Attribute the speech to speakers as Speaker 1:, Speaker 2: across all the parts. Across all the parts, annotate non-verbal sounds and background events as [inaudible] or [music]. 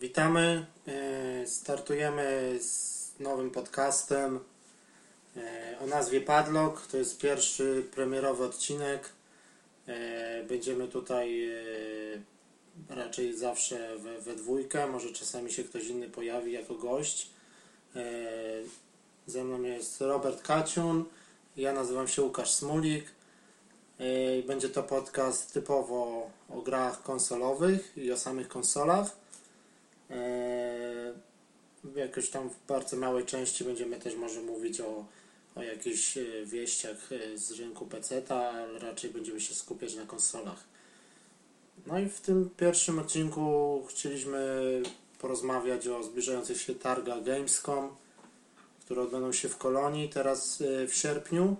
Speaker 1: witamy. E, Startujemy z nowym podcastem e, o nazwie Padlock. To jest pierwszy premierowy odcinek. E, Będziemy tutaj e, raczej zawsze we, we dwójkę. Może czasami się ktoś inny pojawi jako gość. E, Ze mną jest Robert Kaciun. Ja nazywam się Łukasz Smulik. E, Będzie to podcast typowo o grach konsolowych i o samych konsolach. Eee, W jakoś tam w bardzo małej części będziemy też może mówić o, o jakichś e, wieściach e, z rynku PC, ale raczej będziemy się skupiać na konsolach. No i w tym pierwszym odcinku chcieliśmy porozmawiać o zbliżających się targach Gamescom, które odbędą się w Kolonii teraz e, w sierpniu,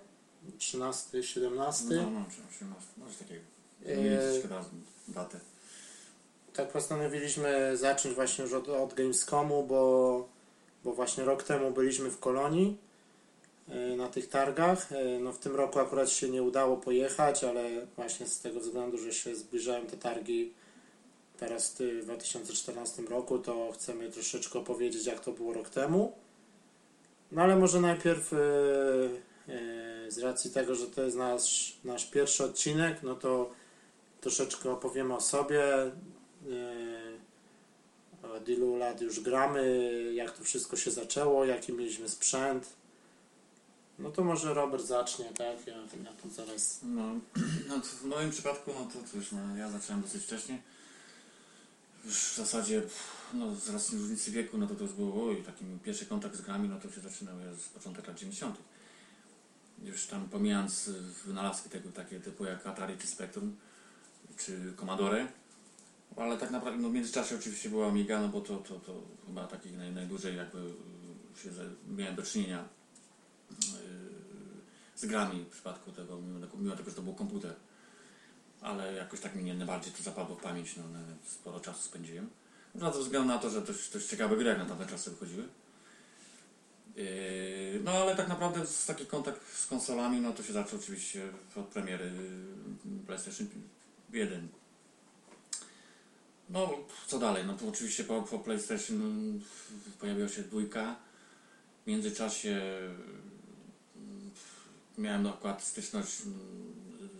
Speaker 1: 13-17.
Speaker 2: No, no, czy 18, może takiego.
Speaker 1: Eee,
Speaker 2: Zmienić teraz datę.
Speaker 1: Tak postanowiliśmy zacząć właśnie już od, od Gamescomu, bo, bo właśnie rok temu byliśmy w Kolonii e, na tych targach. E, No w tym roku akurat się nie udało pojechać, ale właśnie z tego względu, że się zbliżają te targi teraz e, w ty- 2014 roku, to chcemy troszeczkę opowiedzieć jak to było rok temu. No ale może najpierw e, e, z racji tego, że to jest nasz, nasz pierwszy odcinek, no to troszeczkę opowiemy o sobie, Yy, Od E, ilu lat już gramy, jak to wszystko się zaczęło, jaki mieliśmy sprzęt. No to może Robert zacznie, tak? Ja, ja tu zaraz.
Speaker 2: No, [clears throat] no to w moim przypadku, no to cóż, no, ja zacząłem dosyć wcześnie. Już w zasadzie, pff, no z racji różnicy wieku, no to to już było, oj, taki mój pierwszy kontakt z grami, no to się zaczynał z początek lat 90. Już tam pomijając y, wynalazki tego takie typu jak Atari czy Spectrum, czy Commodore, ale tak naprawdę no, w międzyczasie oczywiście była Amiga, no bo to, to, to chyba takich naj, najdłużej jakby y, się ze- miałem do czynienia y, z grami w przypadku tego, mimo tego, mimo tego że to był komputer. Ale jakoś tak mi nie najbardziej to zapadło w pamięć, no, no, sporo czasu spędziłem. No ze względu na to, że dość, dość ciekawe gry jak na tamte czasy wychodziły. Yy, No ale tak naprawdę z- taki kontakt z konsolami, no to się zaczął oczywiście od premiery yy, PlayStation 1. No co dalej, no to oczywiście po, po PlayStation pojawiła się dwójka. W międzyczasie miałem akurat styczność mm,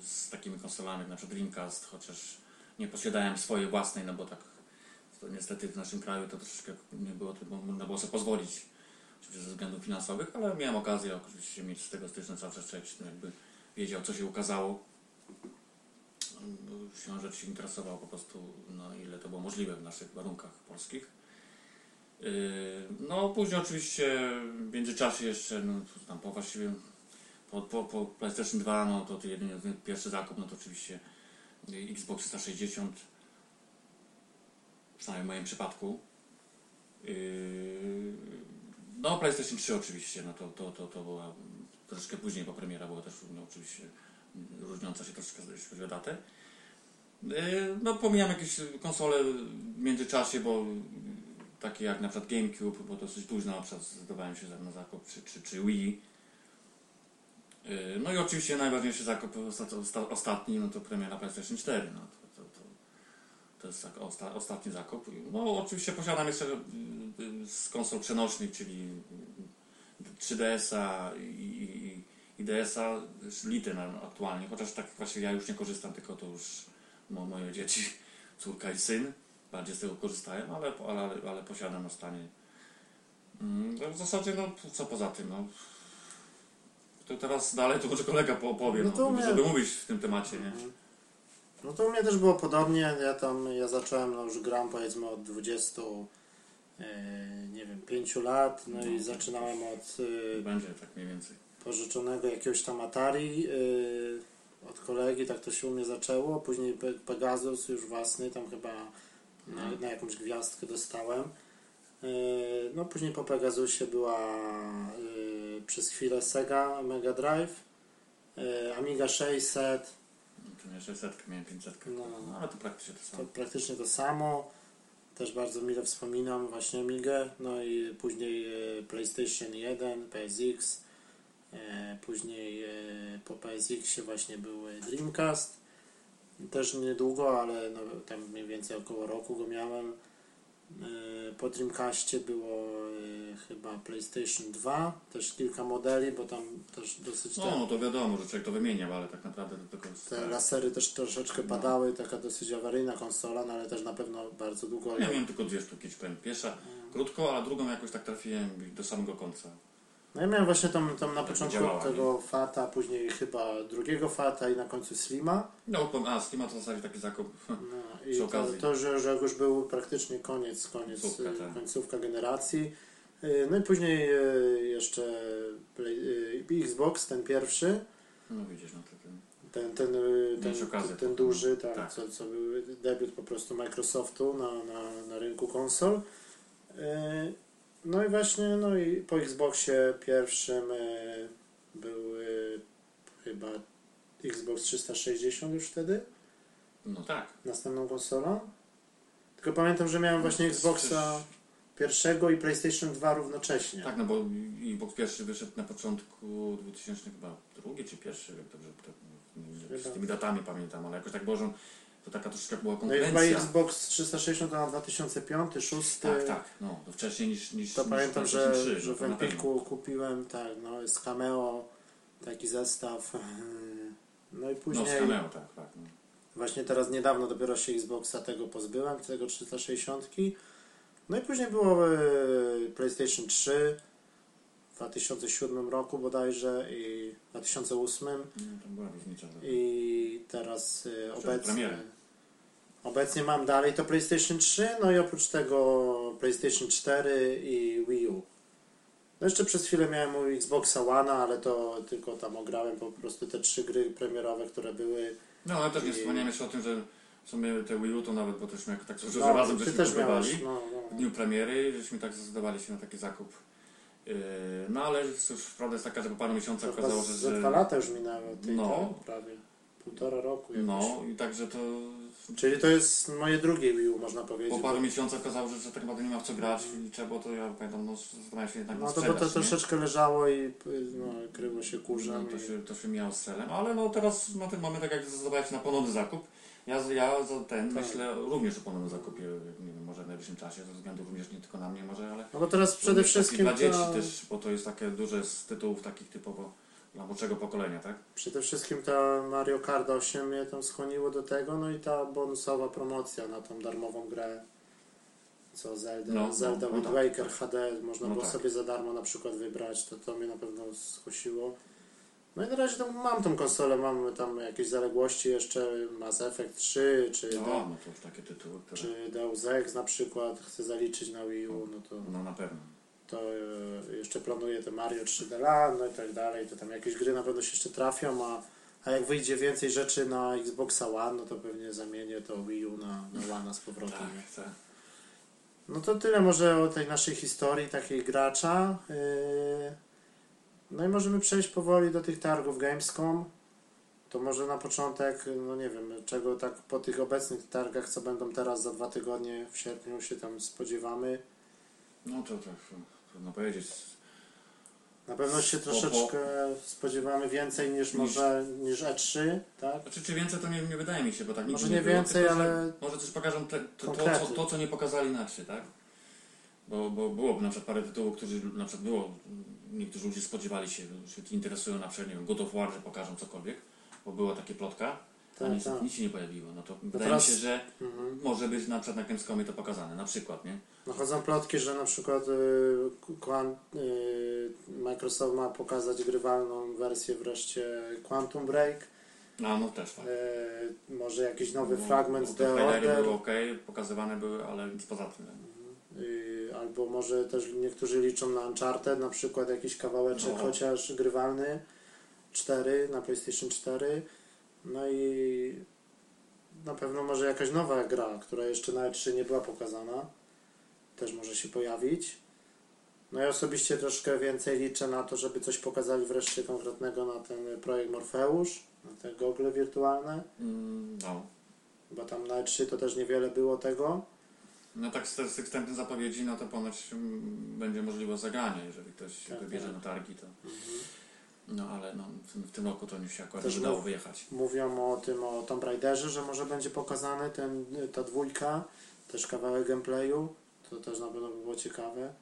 Speaker 2: z takimi konsolami jak na przykład Dreamcast, chociaż nie posiadałem swojej własnej, no bo tak to niestety w naszym kraju to troszeczkę nie było, to mo- można było sobie pozwolić oczywiście ze względów finansowych, ale miałem okazję oczywiście mieć z tego styczność zawsze człowiek się jakby wiedział co się ukazało. Mm, Siłą rzeczy się interesował po prostu na ile to było możliwe w naszych warunkach polskich. Yy, No później oczywiście w międzyczasie jeszcze, no tam po właściwie po, po, po PlayStation 2, no to, to jedyny ten pierwszy zakup, no to oczywiście y, Xbox 360, przynajmniej w moim przypadku. Yy, No PlayStation 3 oczywiście, no to, to, to, to była mm, troszeczkę później, bo premiera była też no, oczywiście mm, różniąca się troszeczkę jeśli chodzi o datę. Yy, No pomijam jakieś konsole w międzyczasie, bo mm, takie jak na przykład GameCube, bo dosyć późno na przykład zdecydowałem się na zakup, czy, czy, czy Wii. Yy, No i oczywiście najważniejszy zakup osta- osta- ostatni, no to premiera PlayStation 4. No to, to, to, to jest tak osta, ostatni zakup. No oczywiście posiadam jeszcze yy, yy, z konsol przenośnych, czyli yy, 3DS-a i, i, i DS-a, Lite na- aktualnie, chociaż tak właśnie ja już nie korzystam, tylko to już mo, moje dzieci, [laughs] córka i syn bardziej z tego korzystają, ale, ale, ale, ale posiadam ostatnie. Mm, no W zasadzie, no co poza tym, no, to teraz dalej to może kolega po- opowie,
Speaker 1: No
Speaker 2: no,
Speaker 1: to
Speaker 2: żeby
Speaker 1: my-
Speaker 2: mówić w tym temacie, nie?
Speaker 1: No to u mnie też było podobnie. Ja tam ja zacząłem, no już gram powiedzmy od 20 e, nie wiem, 5 lat, no i zaczynałem od e,
Speaker 2: Będzie tak mniej więcej.
Speaker 1: pożyczonego jakiegoś tam Atari yy, od kolegi, tak to się u mnie zaczęło. Później Pe- Pegasus już własny, tam chyba na, na jakąś gwiazdkę dostałem. Yy, no później po Pegasusie była yy, przez chwilę Sega Mega Drive, yy, Amiga 600,
Speaker 2: No, To nie 600, miałem 500.
Speaker 1: No.
Speaker 2: No. ale to praktycznie to
Speaker 1: to
Speaker 2: samo.
Speaker 1: praktycznie to samo. Też bardzo mile wspominam właśnie Amigę, no i później e, PlayStation 1, PSX, e, później e, po PSX-ie właśnie był e, Dreamcast. Też niedługo, ale no, tam mniej więcej około roku go miałem. E, Po Dreamcastie było e, chyba PlayStation 2, też kilka modeli, bo tam też dosyć te,
Speaker 2: No, to wiadomo, że człowiek to wymieniał, ale tak naprawdę to tylko...
Speaker 1: te lasery też troszeczkę padały, taka dosyć awaryjna konsola, no ale też na pewno bardzo długo.
Speaker 2: Ja miałem tylko dwie sztuki, czy powiem. Pierwsza krótko, a drugą jakoś tak trafiłem do samego końca.
Speaker 1: No ja miałem właśnie tam, tam na
Speaker 2: Tak
Speaker 1: początku
Speaker 2: działała,
Speaker 1: tego Fata, później chyba drugiego Fata i na końcu Slima.
Speaker 2: No, powiem, a, Steam to w zasadzie taki zakup. [laughs]
Speaker 1: No,
Speaker 2: Przy
Speaker 1: I to,
Speaker 2: okazji.
Speaker 1: to że, że jak już był praktycznie koniec, koniec
Speaker 2: Końcówka,
Speaker 1: końcówka,
Speaker 2: tak.
Speaker 1: końcówka generacji. Y, No i później y, jeszcze Play, y, Xbox, ten pierwszy,
Speaker 2: No widzisz, no tak.
Speaker 1: ten, ten, y, ten,
Speaker 2: Mieć okazję
Speaker 1: ten,
Speaker 2: potem.
Speaker 1: duży, tak,
Speaker 2: Tak.
Speaker 1: Co, co był debiut po prostu Microsoftu na, na, na rynku konsol. Y, No i właśnie, no i po Xboxie pierwszym y, był y, chyba Xbox 360 już wtedy.
Speaker 2: No tak.
Speaker 1: następną konsolą. Tylko pamiętam, że miałem właśnie
Speaker 2: No, to
Speaker 1: Xboxa pierwszego i PlayStation 2 równocześnie.
Speaker 2: Tak, no bo Xbox pierwszy wyszedł na początku 2000, chyba drugi czy pierwszy, jak dobrze tak, nie- z tymi datami pamiętam, ale jakoś tak Bożą, to taka troszeczkę była
Speaker 1: No i chyba
Speaker 2: konkurencja.
Speaker 1: Xbox 360 to na 2005, 2006.
Speaker 2: tak, tak, no, to wcześniej niż, niż
Speaker 1: To
Speaker 2: niż
Speaker 1: pamiętam, że,
Speaker 2: PlayStation 3,
Speaker 1: że
Speaker 2: no,
Speaker 1: w
Speaker 2: to na pewno.
Speaker 1: Empiku kupiłem tak, no, z Cameo taki zestaw. [laughs] yy, No i
Speaker 2: No, z
Speaker 1: później
Speaker 2: Cameo, tak, tak. No.
Speaker 1: właśnie teraz niedawno dopiero się Xboxa tego pozbyłem, tego 360. No i później było yy, PlayStation 3 w 2007 roku bodajże i w 2008
Speaker 2: No, to była różnica. tak.
Speaker 1: I teraz y,
Speaker 2: Przed
Speaker 1: obecnie,
Speaker 2: premierem.
Speaker 1: obecnie mam dalej to PlayStation 3, no i oprócz tego PlayStation 4 i Wii U. No jeszcze przez chwilę miałem mój Xboxa One, ale to tylko tam ograłem po prostu te trzy gry premierowe, które były.
Speaker 2: No, ale też nie
Speaker 1: I-
Speaker 2: wspomniałem jeszcze o tym, że w sumie te Wii U to nawet, bo też jak tak dużo
Speaker 1: No,
Speaker 2: razem
Speaker 1: ty
Speaker 2: żeśmy
Speaker 1: też
Speaker 2: kupowali.
Speaker 1: miałeś. No,
Speaker 2: W
Speaker 1: no.
Speaker 2: dniu premiery, żeśmy tak zdecydowali się na taki zakup. Yy, No ale cóż, prawda jest taka, że po paru miesiącach
Speaker 1: To chyba
Speaker 2: tak okazało się,
Speaker 1: z- ze
Speaker 2: że...
Speaker 1: dwa lata już minęło, tej,
Speaker 2: No.
Speaker 1: tak, prawie półtora roku jakoś.
Speaker 2: No i także to...
Speaker 1: Czyli to jest moje drugie Wii U, można powiedzieć.
Speaker 2: Po paru miesiącach okazało się, że tak naprawdę nie ma w co grać i trzeba było to, ja pamiętam, no zastanawiałem się jednak na
Speaker 1: no to bo to
Speaker 2: sprzedaż, nie?
Speaker 1: troszeczkę leżało i y, no, kryło się kurzem.
Speaker 2: No, to,
Speaker 1: i-
Speaker 2: się, to się miało z celem, ale no teraz na ten moment, tak jak zdecydowałeś na ponowny zakup, ja, z- ja za ten
Speaker 1: Tak.
Speaker 2: myślę również o ponownym zakupie, nie wiem, może w najbliższym czasie, ze względu również nie tylko na mnie może, ale
Speaker 1: No bo teraz przede
Speaker 2: Również taki
Speaker 1: wszystkim
Speaker 2: dla dzieci
Speaker 1: ta,
Speaker 2: też, bo to jest takie duże z tytułów takich typowo dla młodszego pokolenia, tak?
Speaker 1: przede wszystkim ta Mario Kart 8 mnie tam skłoniło do tego, no i ta bonusowa promocja na tą darmową grę co Zelda,
Speaker 2: No, no,
Speaker 1: Zelda
Speaker 2: no
Speaker 1: Wind
Speaker 2: tak.
Speaker 1: Waker HD można
Speaker 2: No
Speaker 1: było
Speaker 2: tak.
Speaker 1: sobie za darmo na przykład wybrać, to to mnie na pewno skusiło. No i na razie tam mam tą konsolę, mam tam jakieś zaległości jeszcze, Mass Effect 3 czy,
Speaker 2: No,
Speaker 1: da,
Speaker 2: no to już takie tytuły, które
Speaker 1: Tak. czy Deus Ex na przykład, chcę zaliczyć na Wii U, no to...
Speaker 2: no na pewno.
Speaker 1: to e, jeszcze planuję te Mario 3D Land, no i tak dalej, to tam jakieś gry na pewno się jeszcze trafią, a, a jak wyjdzie więcej rzeczy na Xboxa One, no to pewnie zamienię to Wii U na, na One z powrotem. nie?
Speaker 2: Tak, tak.
Speaker 1: No to tyle może o tej naszej historii takiej gracza. Yy, No i możemy przejść powoli do tych targów Gamescom. To może na początek, no nie wiem, czego tak po tych obecnych targach, co będą teraz za dwa tygodnie w sierpniu się tam spodziewamy.
Speaker 2: No to tak trudno powiedzieć.
Speaker 1: Na pewno się
Speaker 2: Bo-
Speaker 1: troszeczkę spodziewamy więcej niż może niż E3, tak?
Speaker 2: Znaczy czy więcej to nie, nie wydaje mi się, bo tak
Speaker 1: Może
Speaker 2: nigdy
Speaker 1: nie
Speaker 2: było,
Speaker 1: więcej,
Speaker 2: tylko, że
Speaker 1: ale-
Speaker 2: Może coś pokażą te, to, to, co,
Speaker 1: Konkrety.
Speaker 2: to, co nie pokazali na trzy, tak? Bo, bo byłoby na przykład parę tytułów, którzy na przykład było, niektórzy ludzie spodziewali się, się interesują na przykład, nie wiem, God of War, że pokażą cokolwiek, bo była taka plotka, a
Speaker 1: Tak,
Speaker 2: nic,
Speaker 1: tak.
Speaker 2: nic się nie pojawiło. No to wydaje
Speaker 1: teraz-
Speaker 2: mi się, że
Speaker 1: Mhm.
Speaker 2: Może być na przykład na Gamescomie to pokazane, na przykład, nie?
Speaker 1: No chodzą plotki, że na przykład y, Quan- y, Microsoft ma pokazać grywalną wersję wreszcie Quantum Break,
Speaker 2: No, no też tak.
Speaker 1: y, może jakiś nowy
Speaker 2: Bo-
Speaker 1: fragment
Speaker 2: bo
Speaker 1: z
Speaker 2: te
Speaker 1: The
Speaker 2: trailery
Speaker 1: Order,
Speaker 2: były ok, pokazywane były, ale nic poza tym.
Speaker 1: y, albo może też niektórzy liczą na Uncharted, na przykład jakiś kawałeczek
Speaker 2: No.
Speaker 1: chociaż grywalny 4 na PlayStation 4. No i na pewno może jakaś nowa gra, która jeszcze na E3 nie była pokazana, też może się pojawić. No ja osobiście troszkę więcej liczę na to, żeby coś pokazali wreszcie konkretnego na ten projekt Morfeusz, na te gogle wirtualne,
Speaker 2: Mm, no.
Speaker 1: bo tam na E3 to też niewiele było tego.
Speaker 2: No tak z, z tych wstępnych zapowiedzi, no to ponoć mm, będzie możliwe zagranie, jeżeli ktoś się
Speaker 1: Tak,
Speaker 2: wybierze
Speaker 1: tak.
Speaker 2: na targi, to... No ale no, w, tym, w tym roku to mi się akurat
Speaker 1: Też no.
Speaker 2: nie udało
Speaker 1: mów-
Speaker 2: wyjechać.
Speaker 1: Mówią o tym, o Tomb Raiderze, że może będzie pokazany ten, ta dwójka, też kawałek gameplayu. To też na pewno by było ciekawe.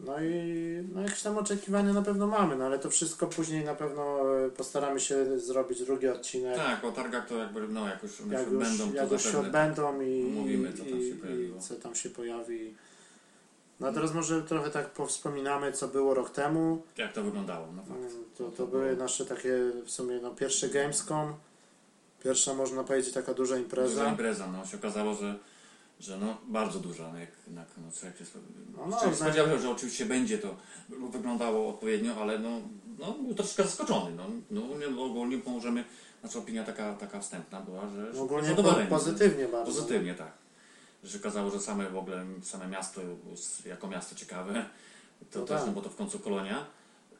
Speaker 1: No i no jakieś tam oczekiwania na pewno mamy, no ale to wszystko później na pewno e, postaramy się zrobić drugi odcinek.
Speaker 2: Tak, o targach to jakby, no jak już, one
Speaker 1: jak
Speaker 2: się
Speaker 1: już,
Speaker 2: odbędą,
Speaker 1: jak
Speaker 2: to
Speaker 1: już się
Speaker 2: zapewne.
Speaker 1: odbędą i,
Speaker 2: omówimy, co tam
Speaker 1: i-
Speaker 2: się pojawiło.
Speaker 1: i co tam się pojawi. No a teraz może trochę tak powspominamy, co było rok temu.
Speaker 2: Jak to wyglądało, no fakt.
Speaker 1: Mm, To, to były nasze takie w sumie no, pierwsze Gamescom. Pierwsza można powiedzieć taka duża
Speaker 2: Duża
Speaker 1: impreza.
Speaker 2: impreza, no się okazało, że, że no, bardzo duża, no, jak, jak no, człowiek się
Speaker 1: No, no,
Speaker 2: no, no,
Speaker 1: tak.
Speaker 2: spodziewał, się, że oczywiście będzie to wyglądało odpowiednio, ale no, no był troszkę zaskoczony. No, no, nie, no, ogólnie możemy, nasza opinia taka, taka wstępna była, że że
Speaker 1: No, ogólnie po,
Speaker 2: zadowoleni, że-
Speaker 1: pozytywnie bardzo.
Speaker 2: Pozytywnie, tak. Że okazało, że same w ogóle, same miasto, jako miasto ciekawe, to
Speaker 1: No
Speaker 2: też,
Speaker 1: tak.
Speaker 2: no bo to w końcu kolonia.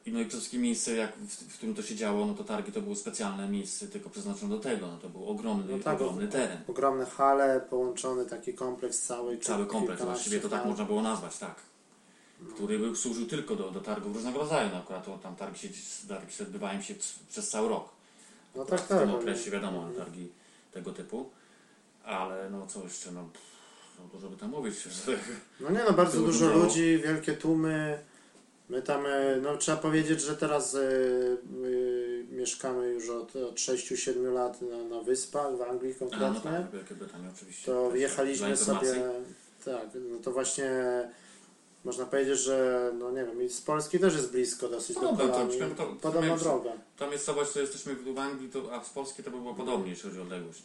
Speaker 2: I no i przede wszystkim miejsce, jak w, w którym to się działo, no to targi to były specjalne miejsce tylko przeznaczone do tego, no to był ogromny,
Speaker 1: No tak,
Speaker 2: ogromny teren.
Speaker 1: Ogromne hale, połączony taki kompleks cały.
Speaker 2: Cały
Speaker 1: kil-
Speaker 2: kompleks,
Speaker 1: no kilkanaście No.
Speaker 2: właściwie to tak
Speaker 1: hal.
Speaker 2: można było nazwać, tak. Który był, służył tylko do, do targów różnego rodzaju, no akurat to, tam targi się, targi się odbywają się c- przez cały rok.
Speaker 1: No tak,
Speaker 2: w
Speaker 1: tak.
Speaker 2: tym
Speaker 1: ale-
Speaker 2: okresie wiadomo, targi tego typu. Ale no co jeszcze, no, pff, no dużo by tam mówić,
Speaker 1: [laughs]
Speaker 2: że
Speaker 1: No nie no, bardzo
Speaker 2: Było
Speaker 1: dużo
Speaker 2: dużo.
Speaker 1: ludzi, wielkie tłumy. My tam, e, no trzeba powiedzieć, że teraz e, my mieszkamy już od, od 6-7 lat na, na wyspach, w Anglii
Speaker 2: A, no
Speaker 1: konkretnie.
Speaker 2: tak, Wielkie Brytanie oczywiście.
Speaker 1: To
Speaker 2: Też dla
Speaker 1: wjechaliśmy
Speaker 2: informacji.
Speaker 1: sobie, tak, no to właśnie można powiedzieć, że no nie wiem, i z Polski też jest blisko dosyć
Speaker 2: No
Speaker 1: do
Speaker 2: dobra, to
Speaker 1: Polami,
Speaker 2: przynajmniej to-
Speaker 1: podobna
Speaker 2: przynajmniej-
Speaker 1: droga.
Speaker 2: Ta miejscowość, co jesteśmy w w Anglii, to, a z Polski to by było podobnie, jeśli chodzi o odległość.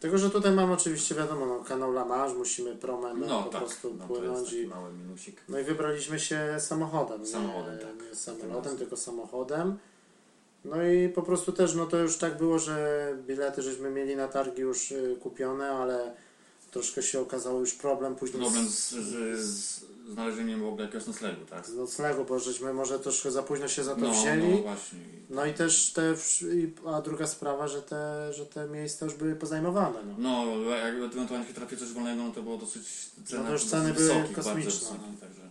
Speaker 1: Tylko, że tutaj mamy oczywiście, wiadomo, no, kanał Lamarz, musimy promem
Speaker 2: No
Speaker 1: po
Speaker 2: tak,
Speaker 1: prostu
Speaker 2: no, to jest
Speaker 1: płynąć
Speaker 2: taki
Speaker 1: i
Speaker 2: mały minusik.
Speaker 1: No i wybraliśmy się samochodem.
Speaker 2: Samochodem,
Speaker 1: nie,
Speaker 2: tak.
Speaker 1: Nie samolotem, tylko samochodem. No i po prostu też, no to już tak było, że bilety żeśmy mieli na targi już y, kupione, ale troszkę się okazało już problem później
Speaker 2: Problem
Speaker 1: z,
Speaker 2: z, z, z znalezieniem w ogóle jakiegoś noclegu, tak?
Speaker 1: z noclegu, bo żeśmy może troszkę za późno się za to
Speaker 2: No,
Speaker 1: wzięli.
Speaker 2: no
Speaker 1: No.
Speaker 2: właśnie.
Speaker 1: i też te, wsz- i- a druga sprawa, że te, że te miejsca już były pozajmowane. No.
Speaker 2: No, jak ewentualnie się trafi coś wolnego, no to było dosyć cena,
Speaker 1: No to już
Speaker 2: dosyć
Speaker 1: ceny były
Speaker 2: wysokich,
Speaker 1: kosmiczne,
Speaker 2: bardzo wysokie,
Speaker 1: no.
Speaker 2: także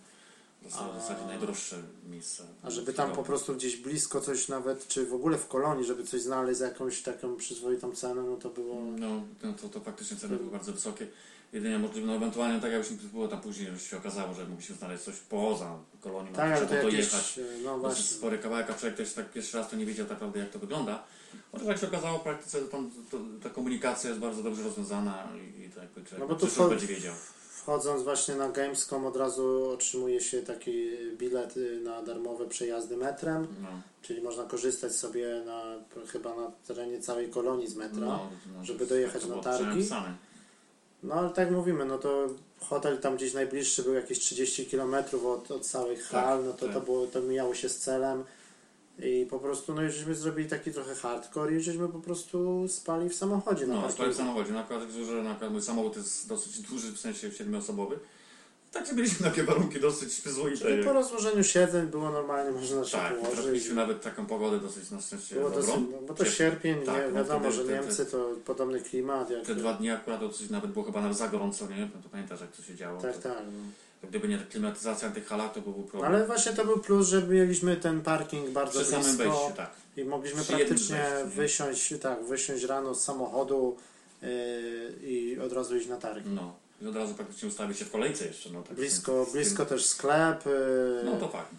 Speaker 2: to
Speaker 1: A-
Speaker 2: są w zasadzie najdroższe miejsca.
Speaker 1: A żeby
Speaker 2: No.
Speaker 1: tam po prostu gdzieś blisko coś nawet, czy w ogóle w kolonii, żeby coś znaleźć za jakąś taką przyzwoitą cenę, no to było...
Speaker 2: No, no to, to faktycznie ceny były bardzo wysokie. Jedynie możliwe, no ewentualnie tak jakbyśmy było tam później, już się okazało, że mogliśmy znaleźć coś poza kolonią,
Speaker 1: Tak, ale to
Speaker 2: trzeba
Speaker 1: jakieś, no
Speaker 2: Dosyć
Speaker 1: właśnie,
Speaker 2: spory kawałek, a człowiek też tak pierwszy raz to nie wiedział tak naprawdę jak to wygląda. Chociaż jak się okazało w praktyce, to tam to, ta komunikacja jest bardzo dobrze rozwiązana i, i tak jakby człowiek
Speaker 1: No bo to
Speaker 2: przyszło
Speaker 1: wcho-
Speaker 2: będzie wiedział.
Speaker 1: wchodząc właśnie na Gamescom od razu otrzymuje się taki bilet y, na darmowe przejazdy metrem,
Speaker 2: No,
Speaker 1: czyli można korzystać sobie na, chyba na terenie całej kolonii z metra. No,
Speaker 2: no,
Speaker 1: żeby
Speaker 2: to-
Speaker 1: dojechać
Speaker 2: to
Speaker 1: na
Speaker 2: było
Speaker 1: targi.
Speaker 2: przynajmniej napisane.
Speaker 1: ale tak jak mówimy, no to hotel tam gdzieś najbliższy był jakieś 30 km od, od całych hal, no to, to,
Speaker 2: tak.
Speaker 1: było, to mijało się z celem. I po prostu, no i żeśmy zrobili taki trochę hardcore i żeśmy po prostu spali w samochodzie. na
Speaker 2: No,
Speaker 1: parkingu.
Speaker 2: stoi w samochodzie. Na przykład, że na przykład mój samochód jest dosyć duży, w sensie siedmioosobowy. Także mieliśmy takie warunki dosyć przyzwoite.
Speaker 1: Czyli po rozłożeniu siedzeń było normalnie, można się
Speaker 2: Tak,
Speaker 1: położyć.
Speaker 2: trafiliśmy nawet taką pogodę dosyć na szczęście
Speaker 1: Było
Speaker 2: dobrą.
Speaker 1: dosyć, no, bo to sierpień,
Speaker 2: Tak,
Speaker 1: nie,
Speaker 2: no
Speaker 1: wiadomo,
Speaker 2: wtedy-
Speaker 1: że
Speaker 2: wtedy-
Speaker 1: Niemcy to podobny klimat. Jak,
Speaker 2: Te dwa dni akurat dosyć nawet było chyba nawet za gorąco, nie? No to pamiętasz jak to się działo.
Speaker 1: tak,
Speaker 2: to,
Speaker 1: tak. No.
Speaker 2: to Gdyby nie klimatyzacja na tych halach, to byłby problem.
Speaker 1: Ale właśnie to był plus, że mieliśmy ten parking bardzo
Speaker 2: Przy samym
Speaker 1: blisko
Speaker 2: wejściu, tak.
Speaker 1: i mogliśmy
Speaker 2: Przy jednym
Speaker 1: praktycznie
Speaker 2: wejściu, nie?
Speaker 1: wysiąść, tak, wysiąść rano z samochodu yy, i od razu iść na targ.
Speaker 2: No. I od razu praktycznie ustawić się w kolejce jeszcze. No, tak
Speaker 1: Blisko,
Speaker 2: z tym-
Speaker 1: blisko też sklep, yy,
Speaker 2: No to fakt.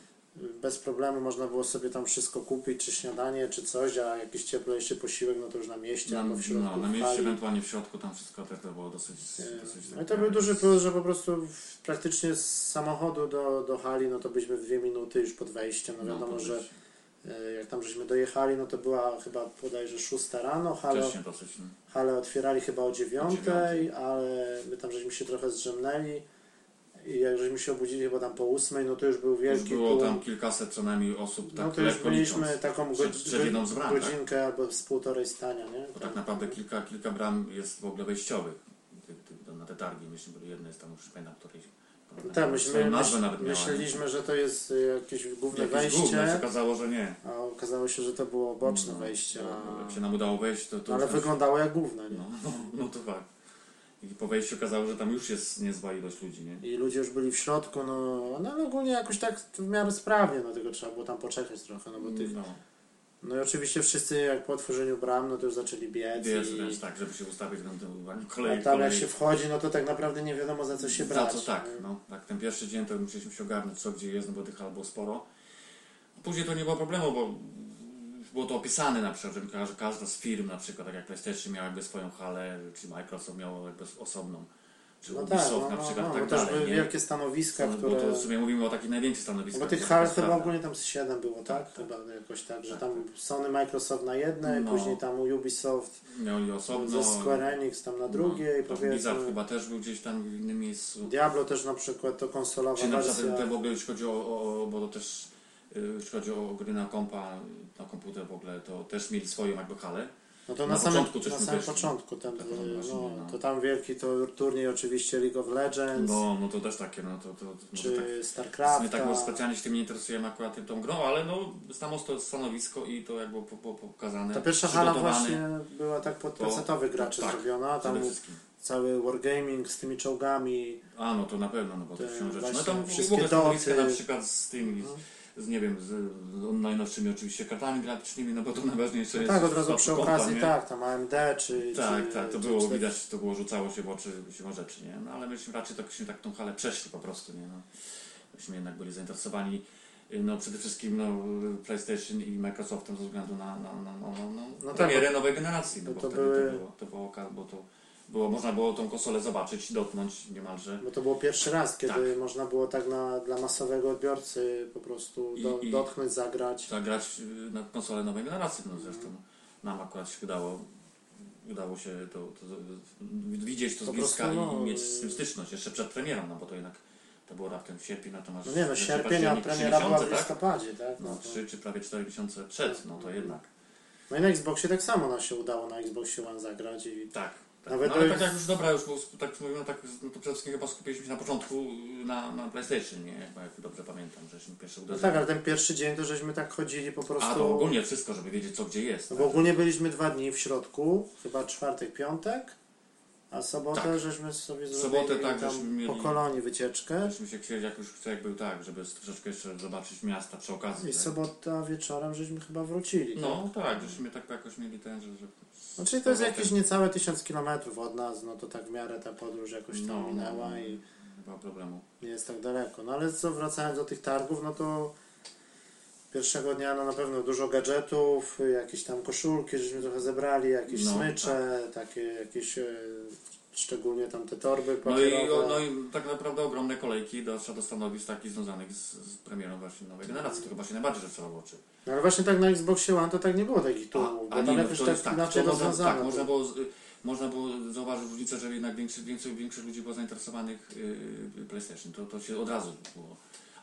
Speaker 1: bez problemu można było sobie tam wszystko kupić, czy śniadanie, czy coś, a jakiś cieplejszy posiłek, no to już na mieście,
Speaker 2: Na,
Speaker 1: albo w środku
Speaker 2: no, na
Speaker 1: w
Speaker 2: mieście,
Speaker 1: hali.
Speaker 2: ewentualnie w środku, tam wszystko też to było dosyć... dosyć
Speaker 1: No i to był duży plus, że po prostu w, praktycznie z samochodu do, do hali, no to byliśmy w dwie minuty już pod wejściem. No wiadomo, że
Speaker 2: dosyć.
Speaker 1: e, jak tam żeśmy dojechali, no to była chyba bodajże 6 rano, hale,
Speaker 2: Wcześniej dosyć. No.
Speaker 1: hale otwierali chyba o 9,
Speaker 2: dziewiątej.
Speaker 1: ale my tam żeśmy się trochę zdrzemnęli i jak żeśmy się obudzili chyba tam po 8, no to już był
Speaker 2: Już
Speaker 1: wielki
Speaker 2: było
Speaker 1: tłum.
Speaker 2: tam kilkaset co najmniej osób, tak
Speaker 1: no to już
Speaker 2: lekko
Speaker 1: mieliśmy
Speaker 2: licząc.
Speaker 1: taką
Speaker 2: Przed-
Speaker 1: godz-
Speaker 2: przed jedną z bram, tak?
Speaker 1: godzinkę albo z półtorej stania, nie?
Speaker 2: Bo tak naprawdę kilka, kilka bram jest w ogóle wejściowych ty, ty, do- na te targi. Myślę, że jedne jest tam już nie pamiętam, której.
Speaker 1: Tak,
Speaker 2: swoją
Speaker 1: myśmy,
Speaker 2: nazwę nawet miała, nie?
Speaker 1: myśleliśmy, że to jest y, jakieś główne
Speaker 2: Jakieś
Speaker 1: wejście.
Speaker 2: główne, się okazało, że nie.
Speaker 1: A okazało się, że to było boczne
Speaker 2: No,
Speaker 1: wejście.
Speaker 2: bo
Speaker 1: A...
Speaker 2: Jak się nam udało wejść, to... to
Speaker 1: Ale
Speaker 2: już-
Speaker 1: wyglądało jak główne, nie?
Speaker 2: No, no, no to fakt. I po wejściu okazało, że tam już jest niezła ilość ludzi, nie?
Speaker 1: I ludzie już byli w środku, no, no ale ogólnie jakoś tak w miarę sprawnie, no tylko trzeba było tam poczekać trochę, no bo tych,
Speaker 2: No,
Speaker 1: No i oczywiście wszyscy jak po otworzeniu bram, no to już zaczęli biec.
Speaker 2: Wiesz,
Speaker 1: i...
Speaker 2: wręcz tak, żeby się ustawić na tym
Speaker 1: A
Speaker 2: kolejnym.
Speaker 1: tam jak się wchodzi, no to tak naprawdę nie wiadomo za co się
Speaker 2: Za
Speaker 1: brać.
Speaker 2: co tak, no. Tak, ten pierwszy dzień to musieliśmy się ogarnąć, co gdzie jest, no bo tych albo sporo. Później to nie było problemu, bo było to opisane na przykład, że każda, każda z firm, na przykład tak jak PlayStation miała jakby swoją halę, czy Microsoft miał jakby osobną, czy
Speaker 1: No tak,
Speaker 2: Ubisoft
Speaker 1: no, no,
Speaker 2: na przykład,
Speaker 1: no,
Speaker 2: tak
Speaker 1: bo też
Speaker 2: dalej,
Speaker 1: były
Speaker 2: nie?
Speaker 1: wielkie stanowiska,
Speaker 2: No,
Speaker 1: które...
Speaker 2: Bo to w sumie mówimy o takich największych stanowiskach.
Speaker 1: Bo tych
Speaker 2: to
Speaker 1: hal
Speaker 2: jest
Speaker 1: chyba
Speaker 2: prawda.
Speaker 1: ogólnie tam z 7 było, tak?
Speaker 2: Tak,
Speaker 1: Chyba jakoś tak, że
Speaker 2: Tak,
Speaker 1: tam Sony, Microsoft na jednej,
Speaker 2: No.
Speaker 1: później tam Ubisoft
Speaker 2: Mieli
Speaker 1: ze
Speaker 2: osobno.
Speaker 1: Square Enix tam na drugiej,
Speaker 2: no, Blizzard
Speaker 1: powiedzmy.
Speaker 2: chyba też był gdzieś tam w innym miejscu.
Speaker 1: Diablo też na przykład to konsolowa
Speaker 2: Czy na
Speaker 1: wersja.
Speaker 2: przykład te w ogóle jeśli chodzi o, o, o bo to też y, jeśli chodzi o gry na kompa, na komputer w ogóle, to też mieli swoją jakby halę.
Speaker 1: No to na,
Speaker 2: na
Speaker 1: samym,
Speaker 2: początku coś
Speaker 1: na
Speaker 2: mi
Speaker 1: samym
Speaker 2: też-
Speaker 1: początku tam,
Speaker 2: tak,
Speaker 1: y,
Speaker 2: właśnie,
Speaker 1: no,
Speaker 2: no.
Speaker 1: to tam wielki to turniej oczywiście League of Legends,
Speaker 2: No, no to też takie, no to, to, to może
Speaker 1: czy
Speaker 2: tak, w
Speaker 1: StarCraft.
Speaker 2: sumie tak no, specjalnie się tym nie interesujemy akurat tym tą grą, ale no samo to stanowisko i to jakby po- po- pokazane.
Speaker 1: Ta pierwsza hala
Speaker 2: przygotowane
Speaker 1: właśnie była tak pod
Speaker 2: To-
Speaker 1: pecetowych graczy
Speaker 2: tak,
Speaker 1: zrobiona, tam
Speaker 2: przede wszystkim.
Speaker 1: cały wargaming z tymi czołgami,
Speaker 2: A no to na pewno, no bo to
Speaker 1: Te
Speaker 2: się rzeczy. No
Speaker 1: właśnie
Speaker 2: tam
Speaker 1: wszystkie
Speaker 2: wszystkie ogóle stanowiska
Speaker 1: doty. Mhm.
Speaker 2: na przykład z tymi, z, z nie wiem, z, z najnowszymi oczywiście kartami graficznymi, no bo to najważniejsze
Speaker 1: No
Speaker 2: jest.
Speaker 1: tak, od
Speaker 2: w
Speaker 1: razu
Speaker 2: przypadku
Speaker 1: przy
Speaker 2: kompa,
Speaker 1: okazji,
Speaker 2: nie?
Speaker 1: tak, tam AMD czy...
Speaker 2: Tak,
Speaker 1: czy,
Speaker 2: tak, to
Speaker 1: czy-
Speaker 2: było
Speaker 1: czy-
Speaker 2: widać, to było rzucało się w oczy siłą rzeczy, nie? No ale myśmy raczej tak, myśmy tak tą halę przeszli po prostu, nie? No, myśmy jednak byli zainteresowani y, no przede wszystkim no, PlayStation i Microsoftem ze względu na, na, na, na, na, na
Speaker 1: No tak,
Speaker 2: premierę nowej generacji, no
Speaker 1: bo
Speaker 2: bo
Speaker 1: to
Speaker 2: wtedy
Speaker 1: były-
Speaker 2: to było, to było, oka- bo to było, można było tą konsolę zobaczyć, dotknąć niemalże.
Speaker 1: Bo to było pierwszy raz, kiedy można było tak na, dla masowego odbiorcy po prostu do,
Speaker 2: I- i-
Speaker 1: dotknąć, zagrać.
Speaker 2: Trzeba grać y, na konsolę nowej generacji. No zresztą nam akurat się udało, udało się to, to, to widzieć to z
Speaker 1: Po
Speaker 2: bliska
Speaker 1: prostu,
Speaker 2: i
Speaker 1: no,
Speaker 2: mieć z tym styczność jeszcze przed premierą, no bo to jednak to było raptem w sierpniu, natomiast
Speaker 1: No nie no,
Speaker 2: znaczy
Speaker 1: sierpień, a
Speaker 2: październik, trzy
Speaker 1: premiera była w
Speaker 2: miesiące, tak?
Speaker 1: listopadzie, tak?
Speaker 2: No
Speaker 1: No, to-
Speaker 2: trzy czy prawie cztery miesiące przed, no to jednak
Speaker 1: no i na Xboxie tak samo nam się udało na Xboxie One zagrać i...
Speaker 2: tak. tak.
Speaker 1: Nawet
Speaker 2: no, ale
Speaker 1: to
Speaker 2: tak
Speaker 1: jest-
Speaker 2: jak już dobra, już było, tak mówimy, no, tak, no to przede wszystkim chyba skupiliśmy się na początku na, na PlayStation, nie? Jak, jak dobrze pamiętam, żeśmy pierwsze
Speaker 1: No
Speaker 2: uderzyli.
Speaker 1: tak, ale ten pierwszy dzień to żeśmy tak chodzili po prostu...
Speaker 2: A to ogólnie wszystko, żeby wiedzieć co gdzie jest.
Speaker 1: No
Speaker 2: tak?
Speaker 1: bo ogólnie byliśmy dwa dni w środku, chyba czwartek, piątek, a sobotę
Speaker 2: Tak.
Speaker 1: żeśmy sobie
Speaker 2: W
Speaker 1: zrobili
Speaker 2: sobotę tak,
Speaker 1: tam
Speaker 2: żeśmy mieli-
Speaker 1: po kolonii wycieczkę.
Speaker 2: Żeśmy się chcieli, jak już chce, jak był tak, żeby troszeczkę jeszcze zobaczyć miasta przy okazji.
Speaker 1: I
Speaker 2: tak.
Speaker 1: sobota wieczorem żeśmy chyba wrócili.
Speaker 2: No tak, żeśmy tak jakoś mieli ten, że... że
Speaker 1: No, czyli to jest jakieś niecałe 1000 kilometrów od nas, no to tak w miarę ta podróż jakoś tam
Speaker 2: No,
Speaker 1: minęła
Speaker 2: no.
Speaker 1: i
Speaker 2: Chyba problemu.
Speaker 1: nie jest tak daleko. No ale co, wracając do tych targów, no to pierwszego dnia no na pewno dużo gadżetów, jakieś tam koszulki, żeśmy trochę zebrali, jakieś
Speaker 2: No,
Speaker 1: smycze, takie jakieś, e, szczególnie tam te torby
Speaker 2: No i,
Speaker 1: papierowe.
Speaker 2: no i tak naprawdę ogromne kolejki do, do stanowisk takich związanych z, z premierą właśnie nowej generacji. To chyba się najbardziej rzucało w oczy.
Speaker 1: No ale właśnie tak na Xboxie One to tak nie było takich tłumów, bo tam
Speaker 2: no,
Speaker 1: jakoś
Speaker 2: to
Speaker 1: tak
Speaker 2: jest
Speaker 1: inaczej
Speaker 2: to można-
Speaker 1: rozwiązano.
Speaker 2: Tak, można
Speaker 1: to.
Speaker 2: było, z- y, można było zauważyć różnicę, że jednak większość, większość, większość ludzi było zainteresowanych yy, PlayStation. To, to się od razu było.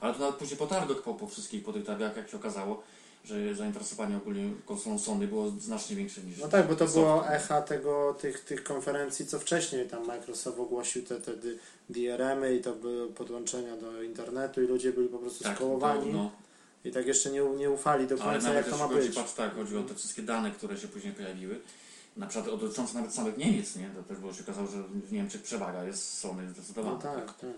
Speaker 2: Ale to nawet później po targach, po, po wszystkich, po tych targach, jak się okazało, że zainteresowanie ogólnie konsolą Sony było znacznie większe niż...
Speaker 1: No tak, bo to
Speaker 2: Sony.
Speaker 1: było echa tego, tych, tych konferencji, co wcześniej tam Microsoft ogłosił te, te dy- DRM-y y i to były podłączenia do internetu i ludzie byli po prostu
Speaker 2: Tak,
Speaker 1: skołowani
Speaker 2: to, no.
Speaker 1: i tak jeszcze nie, u- nie ufali do
Speaker 2: Ale
Speaker 1: końca
Speaker 2: nawet
Speaker 1: jak to
Speaker 2: jeśli
Speaker 1: ma
Speaker 2: chodzi,
Speaker 1: być.
Speaker 2: patrz, tak, chodzi o te wszystkie dane, które się później pojawiły, na przykład o- dotyczące nawet samych Niemiec, nie? To też było się okazało, że w Niemczech przewaga jest Sony zdecydowana.
Speaker 1: No tak, tak.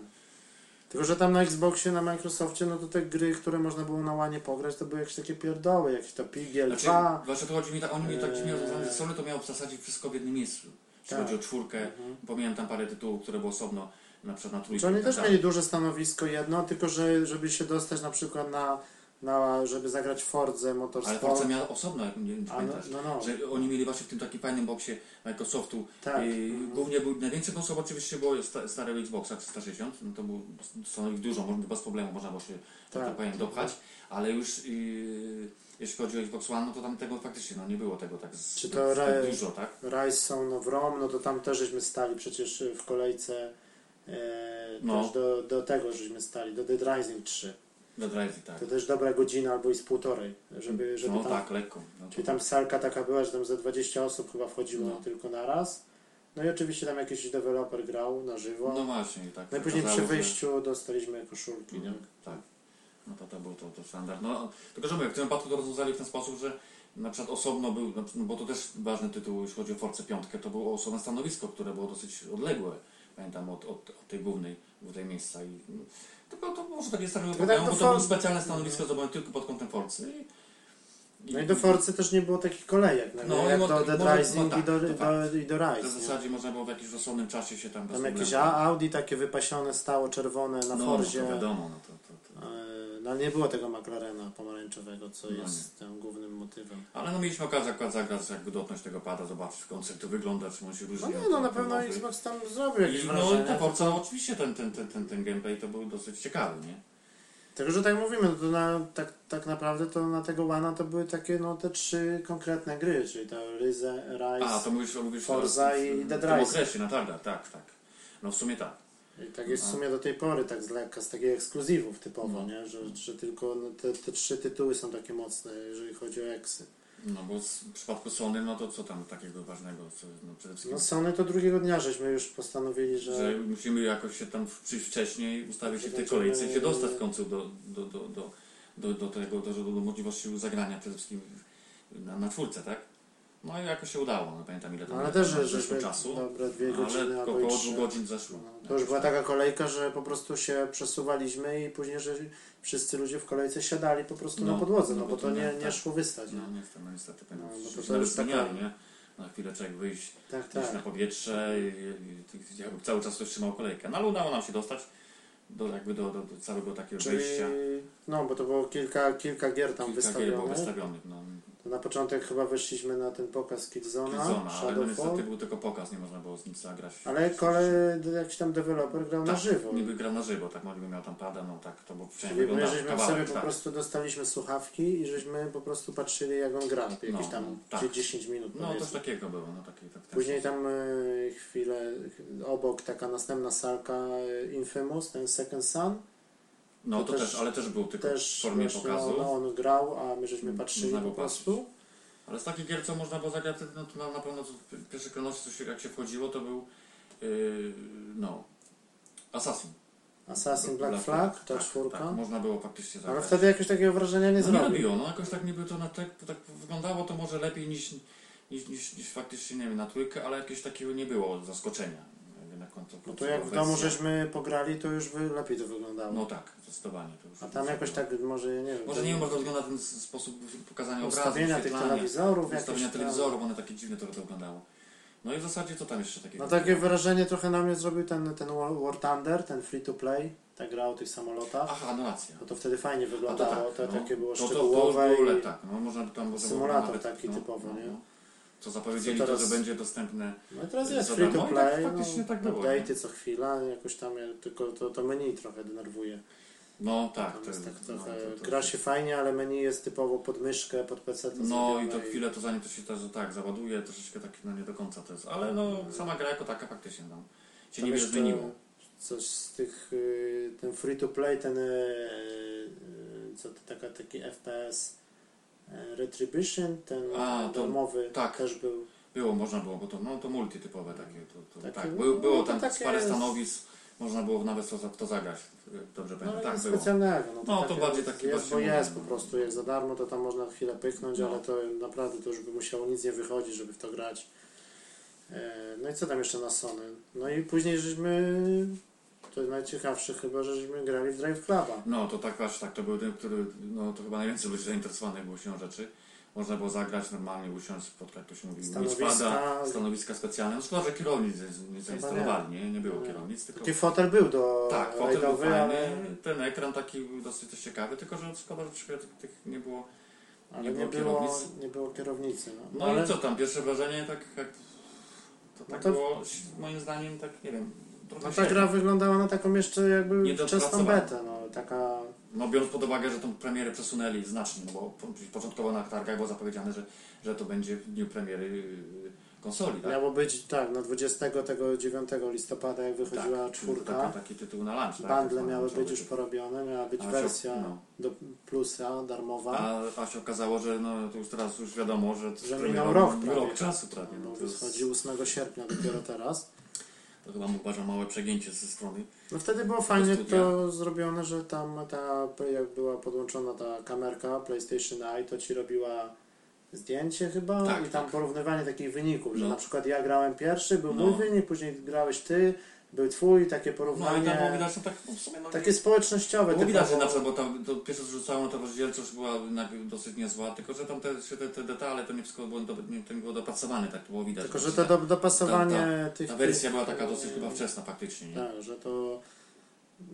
Speaker 1: Tylko, że tam na Xboxie, na Microsoftie, no to te gry, które można było na łanie pograć, to były jakieś takie pierdoły, jakieś to Pigiel
Speaker 2: Znaczy,
Speaker 1: 2.
Speaker 2: właśnie to chodzi mi, tak- oni mi tak
Speaker 1: Eee.
Speaker 2: nie rozwiązali, że Sony to miało w zasadzie wszystko w jednym miejscu. Jeśli
Speaker 1: Tak.
Speaker 2: chodzi o czwórkę, pomijam tam parę tytułów, które było osobno, na przykład na trójkę.
Speaker 1: Czy oni
Speaker 2: i
Speaker 1: też
Speaker 2: tak
Speaker 1: mieli duże stanowisko jedno, tylko że żeby się dostać na przykład na, na żeby zagrać Fordze
Speaker 2: Ale
Speaker 1: Motorsport.
Speaker 2: Forza miała osobno, jak nie, nie
Speaker 1: A, no,
Speaker 2: pamiętasz.
Speaker 1: no, no.
Speaker 2: Że oni mieli właśnie w tym takim fajnym boksie Microsoftu.
Speaker 1: Tak.
Speaker 2: Yy, Głównie był najwięcej osób oczywiście było sta, starego Xboxa 360, no to był stanowi dużo, można, bez problemu można było się, tak,
Speaker 1: Tak.
Speaker 2: tak powiem, dopchać, ale już yy, jeśli chodzi o Xbox One, no to tam tego faktycznie no, nie było tego tak, z,
Speaker 1: Czy to re-
Speaker 2: tak dużo, tak?
Speaker 1: Rise Son of Rome, no to tam też żeśmy stali przecież w kolejce e,
Speaker 2: No.
Speaker 1: też do, do tego żeśmy stali, do Dead Rising 3.
Speaker 2: Do Drive, tak.
Speaker 1: To też dobra godzina albo i z półtorej, żeby, żeby
Speaker 2: no
Speaker 1: tam,
Speaker 2: tak, lekko. No, to-
Speaker 1: czyli tam salka taka była, że tam ze 20 osób chyba wchodziło
Speaker 2: No.
Speaker 1: tylko na raz. No i oczywiście tam jakiś deweloper grał na żywo.
Speaker 2: no
Speaker 1: No,
Speaker 2: właśnie, i tak.
Speaker 1: i później
Speaker 2: okazało,
Speaker 1: przy
Speaker 2: że-
Speaker 1: wyjściu dostaliśmy koszulki.
Speaker 2: Pieniądz, tak. No to, to było to, to standard. No, tylko, że mówię, w tym wypadku to rozwiązali w ten sposób, że na przykład osobno był, na przykład- no bo to też ważny tytuł, jeśli chodzi o Force 5, to było osobne stanowisko, które było dosyć odległe, pamiętam, od, od, od tej głównej, głównej miejsca. I, tylko to może takie stare
Speaker 1: tak,
Speaker 2: wypowiadają,
Speaker 1: to
Speaker 2: bo to
Speaker 1: Forza-
Speaker 2: było specjalne stanowisko zrobione tylko pod kątem Forcy. I,
Speaker 1: No i do Forcy też nie było takich kolejek, no,
Speaker 2: No,
Speaker 1: jak
Speaker 2: no,
Speaker 1: do
Speaker 2: no,
Speaker 1: Dead
Speaker 2: no,
Speaker 1: Rising
Speaker 2: tak,
Speaker 1: i do,
Speaker 2: to tak.
Speaker 1: do, i do
Speaker 2: W
Speaker 1: Rise. nie?
Speaker 2: zasadzie można było w jakimś rozsądnym czasie się tam bez
Speaker 1: Tam jakieś
Speaker 2: problemu-
Speaker 1: A- Audi takie wypasione stało, czerwone na
Speaker 2: no,
Speaker 1: Forzie.
Speaker 2: No, to wiadomo, no to, to, to.
Speaker 1: E, No ale nie było tego McLarena pomarańczowego, co
Speaker 2: No
Speaker 1: jest tym głównym motywem.
Speaker 2: Ale no mieliśmy okazję akurat zagrać, jakby dotknąć tego pada, zobaczyć w końcu jak to wygląda, czy on się różni.
Speaker 1: No nie,
Speaker 2: od
Speaker 1: no na
Speaker 2: tego
Speaker 1: pewno
Speaker 2: nowy.
Speaker 1: Xbox tam zrobił jakieś
Speaker 2: I no i ta
Speaker 1: wrażenie.
Speaker 2: Forza, oczywiście ten, ten, ten, ten, ten gameplay to był dosyć ciekawy, nie?
Speaker 1: Tylko, że tak mówimy, no to na, tak, tak naprawdę to na tego Łana to były takie no te trzy konkretne gry, czyli to Ryze, Rise
Speaker 2: A, to mówisz, mówisz
Speaker 1: Forza
Speaker 2: teraz
Speaker 1: i
Speaker 2: w,
Speaker 1: Dead
Speaker 2: w tym
Speaker 1: Rising.
Speaker 2: okresie, na targach, tak, tak. No w sumie tak.
Speaker 1: I tak jest w sumie do tej pory, tak z lekka, z takich ekskluzywów typowo,
Speaker 2: No.
Speaker 1: nie? Że, że tylko no, te, te trzy tytuły są takie mocne, jeżeli chodzi o eksy.
Speaker 2: No bo z, w przypadku Sony, no to co tam takiego ważnego, co, no przede wszystkim,
Speaker 1: No Sony to drugiego dnia żeśmy już postanowili, że...
Speaker 2: że musimy jakoś się tam w- przyjść wcześniej, ustawić się w tej
Speaker 1: Zobaczymy.
Speaker 2: kolejce i się dostać w końcu do, do, do, do, do, do tego, do, do, do możliwości zagrania przede wszystkim na, na czwórce, tak? No i jakoś się udało, no pamiętam ile tam
Speaker 1: No, ale
Speaker 2: ile
Speaker 1: też,
Speaker 2: tam
Speaker 1: że
Speaker 2: zeszło
Speaker 1: żeśmy
Speaker 2: czasu, No,
Speaker 1: dobre dwie godziny
Speaker 2: ale
Speaker 1: albo i
Speaker 2: około
Speaker 1: trzy.
Speaker 2: dwóch godzin zeszło.
Speaker 1: No, To już była taka kolejka, że po prostu się przesuwaliśmy i później, że wszyscy ludzie w kolejce siadali po prostu
Speaker 2: No,
Speaker 1: na podłodze,
Speaker 2: no
Speaker 1: no,
Speaker 2: bo
Speaker 1: bo
Speaker 2: to
Speaker 1: to nie,
Speaker 2: nie-
Speaker 1: nie
Speaker 2: tak.
Speaker 1: szło wystać.
Speaker 2: No
Speaker 1: No.
Speaker 2: niestety, no, niestety
Speaker 1: No,
Speaker 2: pamiętam,
Speaker 1: no
Speaker 2: że
Speaker 1: to
Speaker 2: się
Speaker 1: to
Speaker 2: nawet
Speaker 1: już taka-
Speaker 2: zmieniali, nie? Na chwilę trzeba wyjść,
Speaker 1: Tak,
Speaker 2: gdzieś
Speaker 1: tak.
Speaker 2: na powietrze i, i, i jakby cały czas ktoś trzymał kolejkę. No ale udało nam się dostać do, jakby do, do, do całego takiego
Speaker 1: Czyli,
Speaker 2: wyjścia.
Speaker 1: no bo to było kilka, kilka gier tam
Speaker 2: Kilka gier było
Speaker 1: wystawionych.
Speaker 2: wystawionych. No,
Speaker 1: To na początek chyba weszliśmy na ten pokaz Killzona,
Speaker 2: Killzona, ale no, niestety
Speaker 1: Shadowfall,
Speaker 2: był tylko pokaz, nie można było z nic zagrać.
Speaker 1: ale kole, jakiś tam deweloper grał na
Speaker 2: Tak,
Speaker 1: żywo.
Speaker 2: Niby grał na żywo, tak Moliby miał tam pada, no tak to było przynajmniej
Speaker 1: Czyli my
Speaker 2: wyglądało
Speaker 1: żeśmy sobie
Speaker 2: kawałek,
Speaker 1: po
Speaker 2: tak.
Speaker 1: prostu dostaliśmy słuchawki i żeśmy po prostu patrzyli jak on gra, jakieś
Speaker 2: No,
Speaker 1: tam
Speaker 2: tak.
Speaker 1: dzie- 10 minut
Speaker 2: No
Speaker 1: powiedzmy.
Speaker 2: coś takiego było, no taki, tak, ten
Speaker 1: Później
Speaker 2: sposób.
Speaker 1: tam e, chwilę e, obok taka następna salka e, Infamous, ten Second Sun.
Speaker 2: No
Speaker 1: to
Speaker 2: to, też,
Speaker 1: też-
Speaker 2: ale też był tylko
Speaker 1: Też no,
Speaker 2: w formie
Speaker 1: właśnie
Speaker 2: pokazu. Mm,
Speaker 1: On, on grał, a my żeśmy patrzyli
Speaker 2: Można
Speaker 1: po
Speaker 2: było
Speaker 1: prostu.
Speaker 2: Ale z takich gier, co można było zagrać, no to na, na pewno to w pierwszej kolejności, co się, jak się wchodziło, to był yy, no Assassin.
Speaker 1: Assassin Black, Flag, ta
Speaker 2: tak,
Speaker 1: czwórka.
Speaker 2: Tak, można było faktycznie zagrać.
Speaker 1: Ale wtedy jakieś takiego wrażenia nie
Speaker 2: no, nie
Speaker 1: zrobił.
Speaker 2: robiło, no jakoś tak niby to na tak, tak wyglądało to może lepiej niż, niż, niż, niż faktycznie, nie wiem, na trójkę, ale jakieś takiego nie było zaskoczenia. jakby Na końcu,
Speaker 1: No to jak w domu żeśmy pograli, to już wy- lepiej to wyglądało.
Speaker 2: No tak, zdecydowanie. To już
Speaker 1: a tam jakoś tak może, ja nie wiem.
Speaker 2: Może
Speaker 1: ten-
Speaker 2: nie wiem, może to wygląda ten s- sposób pokazania obrazu,
Speaker 1: Ustawienia tych
Speaker 2: wyświetlania.
Speaker 1: telewizorów,
Speaker 2: Ustawienia
Speaker 1: jakieś tam-
Speaker 2: telewizorów, one takie dziwne to wyglądało. No i w zasadzie co tam jeszcze takiego?
Speaker 1: No takie wrażenie trochę na mnie zrobił ten, ten War- War Thunder, ten free to play, ta gra o tych samolotach.
Speaker 2: Aha, no racja.
Speaker 1: No to wtedy fajnie
Speaker 2: A to
Speaker 1: wyglądało,
Speaker 2: tak,
Speaker 1: to
Speaker 2: no.
Speaker 1: takie było
Speaker 2: to, to,
Speaker 1: szczegółowe
Speaker 2: To, było
Speaker 1: i-
Speaker 2: le- tak, no można by tam... można było
Speaker 1: Symulator
Speaker 2: nawet- no,
Speaker 1: taki typowy, nie?
Speaker 2: Co zapowiedzieli
Speaker 1: Co
Speaker 2: to,
Speaker 1: teraz-
Speaker 2: że będzie dostępne...
Speaker 1: No i teraz jest
Speaker 2: Za
Speaker 1: free to
Speaker 2: darmo i tak
Speaker 1: play,
Speaker 2: faktycznie
Speaker 1: no,
Speaker 2: tak było,
Speaker 1: update'y
Speaker 2: nie?
Speaker 1: co chwila, jakoś tam ja, tylko to, to menu trochę denerwuje.
Speaker 2: No tak,
Speaker 1: Tam jest tak
Speaker 2: no,
Speaker 1: trochę,
Speaker 2: to- to-
Speaker 1: gra się fajnie, ale menu jest typowo pod myszkę, pod PC.
Speaker 2: No i to chwilę to zanim to się też tak załaduje, troszeczkę tak no nie do końca to jest, ale no sama gra jako taka faktycznie no, się nie zmieniło.
Speaker 1: Coś z tych, y, ten free to play, ten, y, y, co to taka, taki FPS y, Retribution, ten
Speaker 2: A, to-
Speaker 1: darmowy
Speaker 2: tak.
Speaker 1: też był.
Speaker 2: Było, można było, bo to, no, to multitypowe takie, to, to,
Speaker 1: Takie,
Speaker 2: tak, było, było
Speaker 1: no, to
Speaker 2: tam
Speaker 1: takie
Speaker 2: parę
Speaker 1: jest.
Speaker 2: stanowisk, można było nawet to, to zagrać, jak dobrze
Speaker 1: No
Speaker 2: pamiętam,
Speaker 1: tak,
Speaker 2: tak było.
Speaker 1: specjalnego.
Speaker 2: No, to
Speaker 1: takie
Speaker 2: bardziej taki
Speaker 1: jest,
Speaker 2: właśnie
Speaker 1: bo
Speaker 2: mówię,
Speaker 1: jest
Speaker 2: no.
Speaker 1: po prostu, jak za darmo, to tam można chwilę pychnąć,
Speaker 2: No.
Speaker 1: ale to naprawdę to już by musiało nic nie wychodzić, żeby w to grać. E, No i co tam jeszcze na Sony? No i później żeśmy, to jest najciekawsze chyba, że żeśmy grali w Drive Cluba.
Speaker 2: No to tak właśnie, tak, to był ten, który, no to chyba najwięcej ludzi zainteresowanych było siłą rzeczy. Można było zagrać normalnie, usiąść, spotkać, ktoś mówił,
Speaker 1: Stanowiska.
Speaker 2: stanowiska, spada, stanowiska specjalne. No szkoda, że kierownic nie- nie zainstalowali, nie, nie było
Speaker 1: Nie. No.
Speaker 2: kierownic, tylko...
Speaker 1: Taki fotel był do
Speaker 2: Tak, fotel był
Speaker 1: rajdowy,
Speaker 2: fajny,
Speaker 1: ale,
Speaker 2: ten ekran taki był dosyć też ciekawy, tylko że szkoda, że troszkę tych- tych nie było.
Speaker 1: ale
Speaker 2: nie
Speaker 1: nie,
Speaker 2: było
Speaker 1: było,
Speaker 2: kierownicy.
Speaker 1: nie było kierownicy. No,
Speaker 2: No
Speaker 1: ale
Speaker 2: i co tam, pierwsze wrażenie, tak jak... To tak
Speaker 1: No to-
Speaker 2: było, moim zdaniem, tak, nie wiem, trochę
Speaker 1: no ta
Speaker 2: średnio.
Speaker 1: gra wyglądała na taką jeszcze jakby wczesną
Speaker 2: Niedopracowana.
Speaker 1: betę, no taka...
Speaker 2: No biorąc pod uwagę, że tą premierę przesunęli znacznie, no bo po- początkowo na targach było zapowiedziane, że, że to będzie w dniu premiery yy, konsoli, tak?
Speaker 1: Miało być, tak, na 20 tego 9 listopada, jak wychodziła
Speaker 2: tak, czyli to
Speaker 1: czwórka.
Speaker 2: Taki, taki tytuł na lunch, tak?
Speaker 1: Bundle
Speaker 2: Tak,
Speaker 1: miały
Speaker 2: lunchowy
Speaker 1: być już
Speaker 2: tytuł.
Speaker 1: porobione, miała być
Speaker 2: A,
Speaker 1: wersja
Speaker 2: no. Tak,
Speaker 1: do plusa darmowa.
Speaker 2: A, a się okazało, że no, to już teraz już wiadomo, że,
Speaker 1: Że
Speaker 2: premierą-
Speaker 1: minął rok prawie. tak.
Speaker 2: rok czasu prawie. No,
Speaker 1: bo
Speaker 2: to, jest,
Speaker 1: wychodzi 8 sierpnia dopiero teraz.
Speaker 2: to chyba uważam małe przegięcie ze strony.
Speaker 1: No wtedy było fajnie
Speaker 2: studia.
Speaker 1: to zrobione, że tam ta, jak była podłączona ta kamerka PlayStation Eye, to ci robiła zdjęcie chyba
Speaker 2: Tak,
Speaker 1: i tam
Speaker 2: tak.
Speaker 1: porównywanie takich wyników, że
Speaker 2: No.
Speaker 1: na przykład ja grałem pierwszy, był
Speaker 2: No.
Speaker 1: mój wynik, później grałeś ty, był twój, takie
Speaker 2: No ale tam było
Speaker 1: porównanie,
Speaker 2: widać, no tak no, w sumie no,
Speaker 1: takie społecznościowe.
Speaker 2: Było widać, że na
Speaker 1: typowo.
Speaker 2: przykład, bo tam to pierwsze zrzucałem, to rozdzielczość już była najpierw dosyć niezła, tylko że tam te, się te, te detale, to nie wszystko było, do, nie, to nie było dopracowane, tak to było widać.
Speaker 1: Tylko,
Speaker 2: Bo
Speaker 1: że
Speaker 2: się
Speaker 1: to
Speaker 2: ta-
Speaker 1: do, dopasowanie tych...
Speaker 2: Ta
Speaker 1: tych,
Speaker 2: wersja była taka dosyć
Speaker 1: e,
Speaker 2: chyba wczesna faktycznie, nie?
Speaker 1: Tak, że to...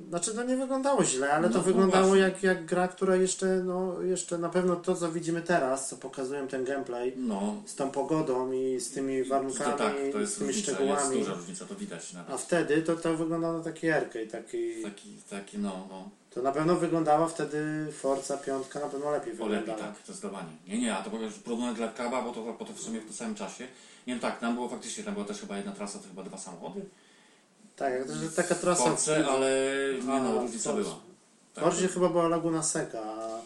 Speaker 1: Znaczy to nie wyglądało źle, ale to
Speaker 2: No, no
Speaker 1: wyglądało
Speaker 2: właśnie.
Speaker 1: jak, jak gra, która jeszcze, no, jeszcze na pewno to, co widzimy teraz, co pokazują ten gameplay,
Speaker 2: No,
Speaker 1: z tą pogodą i z tymi
Speaker 2: to
Speaker 1: warunkami,
Speaker 2: tak, to jest
Speaker 1: z tymi
Speaker 2: różnica, jest
Speaker 1: szczegółami.
Speaker 2: duża różnica, to widać
Speaker 1: A
Speaker 2: nawet.
Speaker 1: wtedy to, to wygląda na taki arcade, taki...
Speaker 2: Taki, taki no, no,
Speaker 1: To na pewno wyglądała wtedy Forza 5 na pewno lepiej
Speaker 2: o lepiej
Speaker 1: wyglądała.
Speaker 2: tak, zdecydowanie. Nie, nie, a to powiem, że porównując dla Kaba, bo to, bo to w sumie w tym samym czasie. Nie, no tak, tam było faktycznie, tam była też chyba jedna trasa, to chyba dwa samochody.
Speaker 1: Tak, jak to, że taka trasa...
Speaker 2: Force, ale nie no,
Speaker 1: A,
Speaker 2: różnica
Speaker 1: Force.
Speaker 2: była.
Speaker 1: W
Speaker 2: Tak,
Speaker 1: Forzie chyba była Laguna Seca, a,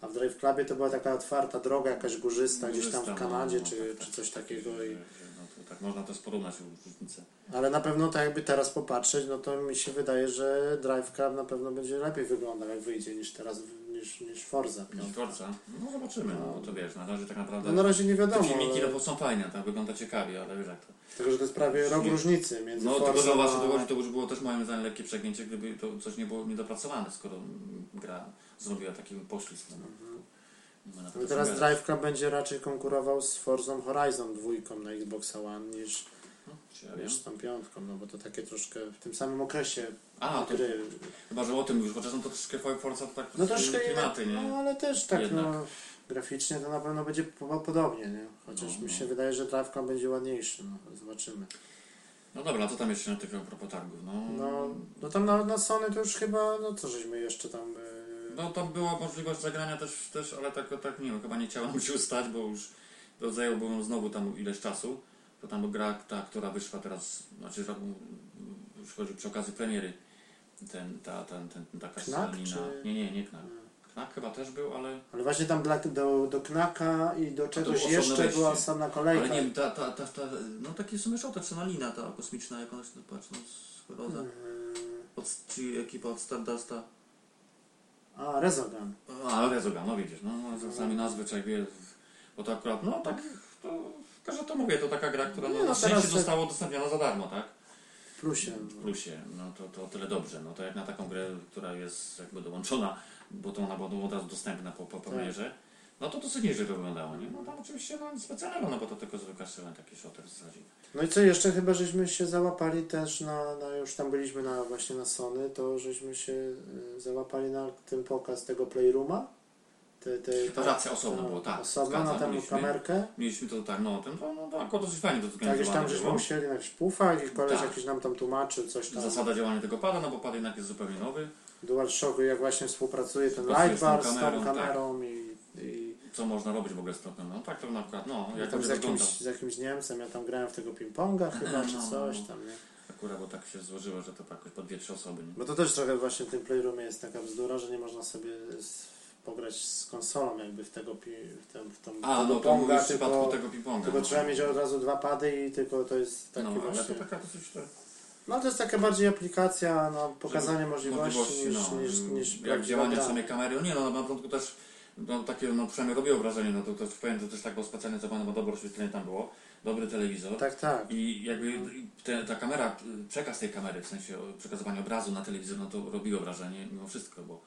Speaker 1: a w Drive Clubie to była taka otwarta droga, jakaś górzysta, gdzieś tam w
Speaker 2: Górzysta, no,
Speaker 1: Kanadzie,
Speaker 2: no,
Speaker 1: czy,
Speaker 2: tak,
Speaker 1: czy
Speaker 2: tak,
Speaker 1: coś
Speaker 2: tak,
Speaker 1: takiego.
Speaker 2: że-
Speaker 1: I...
Speaker 2: że- No, to, tak można też porównać różnicę.
Speaker 1: Ale na pewno tak jakby teraz popatrzeć, no to mi się wydaje, że Drive Club na pewno będzie lepiej wyglądał, jak wyjdzie, niż teraz, niż, niż Forza 5.
Speaker 2: Piątkorca? No zobaczymy, no, bo to wiesz, na razie tak naprawdę
Speaker 1: No na razie nie
Speaker 2: te
Speaker 1: wiadomo,
Speaker 2: filmiki
Speaker 1: ale,
Speaker 2: no, bo są fajne, tak wygląda ciekawie, ale wiesz jak to.
Speaker 1: tylko że to jest prawie rok
Speaker 2: Nie.
Speaker 1: różnicy między
Speaker 2: No tylko,
Speaker 1: Forza
Speaker 2: że właśnie to,
Speaker 1: a...
Speaker 2: to już było też moim zdaniem lekkie przegięcie, gdyby to coś nie było niedopracowane, skoro mm, gra zrobiła taki poślizg. No, Nie ma
Speaker 1: Ale
Speaker 2: na to co
Speaker 1: Mhm. No teraz
Speaker 2: gadać.
Speaker 1: Drive Club będzie raczej konkurował z Forzą Horizon 2 na Xbox One niż,
Speaker 2: No, czy ja wiem?
Speaker 1: niż z tą piątką, no bo to takie troszkę w tym samym okresie
Speaker 2: A, to
Speaker 1: gry.
Speaker 2: chyba, że o tym już, chociaż no to troszkę Forza to tak
Speaker 1: No troszkę
Speaker 2: inne klimaty,
Speaker 1: inne,
Speaker 2: nie?
Speaker 1: no ale też tak
Speaker 2: Jednak.
Speaker 1: no, graficznie to na pewno będzie po- podobnie, nie? Chociaż
Speaker 2: No,
Speaker 1: mi
Speaker 2: no.
Speaker 1: się wydaje, że Drive Club będzie ładniejszy, no zobaczymy.
Speaker 2: No dobra, co tam jeszcze na tych a propos targów? No,
Speaker 1: No, no tam na, na Sony to już chyba, no co żeśmy jeszcze tam... e,
Speaker 2: No tam była możliwość zagrania też, też ale tak, tak nie wiem, chyba nie chciałem [laughs] się ustać, bo już to zajęło mu znowu tam ileś czasu. To tam gra, ta, która wyszła teraz, znaczy tak, już chodzi przy okazji premiery, ten, ta, ten, ten,
Speaker 1: Knack,
Speaker 2: taka strzelanina.
Speaker 1: czy-
Speaker 2: Nie, nie, nie Knak. Knak chyba też był, ale,
Speaker 1: Ale właśnie tam dla, do, do Knaka i do czegoś
Speaker 2: osobne
Speaker 1: jeszcze
Speaker 2: wejście.
Speaker 1: była sama kolejka.
Speaker 2: ale nie wiem, ta, ta, ta, ta, no taki w sumie szał, ta strzelanina ta kosmiczna, jak ona się, patrz, no schoroza,
Speaker 1: Mm,
Speaker 2: od, czy ekipa od Stardusta.
Speaker 1: A, Rezogan.
Speaker 2: A, Rezogan, no widzisz, no, no sami nazwy człowiek wie, bo to akurat, no tak, to, tylko że to mówię, to taka gra, która
Speaker 1: Nie,
Speaker 2: no,
Speaker 1: no
Speaker 2: na szczęście
Speaker 1: teraz-
Speaker 2: została udostępniona za darmo, tak?
Speaker 1: W plusie.
Speaker 2: W plusie, no to, to o tyle dobrze, no to jak na taką grę, która jest jakby dołączona, bo to ona była od razu dostępna po,
Speaker 1: Tak.
Speaker 2: po premierze, no to dosyć nieźle to wyglądało, nie? No tam oczywiście no, nic specjalnego, no bo to tylko zwykła strzelan, taki shooter w zasadzie.
Speaker 1: No i co jeszcze, chyba żeśmy się załapali też na, na już tam byliśmy na, właśnie na Sony, to żeśmy się y, załapali na ten pokaz tego Playrooma. Te, te,
Speaker 2: To racja, osobno
Speaker 1: ta-
Speaker 2: było, tak,
Speaker 1: No, Osobno na
Speaker 2: zgadzam,
Speaker 1: tę
Speaker 2: mieliśmy.
Speaker 1: kamerkę.
Speaker 2: Mieliśmy to tak, no, ten, to, no, to akurat dosyć fajnie to
Speaker 1: Tak, gdzieś tam
Speaker 2: zorganizowane
Speaker 1: żeśmy
Speaker 2: było.
Speaker 1: usiedli na jakichś pufach i koleś
Speaker 2: no. Tak.
Speaker 1: jakiś nam tam tłumaczył coś tam.
Speaker 2: Zasada działania tego pada, no bo pad jednak jest zupełnie nowy.
Speaker 1: DualShocku, jak właśnie współpracuje ten
Speaker 2: Współpracuje z tą
Speaker 1: Lightbar z tą
Speaker 2: kamerą, tak.
Speaker 1: kamerą i, i
Speaker 2: co można robić w ogóle z tropem. No tak to na przykład, no,
Speaker 1: ja
Speaker 2: jak
Speaker 1: tam
Speaker 2: to
Speaker 1: z
Speaker 2: wygląda.
Speaker 1: jakimś, z jakimś Niemcem, ja tam grałem w tego
Speaker 2: [clears throat]
Speaker 1: ping-ponga chyba, czy
Speaker 2: No, no,
Speaker 1: coś
Speaker 2: no.
Speaker 1: tam, nie?
Speaker 2: Akurat, bo tak się złożyło, że to tak jakoś po dwie, trzy osoby. Nie?
Speaker 1: Bo to też trochę właśnie w tym Playroomie jest taka bzdura, że nie można sobie z, pograć z konsolą jakby w tego pi, w tym, w tą,
Speaker 2: A,
Speaker 1: tego
Speaker 2: no to
Speaker 1: ponga,
Speaker 2: mówisz w
Speaker 1: tylko,
Speaker 2: przypadku tego ping-ponga.
Speaker 1: tylko
Speaker 2: no.
Speaker 1: trzeba mieć od razu dwa pady i tylko to jest takie
Speaker 2: no, ale to
Speaker 1: właśnie...
Speaker 2: taka dosyć to-
Speaker 1: No to jest taka bardziej aplikacja na pokazanie możliwości, niż,
Speaker 2: no,
Speaker 1: niż, niż
Speaker 2: jak
Speaker 1: prawdziwa
Speaker 2: działania
Speaker 1: gra.
Speaker 2: samej kamery. No Nie no, na początku też no, takie, no przynajmniej robiło wrażenie, no to, to powiem, to też tak było specjalnie co bo dobre oświetlenie tam było, dobry telewizor.
Speaker 1: Tak, tak.
Speaker 2: I jakby te, ta kamera, przekaz tej kamery, w sensie przekazywania obrazu na telewizor, no to robiło wrażenie mimo wszystko, bo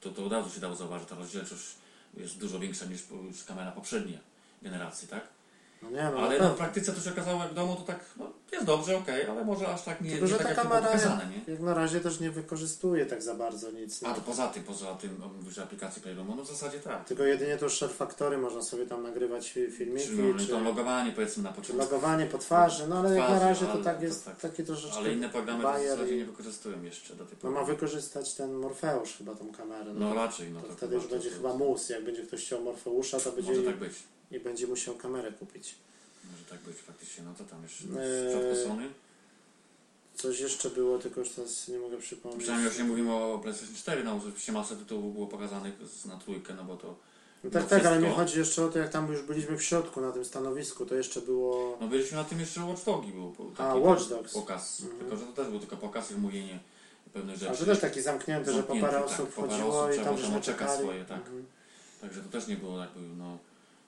Speaker 2: to, to od razu się dało zauważyć, ta rozdzielczość jest dużo większa niż po- już kamera poprzedniej generacji, tak?
Speaker 1: No nie, no,
Speaker 2: Ale
Speaker 1: na
Speaker 2: no,
Speaker 1: pewno.
Speaker 2: w praktyce to się okazało, jak w domu, to tak, no jest dobrze, okej, ale może aż tak nie,
Speaker 1: Tylko,
Speaker 2: nie
Speaker 1: że
Speaker 2: tak
Speaker 1: ta
Speaker 2: jak to było
Speaker 1: kamera
Speaker 2: pokazane, nie?
Speaker 1: jak na razie też nie wykorzystuje tak za bardzo nic.
Speaker 2: A
Speaker 1: No.
Speaker 2: to poza tym, poza tym, o, mówisz o aplikacji Playroomu, no w zasadzie tak.
Speaker 1: Tylko jedynie to share factory można sobie tam nagrywać fi- filmiki,
Speaker 2: Czyli no,
Speaker 1: czy,
Speaker 2: to logowanie powiedzmy na
Speaker 1: czy
Speaker 2: początku,
Speaker 1: logowanie po twarzy, no ale jak na
Speaker 2: Twarzy,
Speaker 1: razie to
Speaker 2: ale
Speaker 1: tak
Speaker 2: to
Speaker 1: jest
Speaker 2: tak.
Speaker 1: taki troszeczkę
Speaker 2: ale inne programy to w
Speaker 1: bajer
Speaker 2: zasadzie
Speaker 1: i-
Speaker 2: nie wykorzystują jeszcze do tej
Speaker 1: No
Speaker 2: pory.
Speaker 1: ma wykorzystać ten Morfeusz chyba tą kamerę. No,
Speaker 2: No raczej, no
Speaker 1: to,
Speaker 2: to
Speaker 1: wtedy już
Speaker 2: to-
Speaker 1: będzie
Speaker 2: to-
Speaker 1: chyba mus. Jak będzie ktoś chciał Morfeusza, to będzie
Speaker 2: Może tak być.
Speaker 1: i będzie musiał kamerę kupić.
Speaker 2: Może tak być faktycznie, no to tam jeszcze
Speaker 1: Eee,
Speaker 2: w środku Sony.
Speaker 1: Coś jeszcze było, tylko już teraz nie mogę przypomnieć.
Speaker 2: Przynajmniej już nie mówimy o PlayStation 4, no oczywiście masę tytułów było pokazanych z- na trójkę, no bo to...
Speaker 1: No tak,
Speaker 2: no
Speaker 1: tak, ale mi
Speaker 2: wszystko.
Speaker 1: chodzi jeszcze o to, jak tam już byliśmy w środku na tym stanowisku, to jeszcze było...
Speaker 2: No byliśmy na tym jeszcze Watch Dogi był po- taki
Speaker 1: A,
Speaker 2: też
Speaker 1: Watch Dogs.
Speaker 2: pokaz, tylko że to też był tylko pokaz i mówienie pewnych
Speaker 1: A
Speaker 2: rzeczy.
Speaker 1: to też taki zamknięty, że po
Speaker 2: Zamknięty,
Speaker 1: parę
Speaker 2: tak,
Speaker 1: osób
Speaker 2: po parę
Speaker 1: wchodziło
Speaker 2: osób
Speaker 1: i
Speaker 2: trzeba
Speaker 1: tam Mhm.
Speaker 2: było
Speaker 1: żeśmy
Speaker 2: czekać
Speaker 1: czekali.
Speaker 2: swoje, tak.
Speaker 1: Mhm.
Speaker 2: Także to też nie było jakby, no...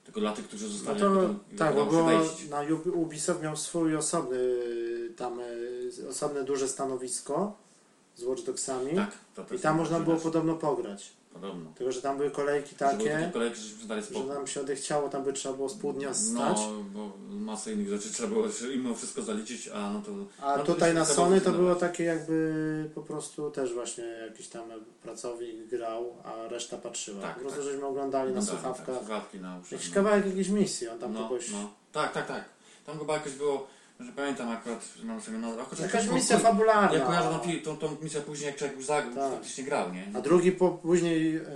Speaker 2: Tylko dla tych, którzy
Speaker 1: No
Speaker 2: zostali,
Speaker 1: to,
Speaker 2: jakby
Speaker 1: tak, bo
Speaker 2: udało się
Speaker 1: było,
Speaker 2: wejść.
Speaker 1: na Ub- Ubisoft miał swój osobny y, tam y, osobne duże stanowisko z Watch Dogsami
Speaker 2: Tak, to też
Speaker 1: i tam
Speaker 2: nie
Speaker 1: można
Speaker 2: było
Speaker 1: było
Speaker 2: widać.
Speaker 1: podobno pograć.
Speaker 2: Podobno.
Speaker 1: Tylko, że tam były kolejki
Speaker 2: Że były
Speaker 1: takie,
Speaker 2: takie kolejki, żeśmy dali
Speaker 1: że
Speaker 2: spokój.
Speaker 1: nam się odechciało, tam by trzeba było z pół dnia stać.
Speaker 2: No, bo masę innych rzeczy trzeba było jeszcze mimo wszystko zaliczyć, a no to...
Speaker 1: A
Speaker 2: no to
Speaker 1: tutaj
Speaker 2: już
Speaker 1: na
Speaker 2: trzeba
Speaker 1: Sony to
Speaker 2: zrezygnować.
Speaker 1: było takie jakby po prostu też właśnie jakiś tam pracownik grał, a reszta patrzyła.
Speaker 2: Tak,
Speaker 1: po prostu
Speaker 2: tak.
Speaker 1: żeśmy oglądali na
Speaker 2: No tak,
Speaker 1: słuchawkach.
Speaker 2: Tak, słuchawki na uszy.
Speaker 1: Jakiś
Speaker 2: no.
Speaker 1: kawałek jakiejś misji, on tam
Speaker 2: no,
Speaker 1: kogoś...
Speaker 2: no. Tak, tak, tak. Tam chyba jakoś było, że pamiętam akurat, że mam sobie nazwę. Akurat
Speaker 1: Jakaś
Speaker 2: jakoś-
Speaker 1: misja
Speaker 2: Ja
Speaker 1: fabularna.
Speaker 2: kojarzę tą, pi- tą, tą misję później, jak człowiek już zagrał,
Speaker 1: Tak.
Speaker 2: faktycznie grał, nie?
Speaker 1: A drugi po, później... E,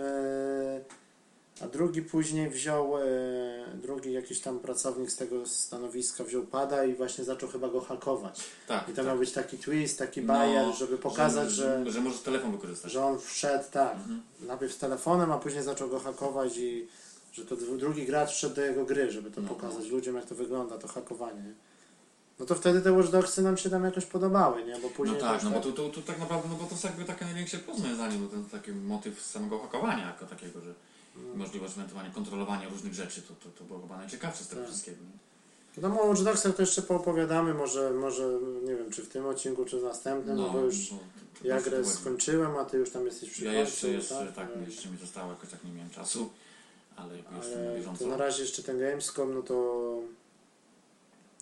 Speaker 1: a drugi później wziął... E, drugi jakiś tam pracownik z tego stanowiska wziął pada i właśnie zaczął chyba go hakować.
Speaker 2: Tak.
Speaker 1: I to
Speaker 2: tak. No,
Speaker 1: miał być taki twist, taki bajer, żeby pokazać, że...
Speaker 2: Że, że możesz telefon wykorzystać.
Speaker 1: że on wszedł tak,
Speaker 2: Mhm.
Speaker 1: najpierw z telefonem, a później zaczął go hakować i że to dru- drugi gracz wszedł do jego gry, żeby to
Speaker 2: No.
Speaker 1: pokazać ludziom, jak to wygląda, to hakowanie. nie? No to wtedy te Watch Dogsy nam się tam jakoś podobały, nie? Bo
Speaker 2: No
Speaker 1: później
Speaker 2: tak,
Speaker 1: to
Speaker 2: no
Speaker 1: już
Speaker 2: bo tu, tu, tu tak naprawdę, no bo to jest jakby takie największe rozwiązanie, bo ten taki motyw samego hakowania jako takiego, że
Speaker 1: No.
Speaker 2: możliwość ewentualnie kontrolowania różnych rzeczy, to, to, to było chyba najciekawsze z tego
Speaker 1: Tak.
Speaker 2: wszystkiego. nie?
Speaker 1: No o Watch Dogsach to jeszcze poopowiadamy, może, może nie wiem, czy w tym odcinku, czy w następnym, no, bo już
Speaker 2: to- to
Speaker 1: ja
Speaker 2: właśnie
Speaker 1: grę
Speaker 2: to chodzi.
Speaker 1: skończyłem, a ty już tam jesteś przy
Speaker 2: Ja
Speaker 1: końcu,
Speaker 2: jeszcze, jeszcze tak,
Speaker 1: No i-
Speaker 2: jeszcze mi zostało jakoś tak nie miałem czasu, ale jakby jestem na
Speaker 1: Ale
Speaker 2: bieżąco.
Speaker 1: to na razie jeszcze ten Gamescom, no to...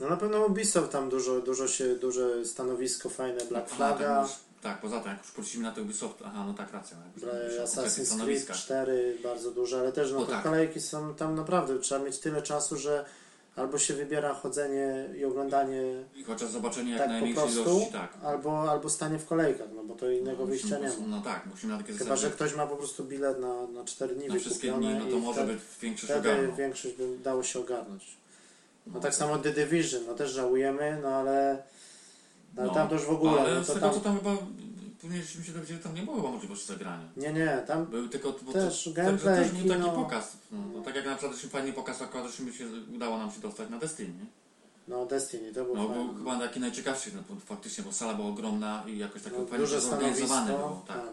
Speaker 1: No na pewno Ubisoft tam dużo, dużo się, duże stanowisko fajne, Black
Speaker 2: Aha,
Speaker 1: Flaga.
Speaker 2: tak, już- Tak, poza tym, jak już wrócimy na to Ubisoft, aha, no tak, racja. no, jak już mówisz o
Speaker 1: Bra-
Speaker 2: konkretnych
Speaker 1: Assassin's Creed
Speaker 2: stanowiskach.
Speaker 1: 4 bardzo duże, ale też no,
Speaker 2: O
Speaker 1: te
Speaker 2: tak.
Speaker 1: kolejki są tam naprawdę, trzeba mieć tyle czasu, że albo się wybiera chodzenie i oglądanie,
Speaker 2: I chociaż zobaczenie jak
Speaker 1: Tak po
Speaker 2: największej
Speaker 1: prostu,
Speaker 2: ilości, tak.
Speaker 1: albo, albo stanie w kolejkach, no bo to innego
Speaker 2: No,
Speaker 1: wyjścia nie
Speaker 2: musimy-
Speaker 1: ma.
Speaker 2: No tak, musimy na takie
Speaker 1: Chyba, że
Speaker 2: zasady,
Speaker 1: ktoś ma po prostu bilet na, na 4 dni
Speaker 2: na wszystkie
Speaker 1: wykupione
Speaker 2: dni, no to
Speaker 1: i
Speaker 2: może
Speaker 1: wtedy,
Speaker 2: być większość
Speaker 1: wtedy
Speaker 2: ogarną.
Speaker 1: większość by dało się ogarnąć. No
Speaker 2: No,
Speaker 1: tak samo The Division, no też żałujemy, no ale, no, ale
Speaker 2: No,
Speaker 1: tam to już w ogóle,
Speaker 2: Ale
Speaker 1: no
Speaker 2: z
Speaker 1: to
Speaker 2: tego
Speaker 1: tam,
Speaker 2: co tam chyba, później żeśmy się dowiedzieli, tam nie było chyba możliwości zagrania.
Speaker 1: nie, nie, tam
Speaker 2: Były tylko, bo
Speaker 1: Też
Speaker 2: to,
Speaker 1: gameplay,
Speaker 2: to, to też był taki
Speaker 1: kino.
Speaker 2: pokaz. No, no, tak jak na przykład żeśmy fajny pokaz, akurat żeśmy się, udało nam się dostać na Destiny, nie?
Speaker 1: no Destiny, to był
Speaker 2: No
Speaker 1: fajny.
Speaker 2: był chyba taki najciekawszy, no, bo faktycznie, bo sala była ogromna i jakoś tak
Speaker 1: No,
Speaker 2: fajnie zorganizowane było. Tak.
Speaker 1: tak.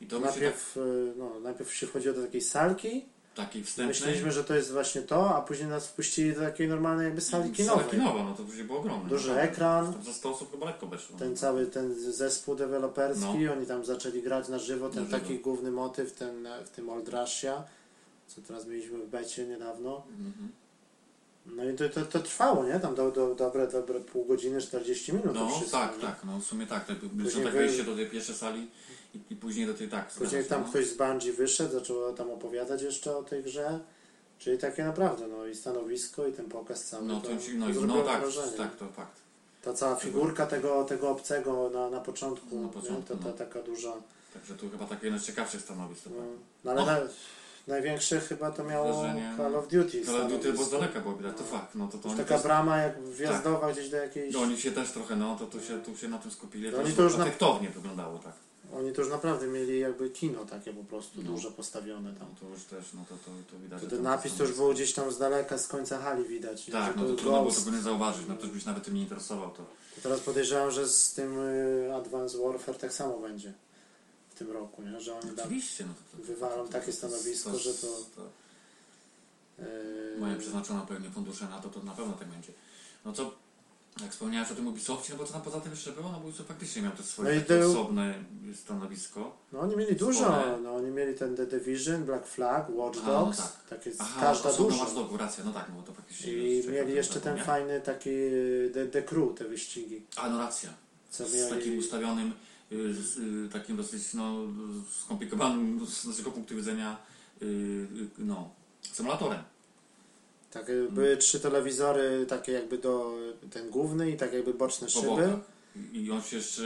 Speaker 2: I to mi się tak,
Speaker 1: Najpierw, y, no, najpierw się chodziło do takiej salki,
Speaker 2: taki wstępny,
Speaker 1: myśleliśmy, że to jest właśnie to, a później nas wpuścili do takiej normalnej jakby sali
Speaker 2: Sala
Speaker 1: kinowej.
Speaker 2: kinowa, no to później było ogromne.
Speaker 1: Duży
Speaker 2: No tak.
Speaker 1: ekran.
Speaker 2: Tam za 100 osób chyba lekko weszło.
Speaker 1: Ten cały ten zespół deweloperski, oni tam zaczęli grać na żywo, ten
Speaker 2: No. Na żywo.
Speaker 1: taki główny motyw, ten e, w tym Old Russia, co teraz mieliśmy w becie niedawno.
Speaker 2: Mhm.
Speaker 1: No i to, to, to trwało, nie? Tam do, do, dobre, dobre pół godziny, 40 minut to
Speaker 2: No
Speaker 1: wszystko.
Speaker 2: tak,
Speaker 1: nie?
Speaker 2: tak, no w sumie tak. tak
Speaker 1: Później
Speaker 2: Zresztą tak
Speaker 1: wy-
Speaker 2: wejście do tej pierwszej sali i, i później do tej tak.
Speaker 1: Później
Speaker 2: zgadza się,
Speaker 1: tam
Speaker 2: no.
Speaker 1: ktoś z Bungie wyszedł, zaczął tam opowiadać jeszcze o tej grze. Czyli takie naprawdę, no i stanowisko i ten pokaz cały.
Speaker 2: No to im się, no, i-
Speaker 1: zrobiło
Speaker 2: no tak,
Speaker 1: wrażenie.
Speaker 2: tak, to fakt.
Speaker 1: Ta cała figurka tego, tego obcego na, na początku,
Speaker 2: Na
Speaker 1: na
Speaker 2: początku,
Speaker 1: nie? Ta, ta,
Speaker 2: no.
Speaker 1: taka duża.
Speaker 2: Także tu chyba takie jedno z ciekawszych stanowisk. to
Speaker 1: No,
Speaker 2: fakt.
Speaker 1: no ale
Speaker 2: No.
Speaker 1: Na, największe chyba to miało
Speaker 2: Wrażenie-
Speaker 1: Call of Duty.
Speaker 2: Ale tu to
Speaker 1: stanowisko.
Speaker 2: było z daleka było widać, to
Speaker 1: No.
Speaker 2: fakt. No to, to
Speaker 1: Już
Speaker 2: oni,
Speaker 1: taka
Speaker 2: też,
Speaker 1: brama jak wjazdowa gdzieś do jakiejś...
Speaker 2: no, oni się też trochę, no to tu się, tu się na tym skupili.
Speaker 1: No
Speaker 2: to
Speaker 1: oni
Speaker 2: już
Speaker 1: to już na-
Speaker 2: efektownie wyglądało, tak.
Speaker 1: Oni to już naprawdę mieli jakby kino takie po prostu,
Speaker 2: No.
Speaker 1: duże postawione
Speaker 2: No
Speaker 1: tam.
Speaker 2: to już też, no to, to, to widać.
Speaker 1: To
Speaker 2: że
Speaker 1: ten
Speaker 2: tam
Speaker 1: napis to już
Speaker 2: stanowisko-
Speaker 1: był gdzieś tam z daleka, z końca hali widać. nie?
Speaker 2: Tak,
Speaker 1: Że
Speaker 2: no to
Speaker 1: był
Speaker 2: trudno było
Speaker 1: Ghost.
Speaker 2: tego nie zauważyć, no ktoś by się nawet tym nie interesował, to
Speaker 1: Teraz podejrzewam, że z tym y, Advanced Warfare tak samo będzie w tym roku, nie? że oni tam
Speaker 2: Oczywiście, no to, to, to,
Speaker 1: wywarą
Speaker 2: to-
Speaker 1: takie
Speaker 2: to-
Speaker 1: stanowisko, że to- y,
Speaker 2: Mają przeznaczone pewnie fundusze na to, to na pewno tak będzie. No co, jak wspomniałeś o tym Ubisoftie, no bo co tam poza tym jeszcze było? No bo Ubisoft faktycznie miał to swoje
Speaker 1: No i
Speaker 2: takie
Speaker 1: był-
Speaker 2: osobne stanowisko.
Speaker 1: no oni mieli dużo,
Speaker 2: Spore.
Speaker 1: no oni mieli ten The Division, Black Flag, Watch
Speaker 2: A, no
Speaker 1: Dogs,
Speaker 2: tak.
Speaker 1: takie
Speaker 2: Aha,
Speaker 1: każda
Speaker 2: osobno
Speaker 1: duża.
Speaker 2: masz dogu, racja, no tak, no bo to faktycznie...
Speaker 1: I
Speaker 2: czekam,
Speaker 1: mieli
Speaker 2: to
Speaker 1: jeszcze ten
Speaker 2: zapomniałem.
Speaker 1: fajny taki y, The, The Crew, te wyścigi,
Speaker 2: A, no racja.
Speaker 1: co
Speaker 2: Z takim
Speaker 1: mieli.
Speaker 2: ustawionym, y, z, y, takim dosyć no, skomplikowanym z naszego punktu widzenia y, y, no, symulatorem.
Speaker 1: Tak, y, były
Speaker 2: Mm.
Speaker 1: trzy telewizory, takie jakby do, ten główny i tak jakby boczne
Speaker 2: po
Speaker 1: szyby.
Speaker 2: bokach. I on się jeszcze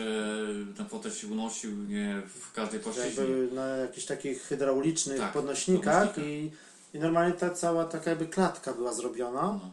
Speaker 2: ten fotel się unosił nie w każdej płaszczyźnie.
Speaker 1: jakby na jakichś takich hydraulicznych
Speaker 2: Tak,
Speaker 1: podnośnikach
Speaker 2: podnośnikach.
Speaker 1: i, i normalnie ta cała taka jakby klatka była zrobiona.
Speaker 2: No.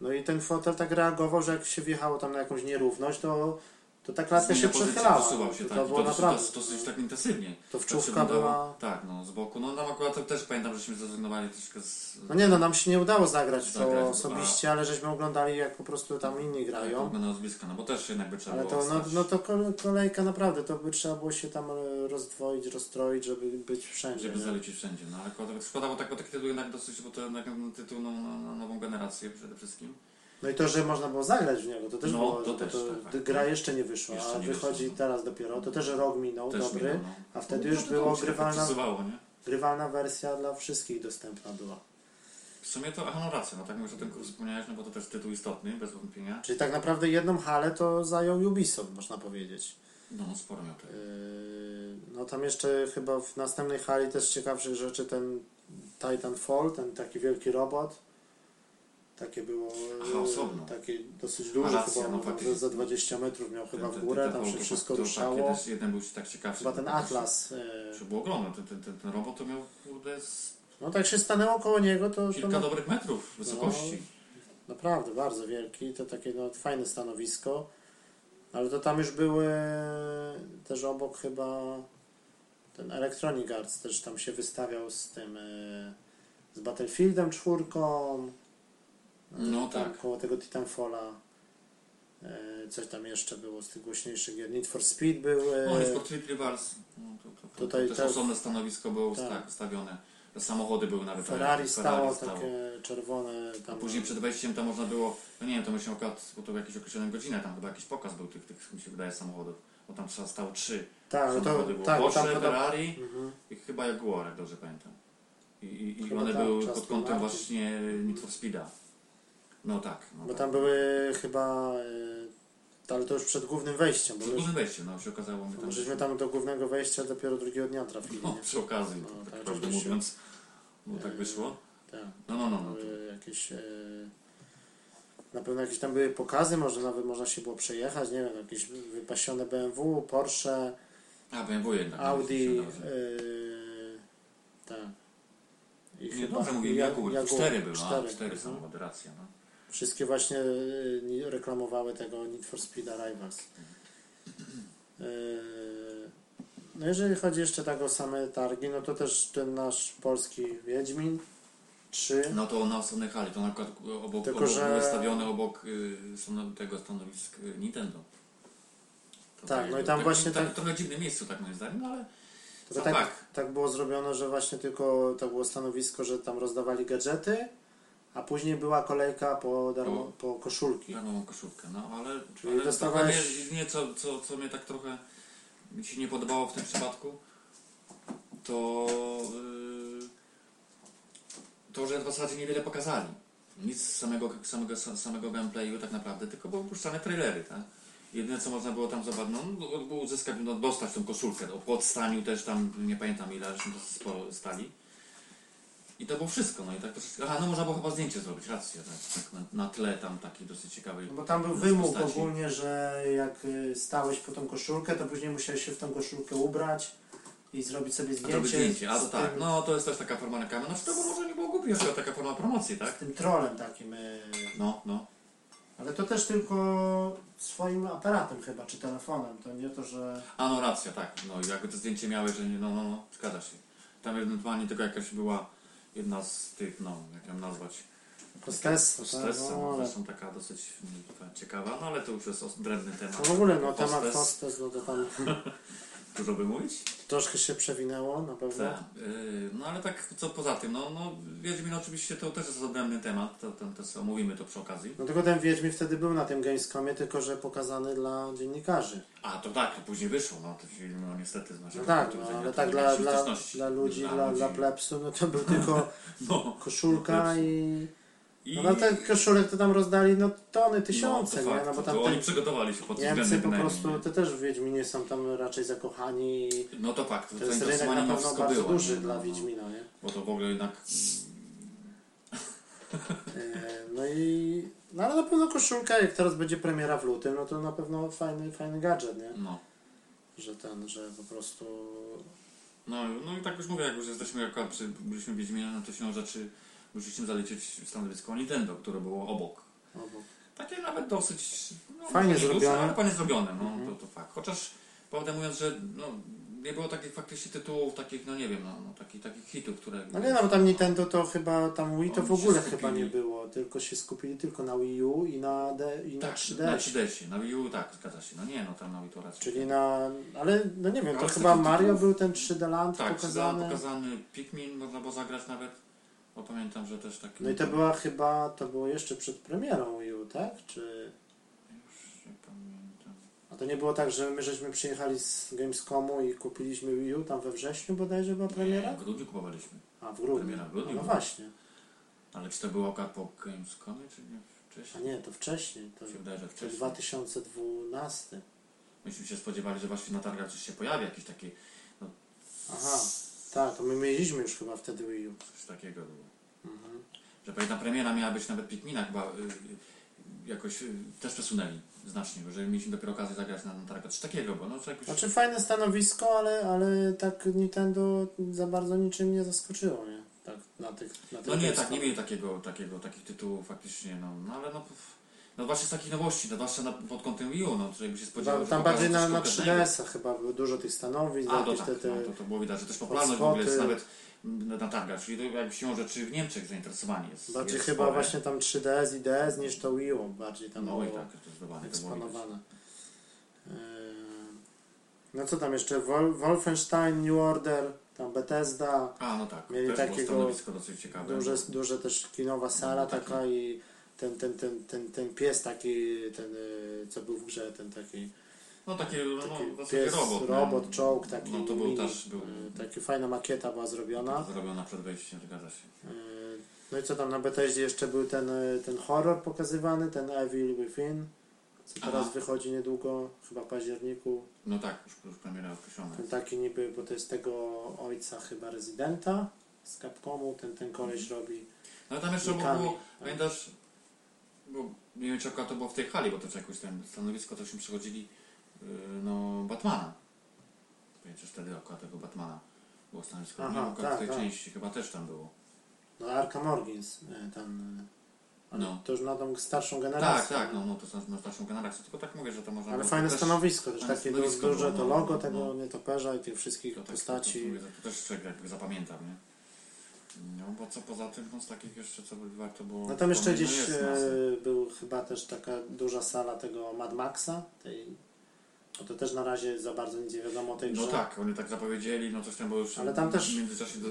Speaker 1: No i ten fotel tak reagował, że jak się wjechało tam na jakąś nierówność, to to ta klatka się
Speaker 2: Zmienia pozycję,
Speaker 1: przechylała.
Speaker 2: Posuwał się
Speaker 1: to
Speaker 2: tak, i
Speaker 1: było
Speaker 2: dosyć,
Speaker 1: naprawdę.
Speaker 2: dosyć, dosyć tak intensywnie.
Speaker 1: To
Speaker 2: Tak się
Speaker 1: wczówka była.
Speaker 2: wydawało. Tak, no z boku. No tam akurat to też pamiętam, żeśmy zrezygnowali troszkę z...
Speaker 1: No nie, no nam się nie udało zagrać w
Speaker 2: Zagrać,
Speaker 1: to osobiście, ale żeśmy oglądali jak po prostu tam inni grają.
Speaker 2: Tak, z bliska, no bo też jednak by trzeba
Speaker 1: Ale
Speaker 2: było
Speaker 1: to, no,
Speaker 2: wstać.
Speaker 1: no to kole- kolejka naprawdę, to by trzeba było się tam e, rozdwoić, rozstroić, żeby być wszędzie.
Speaker 2: Żeby
Speaker 1: nie?
Speaker 2: zalecieć wszędzie, no ale akurat szkoda, bo tak, bo taki tytuł jednak dosyć, bo to jednak tytuł no, na, na nową generację przede wszystkim.
Speaker 1: No i to, że można było zagrać w niego, to też
Speaker 2: No,
Speaker 1: było,
Speaker 2: to
Speaker 1: bo
Speaker 2: też,
Speaker 1: to
Speaker 2: tak, tak.
Speaker 1: gra jeszcze nie wyszła,
Speaker 2: Jeszcze
Speaker 1: a
Speaker 2: nie
Speaker 1: wychodzi
Speaker 2: wyszła, no.
Speaker 1: teraz dopiero, to też rok minął,
Speaker 2: Też
Speaker 1: dobry,
Speaker 2: minął, no.
Speaker 1: a wtedy
Speaker 2: No,
Speaker 1: już
Speaker 2: to
Speaker 1: było
Speaker 2: się tak
Speaker 1: grywalna,
Speaker 2: dostosowało, nie?
Speaker 1: grywalna wersja dla wszystkich dostępna była.
Speaker 2: W sumie to, aha, no racja, no tak mówisz o tym, który wspomniałeś, no bo to też tytuł istotny, bez wątpienia.
Speaker 1: Czyli tak naprawdę jedną halę to zajął Ubisoft, można powiedzieć.
Speaker 2: No, no sporo miał tego.
Speaker 1: Yy, No tam jeszcze chyba w następnej hali też ciekawszych rzeczy ten Titanfall, ten taki wielki robot. Takie było
Speaker 2: Aha,
Speaker 1: yy,
Speaker 2: osobno.
Speaker 1: takie dosyć duże,
Speaker 2: racja,
Speaker 1: chyba
Speaker 2: no
Speaker 1: no,
Speaker 2: faktycznie.
Speaker 1: za 20 metrów miał chyba
Speaker 2: Ten-
Speaker 1: w
Speaker 2: ten-
Speaker 1: górę,
Speaker 2: ten
Speaker 1: tam się
Speaker 2: Volvo,
Speaker 1: wszystko
Speaker 2: to Tak,
Speaker 1: ruszało.
Speaker 2: jeden, jeden był taki tak ciekawszy.
Speaker 1: Chyba ten
Speaker 2: bo tak się-
Speaker 1: Atlas. yy,
Speaker 2: Czy było ogromne, ten, ten, ten, ten robot to miał kurde z
Speaker 1: No tak się stanęło koło niego, No to, to
Speaker 2: kilka
Speaker 1: na, no,
Speaker 2: dobrych metrów wysokości.
Speaker 1: naprawdę bardzo wielki, to takie no, fajne stanowisko. Ale to tam już były też obok chyba ten Electronic Arts też tam się wystawiał z tym e, z Battlefieldem czwórką. e,
Speaker 2: No
Speaker 1: tam
Speaker 2: tak.
Speaker 1: Koło tego Titanfalla. E, Coś tam jeszcze było z tych głośniejszych gier. Need for Speed był. e,
Speaker 2: No, nie Sport Rivals. No, to, to, to,
Speaker 1: Tutaj
Speaker 2: to też
Speaker 1: tak.
Speaker 2: osobne stanowisko było
Speaker 1: Tak.
Speaker 2: tak. tak ustawione. Samochody były nawet.
Speaker 1: Ferrari
Speaker 2: tak,
Speaker 1: stało, takie czerwone tam.
Speaker 2: Później przed wejściem tam można było, no nie wiem, to myślę akurat, bo to w jakiejś określonej godzinie, tam chyba jakiś pokaz był tych, tych mi się wydaje, samochodów. Bo tam trzeba stało trzy
Speaker 1: tak, no to,
Speaker 2: samochody. było
Speaker 1: tak,
Speaker 2: Porsche,
Speaker 1: tam podobno-
Speaker 2: Ferrari
Speaker 1: Mhm.
Speaker 2: i chyba Jaguar, jak dobrze pamiętam. I, i, i
Speaker 1: Chyba
Speaker 2: one
Speaker 1: tak,
Speaker 2: były
Speaker 1: czas
Speaker 2: pod
Speaker 1: tu
Speaker 2: kątem
Speaker 1: Martin.
Speaker 2: właśnie Need for Speeda. No tak. No
Speaker 1: Bo
Speaker 2: tak.
Speaker 1: tam były chyba, y, ale to już przed głównym wejściem, bo
Speaker 2: Przed
Speaker 1: my,
Speaker 2: dużym wejściem, no się okazało, my
Speaker 1: bo
Speaker 2: tam...
Speaker 1: żeśmy tam do głównego wejścia dopiero drugiego dnia trafili.
Speaker 2: No,
Speaker 1: nie?
Speaker 2: przy okazji,
Speaker 1: No,
Speaker 2: tak,
Speaker 1: tak,
Speaker 2: tak prawdę
Speaker 1: oczywiście.
Speaker 2: mówiąc, bo tak wyszło.
Speaker 1: Tak,
Speaker 2: No, no, no. no.
Speaker 1: były jakieś, y, na pewno jakieś tam były pokazy, może nawet można się było przejechać, nie wiem, jakieś wypasione BMW, Porsche,
Speaker 2: A, BMW jednak. no,
Speaker 1: Audi, e,
Speaker 2: myślę, że-
Speaker 1: y, tak. I
Speaker 2: Nie, dobrze mówiłem,
Speaker 1: Ja-
Speaker 2: Jaguar,
Speaker 1: Jaguar,
Speaker 2: cztery były,
Speaker 1: cztery,
Speaker 2: a, cztery
Speaker 1: mhm.
Speaker 2: samochody, racja, no.
Speaker 1: Wszystkie właśnie y, ni- reklamowały tego Need for Speed Rivals. Y, No jeżeli chodzi jeszcze tak o same targi, no to też ten nasz polski Wiedźmin 3.
Speaker 2: No to na osobnej hali, to na przykład obok,
Speaker 1: Tylko,
Speaker 2: obok
Speaker 1: że-
Speaker 2: były stawione obok y, stanow- tego stanowisk y, Nintendo. To
Speaker 1: Tak, no i tam właśnie
Speaker 2: tak,
Speaker 1: tak-
Speaker 2: Trochę dziwne miejsce, tak moim zdaniem, no ale...
Speaker 1: Tylko
Speaker 2: tak,
Speaker 1: tak, tak było zrobione, że właśnie tylko to było stanowisko, że tam rozdawali gadżety, a później była kolejka po, darmo, po koszulki.
Speaker 2: Darmową koszulkę, no ale...
Speaker 1: Czyli
Speaker 2: ale
Speaker 1: dostawałeś-
Speaker 2: trochę Nie, nie co, co, co mnie tak trochę mi się nie podobało w tym przypadku, to... y, to, że w zasadzie niewiele pokazali. Nic z samego, samego, samego gameplayu tak naprawdę, tylko były puszczane trailery, tak? Jedyne co można było tam zobaczyć, no było uzyskać, no, dostać tą koszulkę, o podstaniu też tam, nie pamiętam ile, ale dosyć sporo stali. I to było wszystko, no i tak troszeczkę, aha, no można było chyba zdjęcie zrobić, rację, tak, tak na, na tle tam takiej dosyć ciekawej
Speaker 1: No Bo tam był
Speaker 2: z
Speaker 1: wymóg
Speaker 2: postaci.
Speaker 1: ogólnie, że jak y, stałeś po tą koszulkę, to później musiałeś się w tą koszulkę ubrać i zrobić sobie
Speaker 2: A
Speaker 1: zdjęcie,
Speaker 2: to by zdjęcie, a
Speaker 1: z,
Speaker 2: to tak,
Speaker 1: tym,
Speaker 2: no to jest też taka forma reklamy, no to by może nie było głupie, jest to taka forma promocji,
Speaker 1: z
Speaker 2: tak?
Speaker 1: tym trolem takim. y,
Speaker 2: No, no,
Speaker 1: Ale to też tylko swoim aparatem chyba, czy telefonem, to nie to, że...
Speaker 2: a no racja, tak, no i jakby to zdjęcie miałeś, że nie, no, no, no, zgadza się. Tam ewentualnie tylko jakaś była jedna z tych, no, jak ją nazwać,
Speaker 1: Hostessa,
Speaker 2: To
Speaker 1: tak,
Speaker 2: Stresa,
Speaker 1: no, ale...
Speaker 2: zresztą taka dosyć mm, taka ciekawa, no ale to już jest os- drewny temat.
Speaker 1: No w ogóle, no
Speaker 2: Hostes,
Speaker 1: temat hostes, no to tam
Speaker 2: Dużo by mówić?
Speaker 1: troszkę się przewinęło na pewno.
Speaker 2: Tak. Yy, No ale tak, co poza tym, no, no Wiedźmin oczywiście to też jest odrębny temat, to, to, to sobie omówimy to przy okazji.
Speaker 1: No tylko ten Wiedźmin wtedy był na tym Gamescomie, tylko że pokazany dla dziennikarzy.
Speaker 2: A to tak, to później wyszło, no to się, no niestety z naszego
Speaker 1: No tak,
Speaker 2: punktu
Speaker 1: no,
Speaker 2: widzenia
Speaker 1: ale
Speaker 2: to
Speaker 1: tak
Speaker 2: nie
Speaker 1: dla,
Speaker 2: miało
Speaker 1: dla,
Speaker 2: śliczności.
Speaker 1: dla ludzi, dla, dla
Speaker 2: ludzi.
Speaker 1: plebsu, no to był
Speaker 2: [laughs]
Speaker 1: tylko
Speaker 2: No,
Speaker 1: koszulka i...
Speaker 2: i
Speaker 1: No, no ten koszulek to tam rozdali no tony, tysiące,
Speaker 2: no, to
Speaker 1: nie?
Speaker 2: fakt,
Speaker 1: no bo
Speaker 2: to,
Speaker 1: tam
Speaker 2: to
Speaker 1: te
Speaker 2: oni przygotowali się pod tym
Speaker 1: Niemcy po
Speaker 2: względem
Speaker 1: prostu,
Speaker 2: bynajmniej,
Speaker 1: to też w Wiedźminie są tam raczej zakochani i
Speaker 2: nie? No to fakt, to,
Speaker 1: to jest rynek
Speaker 2: zainteresowanie
Speaker 1: na
Speaker 2: mimo
Speaker 1: pewno
Speaker 2: wszystko
Speaker 1: bardzo
Speaker 2: było.
Speaker 1: duży
Speaker 2: nie?
Speaker 1: dla
Speaker 2: No,
Speaker 1: Wiedźmina, nie?
Speaker 2: Bo to w ogóle jednak
Speaker 1: E, No i, no ale na pewno koszulka, jak teraz będzie premiera w lutym, no to na pewno fajny, fajny gadżet, nie?
Speaker 2: no,
Speaker 1: Że ten, że po prostu,
Speaker 2: No, no i tak już mówię, jak już jesteśmy akurat przy, byliśmy w Wiedźminie, no to się rzeczy musieliśmy zaliczyć stanowisko Nintendo, które było obok.
Speaker 1: no bo
Speaker 2: Takie nawet dosyć. No,
Speaker 1: Fajnie
Speaker 2: nie duże,
Speaker 1: zrobione. Mhm.
Speaker 2: ale Fajnie zrobione, no to, to fakt. Chociaż prawdę mówiąc, że no, nie było takich faktycznie tytułów, takich, no nie wiem, no, no takich, takich hitów, które.
Speaker 1: No nie no, bo tam Nintendo to chyba, tam Wii to
Speaker 2: Oni
Speaker 1: w
Speaker 2: się
Speaker 1: ogóle
Speaker 2: skupili.
Speaker 1: chyba nie było, tylko się skupili tylko na Wii U i na, D, i na
Speaker 2: Tak,
Speaker 1: 3D.
Speaker 2: na 3DS-ie, na Wii U, tak, zgadza się. No nie, no tam na Wii to raczej.
Speaker 1: Czyli na, ale no nie wiem, to
Speaker 2: Ale z
Speaker 1: chyba
Speaker 2: takich
Speaker 1: Mario
Speaker 2: tytułów-
Speaker 1: był ten 3D Land
Speaker 2: Tak, pokazany...
Speaker 1: pokazany.
Speaker 2: pokazany Pikmin, można było zagrać nawet, bo pamiętam, że też taki...
Speaker 1: No i to była chyba, to było jeszcze przed premierą Wii U, tak? Czy...
Speaker 2: Już nie pamiętam.
Speaker 1: A to nie było tak, że my żeśmy przyjechali z Gamescomu i kupiliśmy Wii U tam we wrześniu bodajże była premiera?
Speaker 2: W grudniu kupowaliśmy,
Speaker 1: A w grudniu.
Speaker 2: Premiera w grudniu
Speaker 1: A no
Speaker 2: była.
Speaker 1: właśnie.
Speaker 2: ale czy to była oka po Gamescomie, czy nie
Speaker 1: A
Speaker 2: wcześniej?
Speaker 1: nie, to wcześniej. To,
Speaker 2: Mi się wydaje, że
Speaker 1: to
Speaker 2: wcześniej.
Speaker 1: 2012.
Speaker 2: Myśmy się spodziewali, że właśnie na targach coś się pojawi, jakieś takie,
Speaker 1: Aha, tak, to my mieliśmy już chyba wtedy Wii U.
Speaker 2: coś takiego było.
Speaker 1: Mhm.
Speaker 2: Że pamiętam, premiera miała być nawet Pikmina chyba, y, y, jakoś y, też przesunęli znacznie, bo że mieliśmy dopiero okazję zagrać na, na targach, coś takiego, bo no to jakoś...
Speaker 1: Znaczy fajne stanowisko, ale, ale tak Nintendo za bardzo niczym nie zaskoczyło, nie? Tak, na tych na
Speaker 2: No
Speaker 1: tym
Speaker 2: nie, tak,
Speaker 1: Gamescom.
Speaker 2: nie mieli takiego, takiego, takich tytułów faktycznie, no, no ale no, pf, no właśnie z takich nowości, no, zwłaszcza na, pod kątem Wii U, no, to jakby się spodziewał,
Speaker 1: Tam,
Speaker 2: że
Speaker 1: tam
Speaker 2: pokażą
Speaker 1: bardziej na,
Speaker 2: coś
Speaker 1: na
Speaker 2: konkretnego.
Speaker 1: 3DS-a chyba było dużo tych stanowisk,
Speaker 2: A, to
Speaker 1: jakieś te,
Speaker 2: tak,
Speaker 1: te...
Speaker 2: no, to, to było widać, że też popularność w ogóle jest
Speaker 1: hotspoty.
Speaker 2: nawet mm, na targach, czyli to jakby siłą rzeczy w Niemczech zainteresowanie jest.
Speaker 1: bardziej
Speaker 2: jest
Speaker 1: Znaczy chyba
Speaker 2: spore.
Speaker 1: właśnie tam 3DS i DS niż to Wii U, bardziej tam
Speaker 2: No
Speaker 1: było
Speaker 2: i tak, zdecydowanie to było widać.
Speaker 1: eksponowane. Yy, No co tam jeszcze? Wol- Wolfenstein, New Order, tam Bethesda,
Speaker 2: A, no tak,
Speaker 1: Mieli
Speaker 2: też
Speaker 1: takiego
Speaker 2: było stanowisko dosyć ciekawe.
Speaker 1: duże, duże też kinowa sala
Speaker 2: No, taki-
Speaker 1: taka i ten, ten, ten, ten, ten pies taki, ten yy, co był w grze, ten taki...
Speaker 2: No taki,
Speaker 1: taki
Speaker 2: no, w zasadzie
Speaker 1: pies,
Speaker 2: robot.
Speaker 1: robot,
Speaker 2: no.
Speaker 1: czołg taki.
Speaker 2: No to był
Speaker 1: mini,
Speaker 2: też, był
Speaker 1: y, Taki fajna makieta była zrobiona.
Speaker 2: zrobiona przed wejściem, zgadza się.
Speaker 1: Y, No i co tam na Bethesdzie jeszcze był ten, y, ten horror pokazywany, ten Evil Within, co
Speaker 2: Aha.
Speaker 1: teraz wychodzi niedługo, chyba w październiku.
Speaker 2: No tak, już, już premiera określona.
Speaker 1: Ten taki niby, bo to jest tego ojca chyba rezydenta z Capcomu, ten, ten koleś robi.
Speaker 2: No tam jeszcze
Speaker 1: Nikami,
Speaker 2: było,
Speaker 1: tak.
Speaker 2: pamiętasz, bo nie wiem czy akurat to było w tej hali, bo to czy jakoś tam stanowisko tośmy przechodzili, yy, no Batmana. Pamiętasz wtedy akurat tego Batmana było stanowisko,
Speaker 1: Aha,
Speaker 2: nie wiem, akurat
Speaker 1: tak,
Speaker 2: w tej
Speaker 1: tak.
Speaker 2: części chyba też tam było.
Speaker 1: No Arkham Origins, y, ten. y,
Speaker 2: No.
Speaker 1: To już na tą starszą
Speaker 2: tak,
Speaker 1: generację.
Speaker 2: tak, no, no to są na starszą generację, tylko tak mówię, że to można
Speaker 1: Ale
Speaker 2: było
Speaker 1: fajne
Speaker 2: też,
Speaker 1: stanowisko, też
Speaker 2: fajne
Speaker 1: takie
Speaker 2: stanowisko
Speaker 1: duże
Speaker 2: było,
Speaker 1: to
Speaker 2: no,
Speaker 1: logo
Speaker 2: no.
Speaker 1: tego nietoperza i tych wszystkich
Speaker 2: to tak,
Speaker 1: postaci.
Speaker 2: To, to, to, to też człowiek jakby zapamiętam, nie? No bo co poza tym, no z takich jeszcze co by warto było...
Speaker 1: No tam jeszcze
Speaker 2: wspomnieć,
Speaker 1: gdzieś
Speaker 2: jest masa.
Speaker 1: e, był chyba też taka duża sala tego Mad Maxa, tej, no to też na razie za bardzo nic nie wiadomo o tej grze.
Speaker 2: No tak, oni tak zapowiedzieli, no coś tam było już
Speaker 1: Ale tam też-
Speaker 2: w międzyczasie do,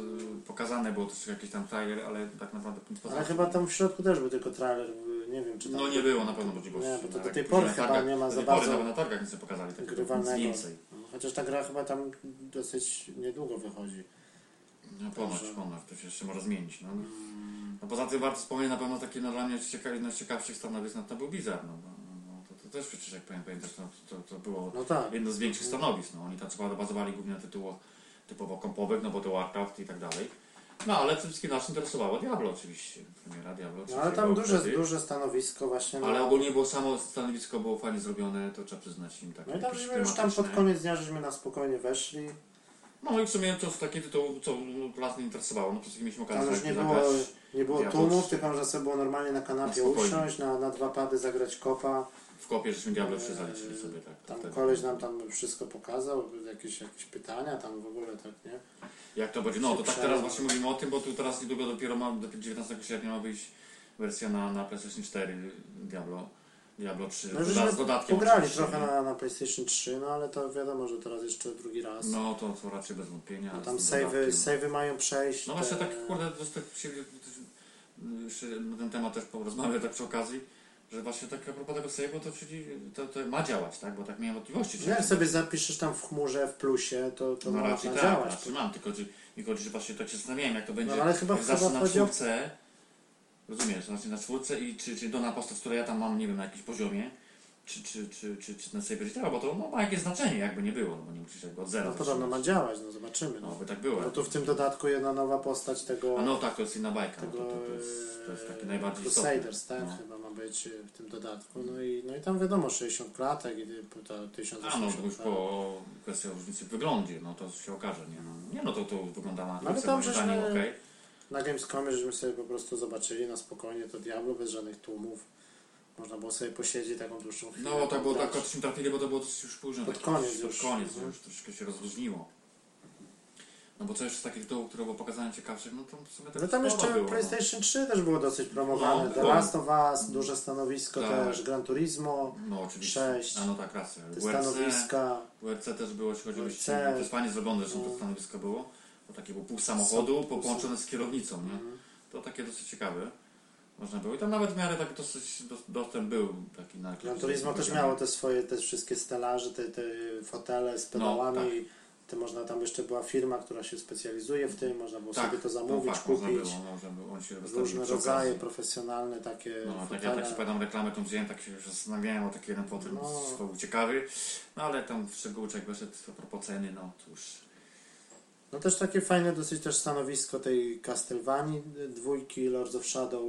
Speaker 2: pokazane, było też jakiś tam trailer, ale tak naprawdę nic poza
Speaker 1: Ale chyba tam w środku też był tylko trailer, y, nie wiem czy tam
Speaker 2: No nie było na pewno możliwości.
Speaker 1: Nie, bo to
Speaker 2: no,
Speaker 1: do
Speaker 2: jak
Speaker 1: tej
Speaker 2: później
Speaker 1: pory
Speaker 2: na
Speaker 1: chyba
Speaker 2: targach-
Speaker 1: nie ma
Speaker 2: do
Speaker 1: za
Speaker 2: tej
Speaker 1: bardzo
Speaker 2: pory nawet na targach nic nie pokazali takiego, nic
Speaker 1: grywalnego.
Speaker 2: więcej.
Speaker 1: Chociaż ta gra chyba tam dosyć niedługo wychodzi.
Speaker 2: No ponoć,
Speaker 1: Także-
Speaker 2: ponoć, to się jeszcze może zmienić. No. no poza tym warto wspomnieć na pewno takie no, dla mnie cieka- jedno z ciekawszych stanowisk, no to był Blizzard, no, no, no to, to też przecież jak pamię- pamiętasz, no, to, to było
Speaker 1: No tak.
Speaker 2: jedno z większych stanowisk. No, oni tam co prawda bazowali głównie na tytułach typowo kompowych, no bo to Warcraft i tak dalej. No ale przede wszystkim nas interesowało Diablo oczywiście. Premiera Diablo.
Speaker 1: No, ale tam duże, no. duże stanowisko właśnie. na-
Speaker 2: Ale ogólnie było samo stanowisko było fajnie zrobione, to trzeba przyznać im tak.
Speaker 1: No i tam
Speaker 2: jakieś
Speaker 1: żeśmy już tam pod
Speaker 2: tematyczne.
Speaker 1: koniec dnia żeśmy na spokojnie weszli.
Speaker 2: No i w sumie to takie tytuł, co nas nie interesowało. No przede wszystkim mieliśmy
Speaker 1: Tam
Speaker 2: okazję
Speaker 1: już
Speaker 2: tak
Speaker 1: nie było,
Speaker 2: zagrać.
Speaker 1: nie było
Speaker 2: Ja
Speaker 1: tłumów,
Speaker 2: patrzę.
Speaker 1: tylko można sobie było normalnie na kanapie
Speaker 2: Na spokojnie.
Speaker 1: usiąść, na, na dwa pady zagrać kopa.
Speaker 2: W kopie żeśmy Diablo
Speaker 1: Eee,
Speaker 2: 3 zaliczyli sobie tak.
Speaker 1: Tam
Speaker 2: Wtedy.
Speaker 1: koleś nam tam wszystko pokazał, jakieś, jakieś pytania tam w ogóle, tak nie?
Speaker 2: Jak to będzie? No to tak
Speaker 1: Przepraszam.
Speaker 2: teraz właśnie mówimy o tym, bo tu teraz niedługo dopiero mam, do 19 sierpnia ma wyjść wersja na, na PlayStation 4 Diablo. Diablo 3
Speaker 1: No
Speaker 2: doda-
Speaker 1: żeśmy
Speaker 2: z dodatkiem.
Speaker 1: pograli
Speaker 2: oczywiście,
Speaker 1: trochę
Speaker 2: nie?
Speaker 1: na, na PlayStation 3, no ale to wiadomo, że teraz jeszcze drugi raz. No,
Speaker 2: No to, to raczej bez wątpienia.
Speaker 1: tam
Speaker 2: z
Speaker 1: savey,
Speaker 2: dodatkiem.
Speaker 1: savey mają przejść.
Speaker 2: No
Speaker 1: te-
Speaker 2: właśnie tak kurde, to jest tak się, mm, jeszcze na ten temat też porozmawiam tak przy okazji, że właśnie tak a propos tego save'u, to czyli to, to ma działać, tak? Bo tak miałem wątpliwości. czy-
Speaker 1: No jak sobie zapiszesz tam w chmurze, w plusie, to, to
Speaker 2: no
Speaker 1: można
Speaker 2: raczej tak,
Speaker 1: działać.
Speaker 2: raczej mam, tylko że, tylko że właśnie tak się zastanawiałem, jak to będzie.
Speaker 1: No, ale chyba-
Speaker 2: jak zacznę
Speaker 1: chyba
Speaker 2: na
Speaker 1: chodzi o-
Speaker 2: czwórce, rozumiesz, znaczy na czwórce i czy, czy do na postać, które ja tam mam, nie wiem, na jakimś poziomie, czy, czy, czy, czy, czy ten save będzie działał, bo to no, ma jakieś znaczenie, jakby nie było, no bo nie musisz jakby od zera
Speaker 1: no podobno ma
Speaker 2: zaczynać.
Speaker 1: działać, no zobaczymy.
Speaker 2: No
Speaker 1: No.
Speaker 2: by tak było.
Speaker 1: Bo tu w tym dodatku jedna nowa postać tego...
Speaker 2: A no tak, to jest inna bajka, no,
Speaker 1: tego
Speaker 2: to, to, to, jest, to jest taki
Speaker 1: e,
Speaker 2: najbardziej istotny.
Speaker 1: Crusaders, tak,
Speaker 2: No.
Speaker 1: chyba ma być e, w tym dodatku. No i, no i tam wiadomo, 60 klatek i ty- ta
Speaker 2: A no, to
Speaker 1: 1080
Speaker 2: już po kwestia różnicy w wyglądzie, no to się okaże, nie? No, nie no, to, to wygląda na
Speaker 1: No, ale
Speaker 2: trójce,
Speaker 1: tam
Speaker 2: moim
Speaker 1: żeśmy-
Speaker 2: zdaniem, okej.
Speaker 1: Na Gamescomie żeśmy sobie po prostu zobaczyli na spokojnie to Diablo bez żadnych tłumów. Można było sobie posiedzieć taką dłuższą chwilę.
Speaker 2: No to było
Speaker 1: pograć.
Speaker 2: tak, odcinek trafili, bo to było dosyć już późno.
Speaker 1: Pod
Speaker 2: tak
Speaker 1: koniec
Speaker 2: pod
Speaker 1: już.
Speaker 2: koniec
Speaker 1: Mhm.
Speaker 2: już troszkę się rozluźniło. No bo co jeszcze z takich tytułów, które było pokazane ciekawszych, no to w sumie tak
Speaker 1: No tam
Speaker 2: sporo
Speaker 1: jeszcze
Speaker 2: było,
Speaker 1: PlayStation 3 też było dosyć promowane.
Speaker 2: No,
Speaker 1: The
Speaker 2: było.
Speaker 1: Last of Us, duże stanowisko
Speaker 2: Tak.
Speaker 1: też, Gran Turismo,
Speaker 2: No, no oczywiście.
Speaker 1: Sześć.
Speaker 2: A no tak, racja.
Speaker 1: te
Speaker 2: WRC,
Speaker 1: stanowiska.
Speaker 2: WRC też było, jeśli chodzi o
Speaker 1: WRC.
Speaker 2: wyścigi. To jest fajnie zrobione, że
Speaker 1: No.
Speaker 2: to stanowisko było. Bo takie było pół samochodu, po
Speaker 1: pół
Speaker 2: połączone z kierownicą, nie?
Speaker 1: Mhm.
Speaker 2: To takie dosyć ciekawe. Można było. I tam nawet w miarę tak dosyć do, dostęp był taki na
Speaker 1: Gran Turismo No, też miało te swoje, te wszystkie stelaże, te, te fotele z
Speaker 2: No,
Speaker 1: pedałami.
Speaker 2: tak.
Speaker 1: Te można, tam jeszcze była firma, która się specjalizuje w tym, można było
Speaker 2: Tak,
Speaker 1: sobie to
Speaker 2: no
Speaker 1: zamówić,
Speaker 2: tak, Można
Speaker 1: kupić.
Speaker 2: było, można było. On się wystawił
Speaker 1: Różne
Speaker 2: przy
Speaker 1: rodzaje
Speaker 2: okazji.
Speaker 1: profesjonalne takie
Speaker 2: No, tak, ja
Speaker 1: fotele.
Speaker 2: tak się pamiętam reklamę tą wziąłem, tak się już zastanawiałem o taki jeden potem,
Speaker 1: No.
Speaker 2: to był ciekawy, no ale tam w szczegółach jak wyszedł a propos ceny, no to już
Speaker 1: No też takie fajne dosyć też stanowisko tej Castlevanii y, dwójki Lords of Shadow.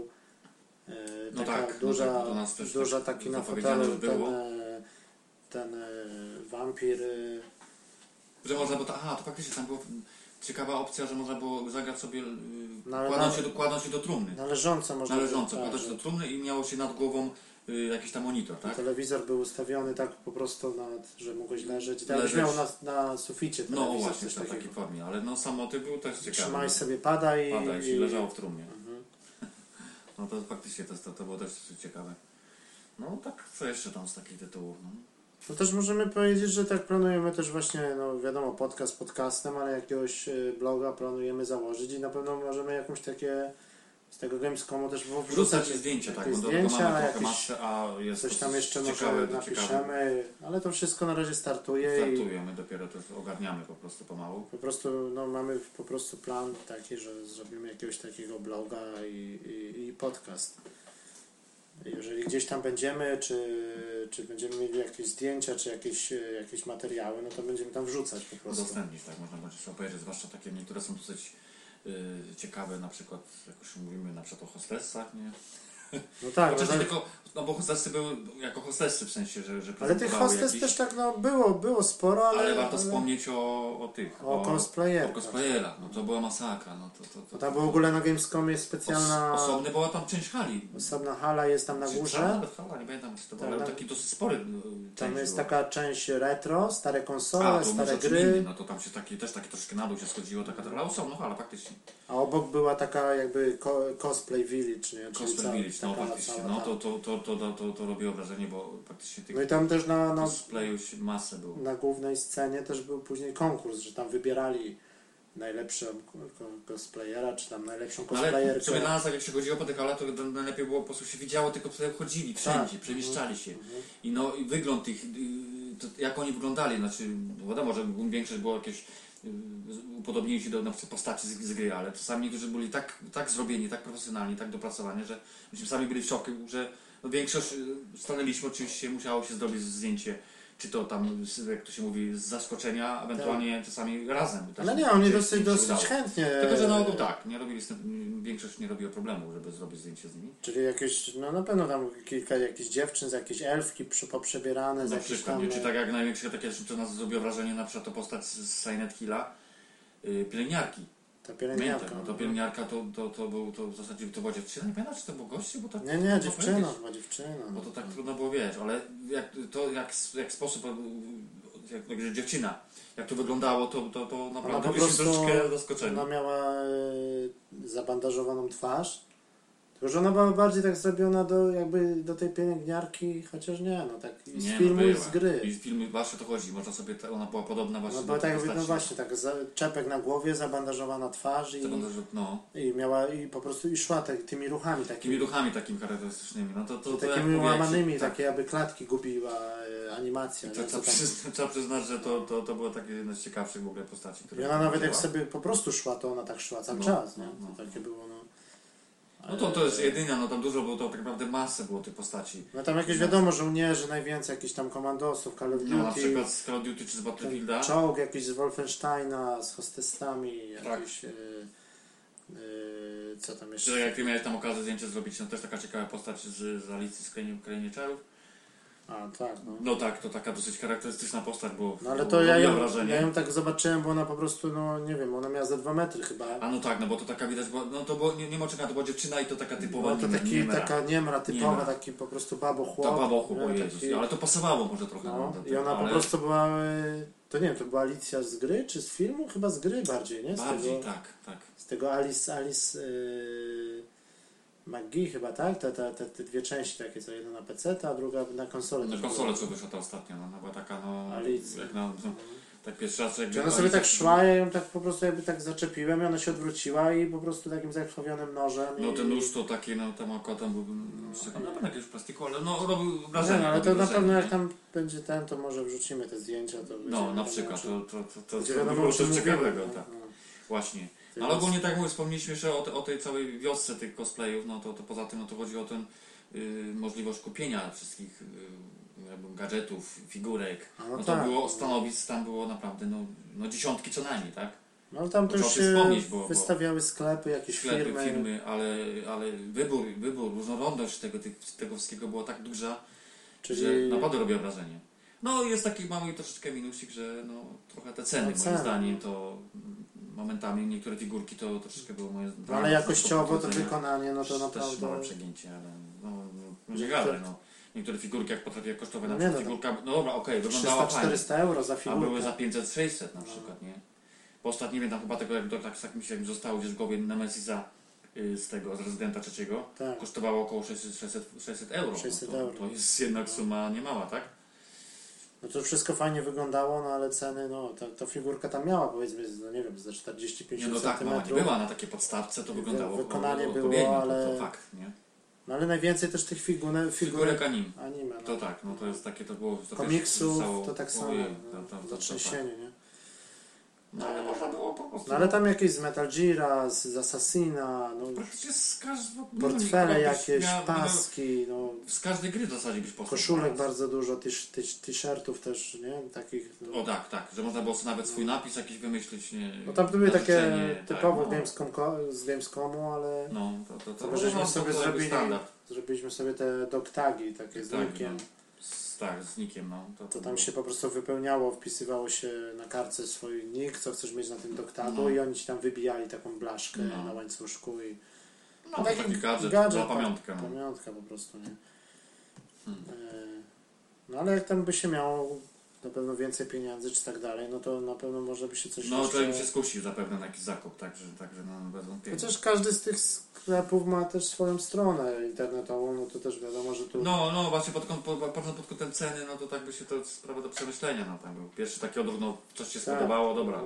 Speaker 1: E,
Speaker 2: No
Speaker 1: taka
Speaker 2: tak, no
Speaker 1: duża,
Speaker 2: tak, do nas też
Speaker 1: duża
Speaker 2: tak
Speaker 1: taki na
Speaker 2: zapowiedziane
Speaker 1: fotelu
Speaker 2: już
Speaker 1: ten,
Speaker 2: było.
Speaker 1: e, ten e, wampir. e,
Speaker 2: Że można było, ta- aha, to faktycznie tam była ciekawa opcja, że można było zagrać sobie, yy,
Speaker 1: No, ale
Speaker 2: kładąc,
Speaker 1: na-
Speaker 2: się do, kładąc się do trumny,
Speaker 1: Należąco można
Speaker 2: należąco,
Speaker 1: powiedzieć,
Speaker 2: kładąc się
Speaker 1: tak,
Speaker 2: do trumny i miało się nad głową yy, jakiś tam monitor,
Speaker 1: że
Speaker 2: tak?
Speaker 1: Telewizor był ustawiony tak po prostu, nawet, że mogłeś leżeć. Tak
Speaker 2: Leżeć.
Speaker 1: byś miał na, na suficie
Speaker 2: No
Speaker 1: telewizor,
Speaker 2: właśnie,
Speaker 1: coś
Speaker 2: tam w
Speaker 1: takiego.
Speaker 2: takiej formie, ale no samoty był też ciekawy, no.
Speaker 1: Trzymałeś sobie pada i...
Speaker 2: pada i się
Speaker 1: i-
Speaker 2: leżało w trumnie.
Speaker 1: Mhm.
Speaker 2: [laughs] No to faktycznie to, to, to było też ciekawe. No tak, co jeszcze tam z takich tytułów, no.
Speaker 1: No też możemy powiedzieć, że tak planujemy też właśnie, no wiadomo, podcast podcastem, ale jakiegoś e, bloga planujemy założyć i na pewno możemy jakąś takie z tego Gamescomu też
Speaker 2: Wrzucać
Speaker 1: wrzucać
Speaker 2: zdjęcia, tak,
Speaker 1: jakieś
Speaker 2: bo do tego
Speaker 1: zdjęcia,
Speaker 2: mamy trochę
Speaker 1: jakieś-
Speaker 2: masę, a jest
Speaker 1: coś
Speaker 2: to
Speaker 1: tam jeszcze
Speaker 2: ciekawe,
Speaker 1: może napiszemy, ale to wszystko na razie startuje i
Speaker 2: Startujemy, dopiero to ogarniamy po prostu pomału.
Speaker 1: po prostu no, mamy po prostu plan taki, że zrobimy jakiegoś takiego bloga i, i, i podcast. Jeżeli gdzieś tam będziemy, czy, czy będziemy mieli jakieś zdjęcia, czy jakieś, e, jakieś materiały, no to będziemy tam wrzucać po prostu.
Speaker 2: Udostępnić, tak, można będzie sobie obejrzeć, zwłaszcza takie niektóre są dosyć y, ciekawe, na przykład, jak już mówimy na przykład o hostessach, nie?
Speaker 1: No
Speaker 2: Tak,
Speaker 1: tak, no,
Speaker 2: Wcześniej
Speaker 1: tak.
Speaker 2: tylko, no bo hostessy były jako hostessy, w sensie, że, że
Speaker 1: Ale tych
Speaker 2: prezentowały
Speaker 1: hostes
Speaker 2: jakiś-
Speaker 1: też tak no, było, było sporo, ale,
Speaker 2: Ale warto wspomnieć o, o tych,
Speaker 1: o
Speaker 2: o
Speaker 1: cosplayerkach.
Speaker 2: cosplayerach, no to była masakra, no to... to, to,
Speaker 1: Bo tam w ogóle na Gamescomie jest specjalna
Speaker 2: Os, osobny była tam część hali,
Speaker 1: osobna hala, jest tam na
Speaker 2: Czy
Speaker 1: górze.
Speaker 2: cała Bethola, nie pamiętam czy to było,
Speaker 1: Tam
Speaker 2: ale
Speaker 1: na-
Speaker 2: taki dosyć spory y,
Speaker 1: Tam
Speaker 2: część
Speaker 1: jest
Speaker 2: był.
Speaker 1: taka część retro, stare konsole,
Speaker 2: A, to
Speaker 1: stare
Speaker 2: może czym
Speaker 1: gry,
Speaker 2: innym, No to tam się taki, też takie troszkę na dół się schodziło, taka trochę są, no ale faktycznie.
Speaker 1: a obok była taka jakby ko cosplay village, nie? Czyli
Speaker 2: Cosplay
Speaker 1: cała-
Speaker 2: Village, no
Speaker 1: taka
Speaker 2: faktycznie,
Speaker 1: cała
Speaker 2: no
Speaker 1: ta-
Speaker 2: to, to, to, to, to, to, to robiło wrażenie, bo faktycznie tych
Speaker 1: No i tam też na, na,
Speaker 2: cosplayu się masę było.
Speaker 1: na głównej scenie też był później konkurs, że tam wybierali najlepszą ko- ko- cosplayera, czy tam najlepszą
Speaker 2: No, ale
Speaker 1: cosplayerkę.
Speaker 2: sobie na nas, jak się chodziło po tych halach, to najlepiej było po prostu się widziało, tylko tutaj chodzili wszędzie,
Speaker 1: Tak.
Speaker 2: przemieszczali się.
Speaker 1: Mhm.
Speaker 2: I no i wygląd tych, y, to, jak oni wyglądali, znaczy wiadomo, że większość było jakieś y, z- upodobnienie się do na przykład postaci z, z gry, ale czasami niektórzy byli tak, tak zrobieni, tak profesjonalni, tak dopracowani, że myśmy sami byli w szoku, że no, większość y, stanęliśmy, oczywiście musiało się zrobić zdjęcie, czy to tam, z- jak to się mówi, z zaskoczenia, ewentualnie czasami razem. Też
Speaker 1: Tak. Ale No nie, oni
Speaker 2: gdzieś
Speaker 1: dosyć,
Speaker 2: im się
Speaker 1: dosyć
Speaker 2: udało.
Speaker 1: chętnie.
Speaker 2: Tylko, że na ogół tak, nie robili, z tym- większość nie robiła problemu, żeby zrobić zdjęcie z nimi.
Speaker 1: Czyli jakieś, no na pewno tam kilka jakichś dziewczyn, z jakieś elfki przy- poprzebierane, z
Speaker 2: Na
Speaker 1: jakichś
Speaker 2: przykład,
Speaker 1: tam... no- e,
Speaker 2: nie? No czy tak jak największe takie, co nas zrobiło wrażenie, na przykład to postać z z Silent Hilla, yy, pielęgniarki.
Speaker 1: Ta
Speaker 2: Miętek,
Speaker 1: pielęgniarka.
Speaker 2: no to pielęgniarka to, to, to był to w zasadzie to była dziewczyna, nie pamiętam czy to było goście, bo tak.
Speaker 1: Nie, nie,
Speaker 2: trudno
Speaker 1: dziewczyna,
Speaker 2: powiedzieć,
Speaker 1: chyba dziewczyna.
Speaker 2: Bo to tak trudno było wiedzieć, ale jak, to jak, s- jak sposób, yy, jak, jak, że dziewczyna, jak to wyglądało, to, to, to
Speaker 1: Ona
Speaker 2: naprawdę
Speaker 1: po
Speaker 2: byliśmy
Speaker 1: prostu-
Speaker 2: troszeczkę zaskoczeni.
Speaker 1: Ona miała e, zabandażowaną twarz. Tylko, że ona była bardziej tak zrobiona do, jakby do tej pielęgniarki, chociaż nie, no tak i z
Speaker 2: Nie,
Speaker 1: filmu i
Speaker 2: była.
Speaker 1: z gry.
Speaker 2: I z filmu właśnie o to chodzi, można sobie, ta, ona była podobna właśnie
Speaker 1: Ona była
Speaker 2: do
Speaker 1: tak
Speaker 2: tej
Speaker 1: jakby, no
Speaker 2: postaci.
Speaker 1: właśnie, tak za, czepek na głowie, zabandażowana twarz i,
Speaker 2: To będę, że- No,
Speaker 1: i miała, i po prostu i szła tak, tymi ruchami
Speaker 2: takimi
Speaker 1: takimi,
Speaker 2: ruchami takimi charakterystycznymi, no to, to, to jak
Speaker 1: takimi
Speaker 2: mówię, jak się-
Speaker 1: łamanymi,
Speaker 2: tak,
Speaker 1: takie aby klatki gubiła e, animacja.
Speaker 2: To,
Speaker 1: nie?
Speaker 2: trzeba,
Speaker 1: Co tam-
Speaker 2: przyzna, [laughs] trzeba przyznać, że to, to, to było takie jedno z ciekawszych w ogóle postaci, które
Speaker 1: I ona nawet jak
Speaker 2: widziała.
Speaker 1: sobie po prostu szła, to ona tak szła cały
Speaker 2: No,
Speaker 1: czas, nie?
Speaker 2: no, no.
Speaker 1: To takie było, no. E,
Speaker 2: No to, to jest jedyna, no tam dużo było, to tak naprawdę masę było tych postaci.
Speaker 1: No tam jakieś wiadomo, żołnierze najwięcej, jakichś tam komandosów, Call of Duty, Tak,
Speaker 2: No na przykład tak. z Call of Duty czy z Battlefielda.
Speaker 1: ten czołg jakiś z Wolfensteina, z hostessami,
Speaker 2: Tak.
Speaker 1: jakiś... e, e, co tam
Speaker 2: Czy
Speaker 1: jeszcze?
Speaker 2: jak ty miałeś tam okazję zdjęcie zrobić, no też taka ciekawa postać z, z Alicji z Krainie- Krainie Czarów.
Speaker 1: A, tak, no.
Speaker 2: No tak, to taka dosyć charakterystyczna postać, bo
Speaker 1: No ale
Speaker 2: bo
Speaker 1: to ja
Speaker 2: robiła
Speaker 1: ją,
Speaker 2: wrażenie.
Speaker 1: ja ją tak zobaczyłem, bo ona po prostu, no nie wiem, ona miała ze dwa metry chyba.
Speaker 2: A no tak, no bo to taka widać, była, no to było, nie, nie ma czekania, to była dziewczyna i to taka typowa
Speaker 1: Była No to
Speaker 2: nie-
Speaker 1: taki,
Speaker 2: niemera.
Speaker 1: taka niemra typowa,
Speaker 2: Niemra.
Speaker 1: taki po prostu babo chłop.
Speaker 2: Ta babochu, bo
Speaker 1: nie,
Speaker 2: Jezus,
Speaker 1: taki-
Speaker 2: ale to pasowało może trochę.
Speaker 1: No,
Speaker 2: do
Speaker 1: i
Speaker 2: tego,
Speaker 1: ona po
Speaker 2: ale
Speaker 1: prostu była, e, to nie wiem, to była Alicja z gry, czy z filmu? Chyba z gry bardziej, nie? Z
Speaker 2: Bardziej,
Speaker 1: tego,
Speaker 2: tak, tak.
Speaker 1: z tego Alice, Alice yy, McGee chyba, tak? Te, te, te, te dwie części takie, co jedna na PC, a druga na konsolę.
Speaker 2: Na
Speaker 1: też
Speaker 2: konsolę
Speaker 1: była.
Speaker 2: co wyszła ta ostatnia, no, ona była taka, no,
Speaker 1: Alicja.
Speaker 2: jak na, no, tak pierwszy raz, jak
Speaker 1: Czy ona sobie tak szła, ja ją tak po prostu jakby tak zaczepiłem i ona się odwróciła i po prostu takim zakrwawionym nożem.
Speaker 2: No
Speaker 1: i...
Speaker 2: ten nóż to taki, no tam akurat tam był, no, z tego, na pewno jakiegoś plastiku, ale no robił
Speaker 1: No,
Speaker 2: wrażenie.
Speaker 1: no, ale
Speaker 2: robił
Speaker 1: to na
Speaker 2: wrażenie,
Speaker 1: pewno
Speaker 2: nie?
Speaker 1: jak tam będzie ten, to może wrzucimy te zdjęcia. To
Speaker 2: No,
Speaker 1: będzie-
Speaker 2: na przykład,
Speaker 1: będzie-
Speaker 2: to, to, to, to,
Speaker 1: będzie
Speaker 2: to
Speaker 1: wiadomo,
Speaker 2: było
Speaker 1: o czym
Speaker 2: coś
Speaker 1: mówimy,
Speaker 2: ciekawego,
Speaker 1: no,
Speaker 2: tak,
Speaker 1: no.
Speaker 2: właśnie.
Speaker 1: Więc-
Speaker 2: Ale ogólnie tak jak mówię, wspomnieliśmy jeszcze o, te, o tej całej wiosce tych cosplayów, no to, to poza tym no to chodzi o tę y, możliwość kupienia wszystkich y, jakby gadżetów, figurek.
Speaker 1: A, no
Speaker 2: No to
Speaker 1: tak.
Speaker 2: było stanowisk, tam było naprawdę no, no dziesiątki co najmniej, tak?
Speaker 1: No ale tam
Speaker 2: Bo
Speaker 1: to już
Speaker 2: trzeba
Speaker 1: się
Speaker 2: wspomnieć, bo- bo-
Speaker 1: wystawiały sklepy, jakieś
Speaker 2: Sklepy,
Speaker 1: firmy.
Speaker 2: firmy, ale, ale wybór, wybór, różnorodność tego, tych, tego wszystkiego była tak duża, że
Speaker 1: Czyli
Speaker 2: naprawdę robię wrażenie. No jest taki mały troszeczkę minusik, że no, trochę te ceny,
Speaker 1: No,
Speaker 2: moim
Speaker 1: ceny.
Speaker 2: zdaniem to mm, momentami niektóre figurki to troszeczkę było moje
Speaker 1: no, ale jakościowo to
Speaker 2: tylko
Speaker 1: wykonanie, no to
Speaker 2: Też małe
Speaker 1: naprawdę...
Speaker 2: przegięcie, ale no, no nie
Speaker 1: Niektóre-
Speaker 2: gadaj, no. Niektóre figurki jak potrafię kosztować na
Speaker 1: No nie,
Speaker 2: przykład
Speaker 1: no
Speaker 2: figurka, no dobra, okej, wyglądała fajnie,
Speaker 1: 300-400 euro za
Speaker 2: a były za
Speaker 1: figurkę.
Speaker 2: 500-600 na przykład, nie? Bo ostatnio wiem, tam chyba tego, jak to tak, tak mi się mi zostało gdzieś w głowie Nemesisa y, z tego, z rezydenta trzeciego,
Speaker 1: Tak.
Speaker 2: kosztowało około 600, 600, 600 euro.
Speaker 1: 600
Speaker 2: no, to,
Speaker 1: euro.
Speaker 2: to jest jednak suma niemała, tak?
Speaker 1: No to wszystko fajnie wyglądało, no ale ceny, no ta, ta figurka tam miała powiedzmy, no nie wiem, ze 45
Speaker 2: Nie, no tak, mała nie
Speaker 1: centymetrów.
Speaker 2: była na takiej podstawce, to
Speaker 1: Wy-
Speaker 2: wyglądało
Speaker 1: wykonanie
Speaker 2: o- o-
Speaker 1: było,
Speaker 2: odpowiednio,
Speaker 1: ale-
Speaker 2: to, to fakt, nie?
Speaker 1: No ale najwięcej też tych figune, figurek
Speaker 2: Figurek anim.
Speaker 1: anime. No.
Speaker 2: To tak, no to jest takie, to było... To
Speaker 1: Komiksów,
Speaker 2: zostało-
Speaker 1: to tak samo,
Speaker 2: ojej,
Speaker 1: no,
Speaker 2: to- to- to- to-
Speaker 1: zatrzęsienie, nie?
Speaker 2: No ale można było po prostu...
Speaker 1: No ale tam jakieś z Metal Gear'a, z, z Assassina, no,
Speaker 2: Praktycznie z każdego...
Speaker 1: portfele jakieś,
Speaker 2: miała-
Speaker 1: paski, no,
Speaker 2: Z każdej gry w zasadzie byś postał.
Speaker 1: koszulek bardzo dużo, tyś- tyś- t-shirtów też, nie? Takich, no.
Speaker 2: O tak, tak, że można było sobie nawet swój napis jakiś wymyślić, nie?
Speaker 1: No tam były takie
Speaker 2: narzeczenie, tak,
Speaker 1: typowo
Speaker 2: no.
Speaker 1: Gamescom, z Gamescomu, ale
Speaker 2: No, to, to, to,
Speaker 1: co
Speaker 2: to,
Speaker 1: my żeśmy
Speaker 2: no,
Speaker 1: sobie
Speaker 2: to jakby
Speaker 1: zrobili,
Speaker 2: standard.
Speaker 1: zrobiliśmy sobie te doktagi takie z
Speaker 2: Tak,
Speaker 1: linkiem.
Speaker 2: no. Z, tak, z nikiem, no. To,
Speaker 1: To
Speaker 2: było-
Speaker 1: tam się po prostu wypełniało, wpisywało się na kartce swój nick, co chcesz mieć na tym doktagu
Speaker 2: No.
Speaker 1: i oni ci tam wybijali taką blaszkę
Speaker 2: No.
Speaker 1: na łańcuszku i
Speaker 2: No, to taki gadżet, była
Speaker 1: tak,
Speaker 2: pamiątka. No.
Speaker 1: Pamiątka po prostu, nie?
Speaker 2: Hmm.
Speaker 1: E, No ale jak tam by się miało na pewno więcej pieniędzy czy tak dalej, no to na pewno może by się coś
Speaker 2: No,
Speaker 1: jeszcze...
Speaker 2: to bym się skusił zapewne na jakiś zakup, także, także no, bez wątpienia.
Speaker 1: Chociaż każdy z tych sklepów ma też swoją stronę internetową, no to też wiadomo, że tu...
Speaker 2: No, no, właśnie pod, kąt, pod, patrząc pod kątem ceny, no to tak by się to sprawa do przemyślenia, no tam był pierwszy taki odruch, no coś się
Speaker 1: Tak.
Speaker 2: spodobało, dobra,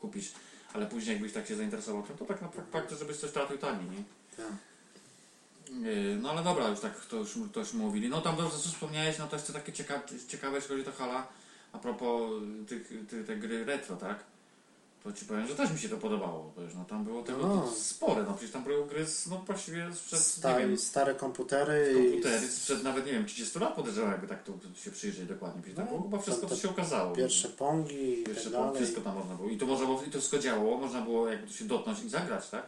Speaker 2: kupisz, ale później jakbyś tak się zainteresował, tym, to tak na fakcie, żebyś coś trafił taniej, nie?
Speaker 1: Tak.
Speaker 2: Yy, No ale dobra, już tak to już, to już mówili. No tam dobrze, co wspomniałeś, no to jeszcze takie cieka ciekawe, jeśli chodzi o to hala, a propos y, tych, ty, tej gry retro, tak? To ci powiem, że też mi się to podobało, bo już no tam było tego
Speaker 1: No.
Speaker 2: spore, no przecież tam były gry z, no właściwie sprzed,
Speaker 1: Sta-
Speaker 2: nie wiem,
Speaker 1: stare komputery i-
Speaker 2: komputery, sprzed nawet, nie wiem, 30 lat podejrzewam, jakby tak tu się przyjrzeć dokładnie, przecież tam
Speaker 1: No,
Speaker 2: było chyba wszystko,
Speaker 1: tam
Speaker 2: co
Speaker 1: te
Speaker 2: się okazało.
Speaker 1: pierwsze pongi i
Speaker 2: Pierwsze
Speaker 1: tak
Speaker 2: było,
Speaker 1: dalej.
Speaker 2: wszystko tam można było i to można było, i to wszystko działało, można było jakby tu się dotknąć i zagrać, tak?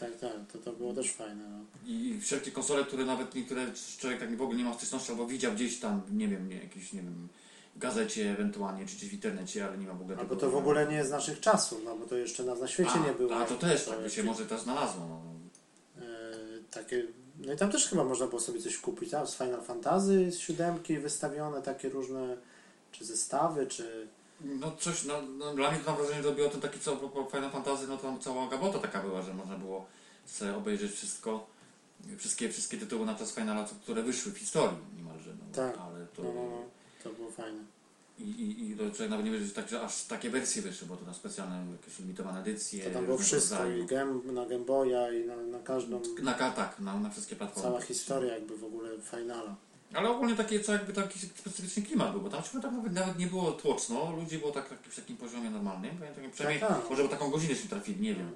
Speaker 1: Tak, tak, to, to było też fajne. No.
Speaker 2: I wszelkie konsole, które nawet niektóre człowiek tak w ogóle nie ma styczności, albo widział gdzieś tam, nie wiem, nie, jakiś, nie wiem, w gazecie ewentualnie, czy gdzieś w internecie, ale nie ma w ogóle
Speaker 1: Albo to w ogóle nie jest z naszych czasów, no bo to jeszcze nas na świecie
Speaker 2: no. a,
Speaker 1: nie było.
Speaker 2: A to też, tak by
Speaker 1: jakieś,
Speaker 2: się może też znalazło. No.
Speaker 1: e, takie, no i tam też chyba można było sobie coś kupić, tam z Final Fantasy z siódemki wystawione takie różne, czy zestawy, czy...
Speaker 2: no coś, no, no, dla mnie to na wrażenie zrobiło ten taki, co fajna fantazja, no tam cała gabota taka była, że można było sobie obejrzeć wszystko, wszystkie, wszystkie tytuły na czas Finala, co- które wyszły w historii niemalże. No,
Speaker 1: Tak.
Speaker 2: Ale to...
Speaker 1: No, no, no, to było fajne.
Speaker 2: I, i, i to człowiek nawet nie wiedział, że, tak, że aż takie wersje wyszły, bo to na specjalne jakieś limitowane edycje.
Speaker 1: To tam było
Speaker 2: różnego
Speaker 1: wszystko,
Speaker 2: rodzaju.
Speaker 1: i gem, na Game Boya, i na, na każdą,
Speaker 2: Na ka- tak, na, na wszystkie platformy.
Speaker 1: cała historia jakby w ogóle Finala.
Speaker 2: Ale ogólnie taki, co jakby taki specyficzny klimat był, bo tam się tak nawet, nawet nie było tłoczno, ludzi było tak, tak w takim poziomie normalnym, powiem takim przynajmniej
Speaker 1: Tak, tak.
Speaker 2: może o taką godzinę się trafili, nie wiem.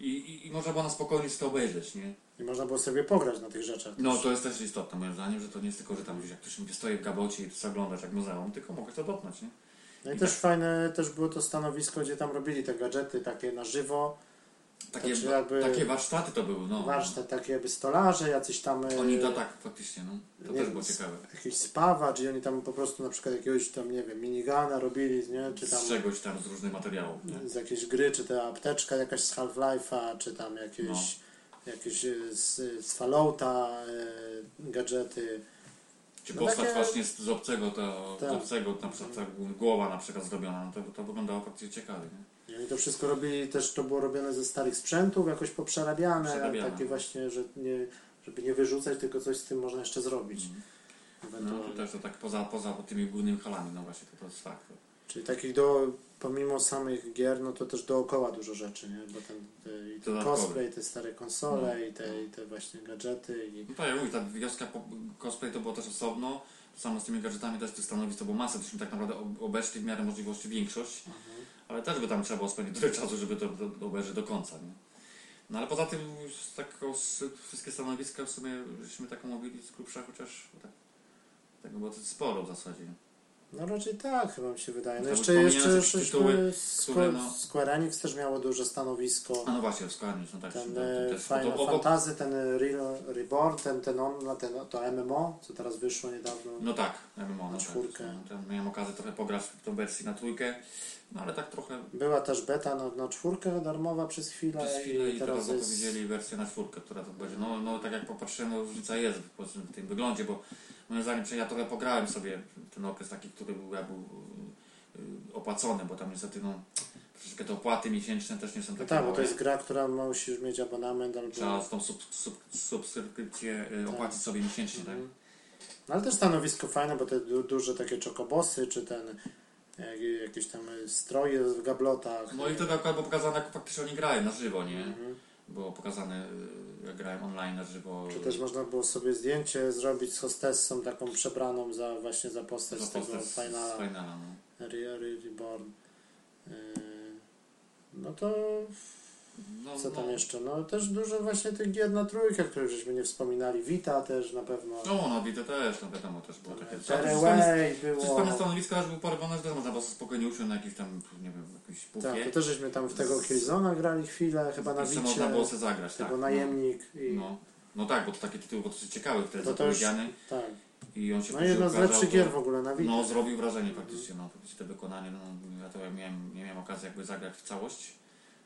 Speaker 2: I, i, I można było na spokojnie sobie to obejrzeć, nie?
Speaker 1: I można było sobie pograć na tych rzeczach.
Speaker 2: No to jest też istotne moim zdaniem, że to nie jest tylko, że tam gdzieś jak ktoś mówi, stoję w gabocie i to sobie oglądać jak muzeum, tylko mogę to dotknąć, nie? tak.
Speaker 1: No i też fajne też było to stanowisko, gdzie tam robili te gadżety takie na żywo,
Speaker 2: Takie,
Speaker 1: Znaczy jakby-
Speaker 2: takie warsztaty to były, no.
Speaker 1: Warsztat taki jakby stolarze, jacyś tam... e,
Speaker 2: Oni to tak faktycznie, no. To
Speaker 1: nie
Speaker 2: też
Speaker 1: wiem,
Speaker 2: było
Speaker 1: z-
Speaker 2: ciekawe.
Speaker 1: Jakiś spawacz i oni tam po prostu na przykład jakiegoś tam, nie wiem, minigana robili, nie? Czy tam
Speaker 2: Z czegoś tam, z różnych materiałów, nie?
Speaker 1: z jakiejś gry, czy ta apteczka jakaś z Half-Life'a, czy tam jakieś,
Speaker 2: No.
Speaker 1: jakieś e, z, z Fallouta e, gadżety.
Speaker 2: Czy
Speaker 1: No
Speaker 2: postać
Speaker 1: takie-
Speaker 2: właśnie z, z obcego, to,
Speaker 1: Tak.
Speaker 2: z obcego, na przykład ta głowa na przykład zrobiona, no to, to wyglądało faktycznie ciekawie, nie?
Speaker 1: I oni to wszystko robili, też to było robione ze starych sprzętów, jakoś poprzerabiane,
Speaker 2: Przerabiane.
Speaker 1: takie właśnie, że nie, żeby nie wyrzucać, tylko coś z tym można jeszcze zrobić.
Speaker 2: Mhm. No to
Speaker 1: Ewentualnie.
Speaker 2: też to tak poza, poza tymi głównymi halami, no właśnie, to, to jest fakt.
Speaker 1: Czyli takich do, pomimo samych gier, no to też dookoła dużo rzeczy, nie? Bo ten, te, i ten
Speaker 2: Dodatkowe.
Speaker 1: cosplay, te stare konsole i, te, i te właśnie gadżety i
Speaker 2: No to ja mówię, ta wioska po, cosplay to było też osobno, samo z tymi gadżetami też tych stanowisk to było masę, byśmy tak naprawdę ob- obeszli w miarę możliwości większość, ale też by tam trzeba było spędzić trochę czasu, żeby to, to obejrzeć do końca, nie? No ale poza tym z taką, z, wszystkie stanowiska w sumie żeśmy taką mówili z grubsza, chociaż tak, tego było sporo w zasadzie.
Speaker 1: No raczej tak, chyba mi się wydaje. No
Speaker 2: Tak,
Speaker 1: jeszcze,
Speaker 2: pomijając
Speaker 1: jeszcze
Speaker 2: jakieś tytuły,
Speaker 1: żeśmy,
Speaker 2: które,
Speaker 1: Square,
Speaker 2: no-
Speaker 1: Square Enix też miało duże stanowisko.
Speaker 2: A no właśnie, w Skarniu, no tak,
Speaker 1: Ten
Speaker 2: tam- tam
Speaker 1: e,
Speaker 2: też- to-
Speaker 1: Final
Speaker 2: to- obok-
Speaker 1: Fantasy, ten e, Real Reborn, ten, ten on, no, ten, to MMO, co teraz wyszło niedawno.
Speaker 2: No tak, ja bym ona, tak.
Speaker 1: czwórkę.
Speaker 2: No, tam miałem okazję trochę pograć w tą wersję na trójkę, no ale tak trochę
Speaker 1: Była też beta na, na czwórkę darmowa przez chwilę,
Speaker 2: przez chwilę
Speaker 1: No i
Speaker 2: i
Speaker 1: teraz
Speaker 2: teraz
Speaker 1: jest...
Speaker 2: zapowiedzieli wersję na czwórkę, która to będzie. No, no tak jak popatrzyłem, no, różnica jest po prostu w tym wyglądzie, bo moim zdaniem że ja trochę pograłem sobie ten okres taki, który był, ja był y, y, opłacony, bo tam niestety no, troszeczkę te opłaty miesięczne też nie są
Speaker 1: No
Speaker 2: takie
Speaker 1: tak, bo
Speaker 2: małe.
Speaker 1: to jest gra, która musisz mieć abonament
Speaker 2: Trzeba
Speaker 1: albo...
Speaker 2: tą sub, sub, subskrypcję y, opłacić sobie miesięcznie, tak?
Speaker 1: Mhm. No ale też stanowisko fajne, bo te du duże takie czokobosy, czy ten... e, Jakieś tam e, stroje w gablotach.
Speaker 2: No i to akurat było pokazane, jak faktycznie oni grają na żywo, nie?
Speaker 1: Mhm.
Speaker 2: Było pokazane, y, jak grałem online na żywo.
Speaker 1: Czy też można było sobie zdjęcie zrobić z hostessą taką przebraną za właśnie za postać
Speaker 2: za
Speaker 1: z tego
Speaker 2: postać z
Speaker 1: Finala
Speaker 2: z Finala, no.
Speaker 1: Re- Re- Reborn. Yy, No to
Speaker 2: No,
Speaker 1: co tam
Speaker 2: no.
Speaker 1: jeszcze? No też dużo właśnie tych gier na trójkę, których żeśmy nie wspominali. Vita też na pewno.
Speaker 2: No, na Wite też, no wiadomo, też było takie...
Speaker 1: Terraway
Speaker 2: Przecież pana
Speaker 1: było.
Speaker 2: stanowiska aż był porwane, że też można było spokojnie usiąść na jakimś tam, nie wiem, jakimś pufie.
Speaker 1: Tak, to też żeśmy tam w tego Killzona grali chwilę, chyba na
Speaker 2: I co można
Speaker 1: Wicie,
Speaker 2: było sobie zagrać, tak.
Speaker 1: tego najemnik i
Speaker 2: No, no. no tak, bo to taki tytuł był dosyć ciekawy wtedy
Speaker 1: To to już-
Speaker 2: zapowiedziany
Speaker 1: tak.
Speaker 2: i on się
Speaker 1: No
Speaker 2: później
Speaker 1: jedna z
Speaker 2: ukazał,
Speaker 1: lepszych
Speaker 2: to-
Speaker 1: gier w ogóle na Witę.
Speaker 2: No, zrobił wrażenie faktycznie, no, faktycznie to wykonanie, no, ja to miałem, nie miałem okazji jakby zagrać w całość.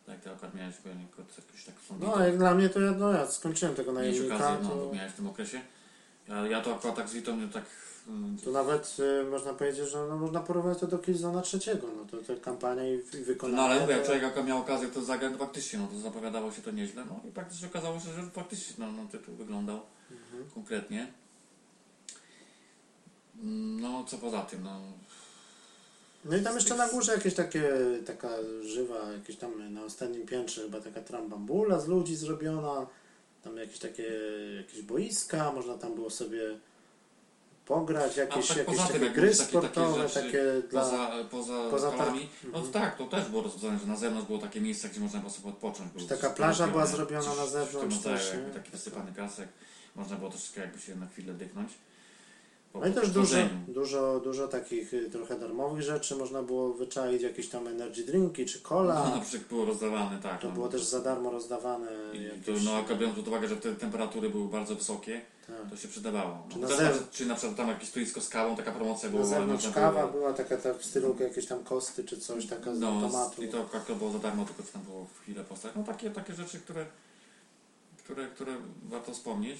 Speaker 2: Tak, to akurat miałem tylko tylko jakoś tak sądzić.
Speaker 1: No, a jak dla mnie to ja, no, ja skończyłem tego
Speaker 2: Miałeś
Speaker 1: najemnika,
Speaker 2: okazję, no,
Speaker 1: to,
Speaker 2: bo miałeś w tym okresie. Ja, ja to akurat tak z Witą, nie tak... mm,
Speaker 1: to nawet y, można powiedzieć, że no, można porównać to do Killzona trzeciego, no to, to kampania i, i wykonanie.
Speaker 2: No ale mówię, jak
Speaker 1: to-
Speaker 2: człowiek jak miał okazję to zagrać, to faktycznie no, to zapowiadało się to nieźle. No i praktycznie okazało się, że faktycznie no, no, tytuł wyglądał
Speaker 1: Mhm.
Speaker 2: konkretnie. Mm, No co poza tym, no
Speaker 1: No i tam jeszcze na górze jakieś takie, taka żywa, jakieś tam na ostatnim piętrze chyba taka trambambula z ludzi zrobiona, tam jakieś takie, jakieś boiska, można tam było sobie pograć, jakieś,
Speaker 2: tak
Speaker 1: jakieś
Speaker 2: poza
Speaker 1: takie
Speaker 2: tym, jak
Speaker 1: gry
Speaker 2: mówisz, takie- takie
Speaker 1: sportowe,
Speaker 2: rzeczy,
Speaker 1: takie dla... Mhm.
Speaker 2: poza, poza,
Speaker 1: poza
Speaker 2: halami, no tak, to też było rozwiązane, że na zewnątrz było takie miejsce, gdzie można było sobie odpocząć. Było
Speaker 1: taka
Speaker 2: wszystko
Speaker 1: plaża
Speaker 2: zrobione,
Speaker 1: była zrobiona
Speaker 2: coś
Speaker 1: na
Speaker 2: w tym
Speaker 1: zewnątrz
Speaker 2: rodzaju,
Speaker 1: też,
Speaker 2: jakby
Speaker 1: nie? Tak.
Speaker 2: Taki wysypany kasek, można było troszeczkę jakby się na chwilę dychnąć. Po-
Speaker 1: No i
Speaker 2: po
Speaker 1: też dużo,
Speaker 2: chodzeniu.
Speaker 1: dużo, dużo takich y, trochę darmowych rzeczy można było wyczaić, jakieś tam energy drinki czy cola.
Speaker 2: No, na przykład było rozdawane, tak.
Speaker 1: to
Speaker 2: no.
Speaker 1: było też za darmo rozdawane.
Speaker 2: I to,
Speaker 1: jakieś,
Speaker 2: no, a biorąc pod uwagę, że wtedy temperatury były bardzo wysokie,
Speaker 1: tak.
Speaker 2: to się przydawało. No,
Speaker 1: Czy na
Speaker 2: też
Speaker 1: zewnątrz-
Speaker 2: na- czy na przykład tam jakieś stoisko z kawą, taka promocja była. no,
Speaker 1: Na zewnątrz
Speaker 2: można było-
Speaker 1: kawa była taka tak w stylu jakieś tam kosty czy coś, taka z
Speaker 2: No,
Speaker 1: automatu.
Speaker 2: i to akurat było za darmo, tylko tam było w chwilę postać. No takie, takie rzeczy, które, które, które warto wspomnieć.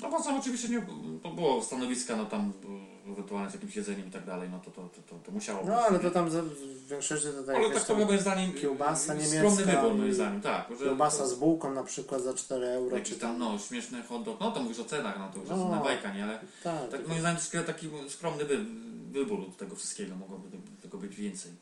Speaker 2: No bo sam oczywiście nie, to było stanowiska, no tam y, ewentualnie z jakimś jedzeniem i tak dalej, no to, to, to, to, to musiało
Speaker 1: No ale to tam za- w większości to tak
Speaker 2: Ale
Speaker 1: jakaś
Speaker 2: tak
Speaker 1: tam
Speaker 2: to moim zdaniem
Speaker 1: kiełbasa
Speaker 2: y, y,
Speaker 1: niemiecka
Speaker 2: skromny wybór moim
Speaker 1: i
Speaker 2: zdaniem, tak. że-
Speaker 1: kiełbasa z bułką na przykład za 4 euro czy
Speaker 2: Jakiś tam no, śmieszny hot dog, no to mówisz o cenach, no to już
Speaker 1: No.
Speaker 2: jest inna bajka, nie? Ale
Speaker 1: tak,
Speaker 2: tak
Speaker 1: tak,
Speaker 2: moim zdaniem troszkę taki skromny wy, wybór od tego wszystkiego, mogłoby te- tego być więcej.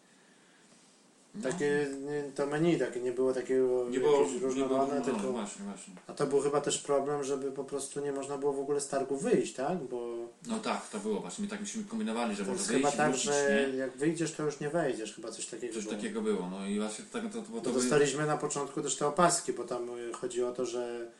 Speaker 2: No.
Speaker 1: takie nie, to menu takie nie było takiego
Speaker 2: nie było,
Speaker 1: jakieś
Speaker 2: nie było
Speaker 1: różnorodne,
Speaker 2: no,
Speaker 1: tylko
Speaker 2: właśnie, właśnie.
Speaker 1: A to był chyba też problem, żeby po prostu nie można było w ogóle z targu wyjść, tak? Bo
Speaker 2: No tak, to było właśnie, my tak myśmy kombinowali, że
Speaker 1: to
Speaker 2: może
Speaker 1: jest
Speaker 2: wyjść
Speaker 1: chyba
Speaker 2: i
Speaker 1: tak,
Speaker 2: wrócić,
Speaker 1: że
Speaker 2: nie?
Speaker 1: jak wyjdziesz, to już nie wejdziesz, chyba coś takiego.
Speaker 2: Coś
Speaker 1: było.
Speaker 2: takiego było, no i właśnie tak, to, to,
Speaker 1: Bo
Speaker 2: to, to
Speaker 1: Dostaliśmy na początku też te opaski, bo tam y, chodzi o to, że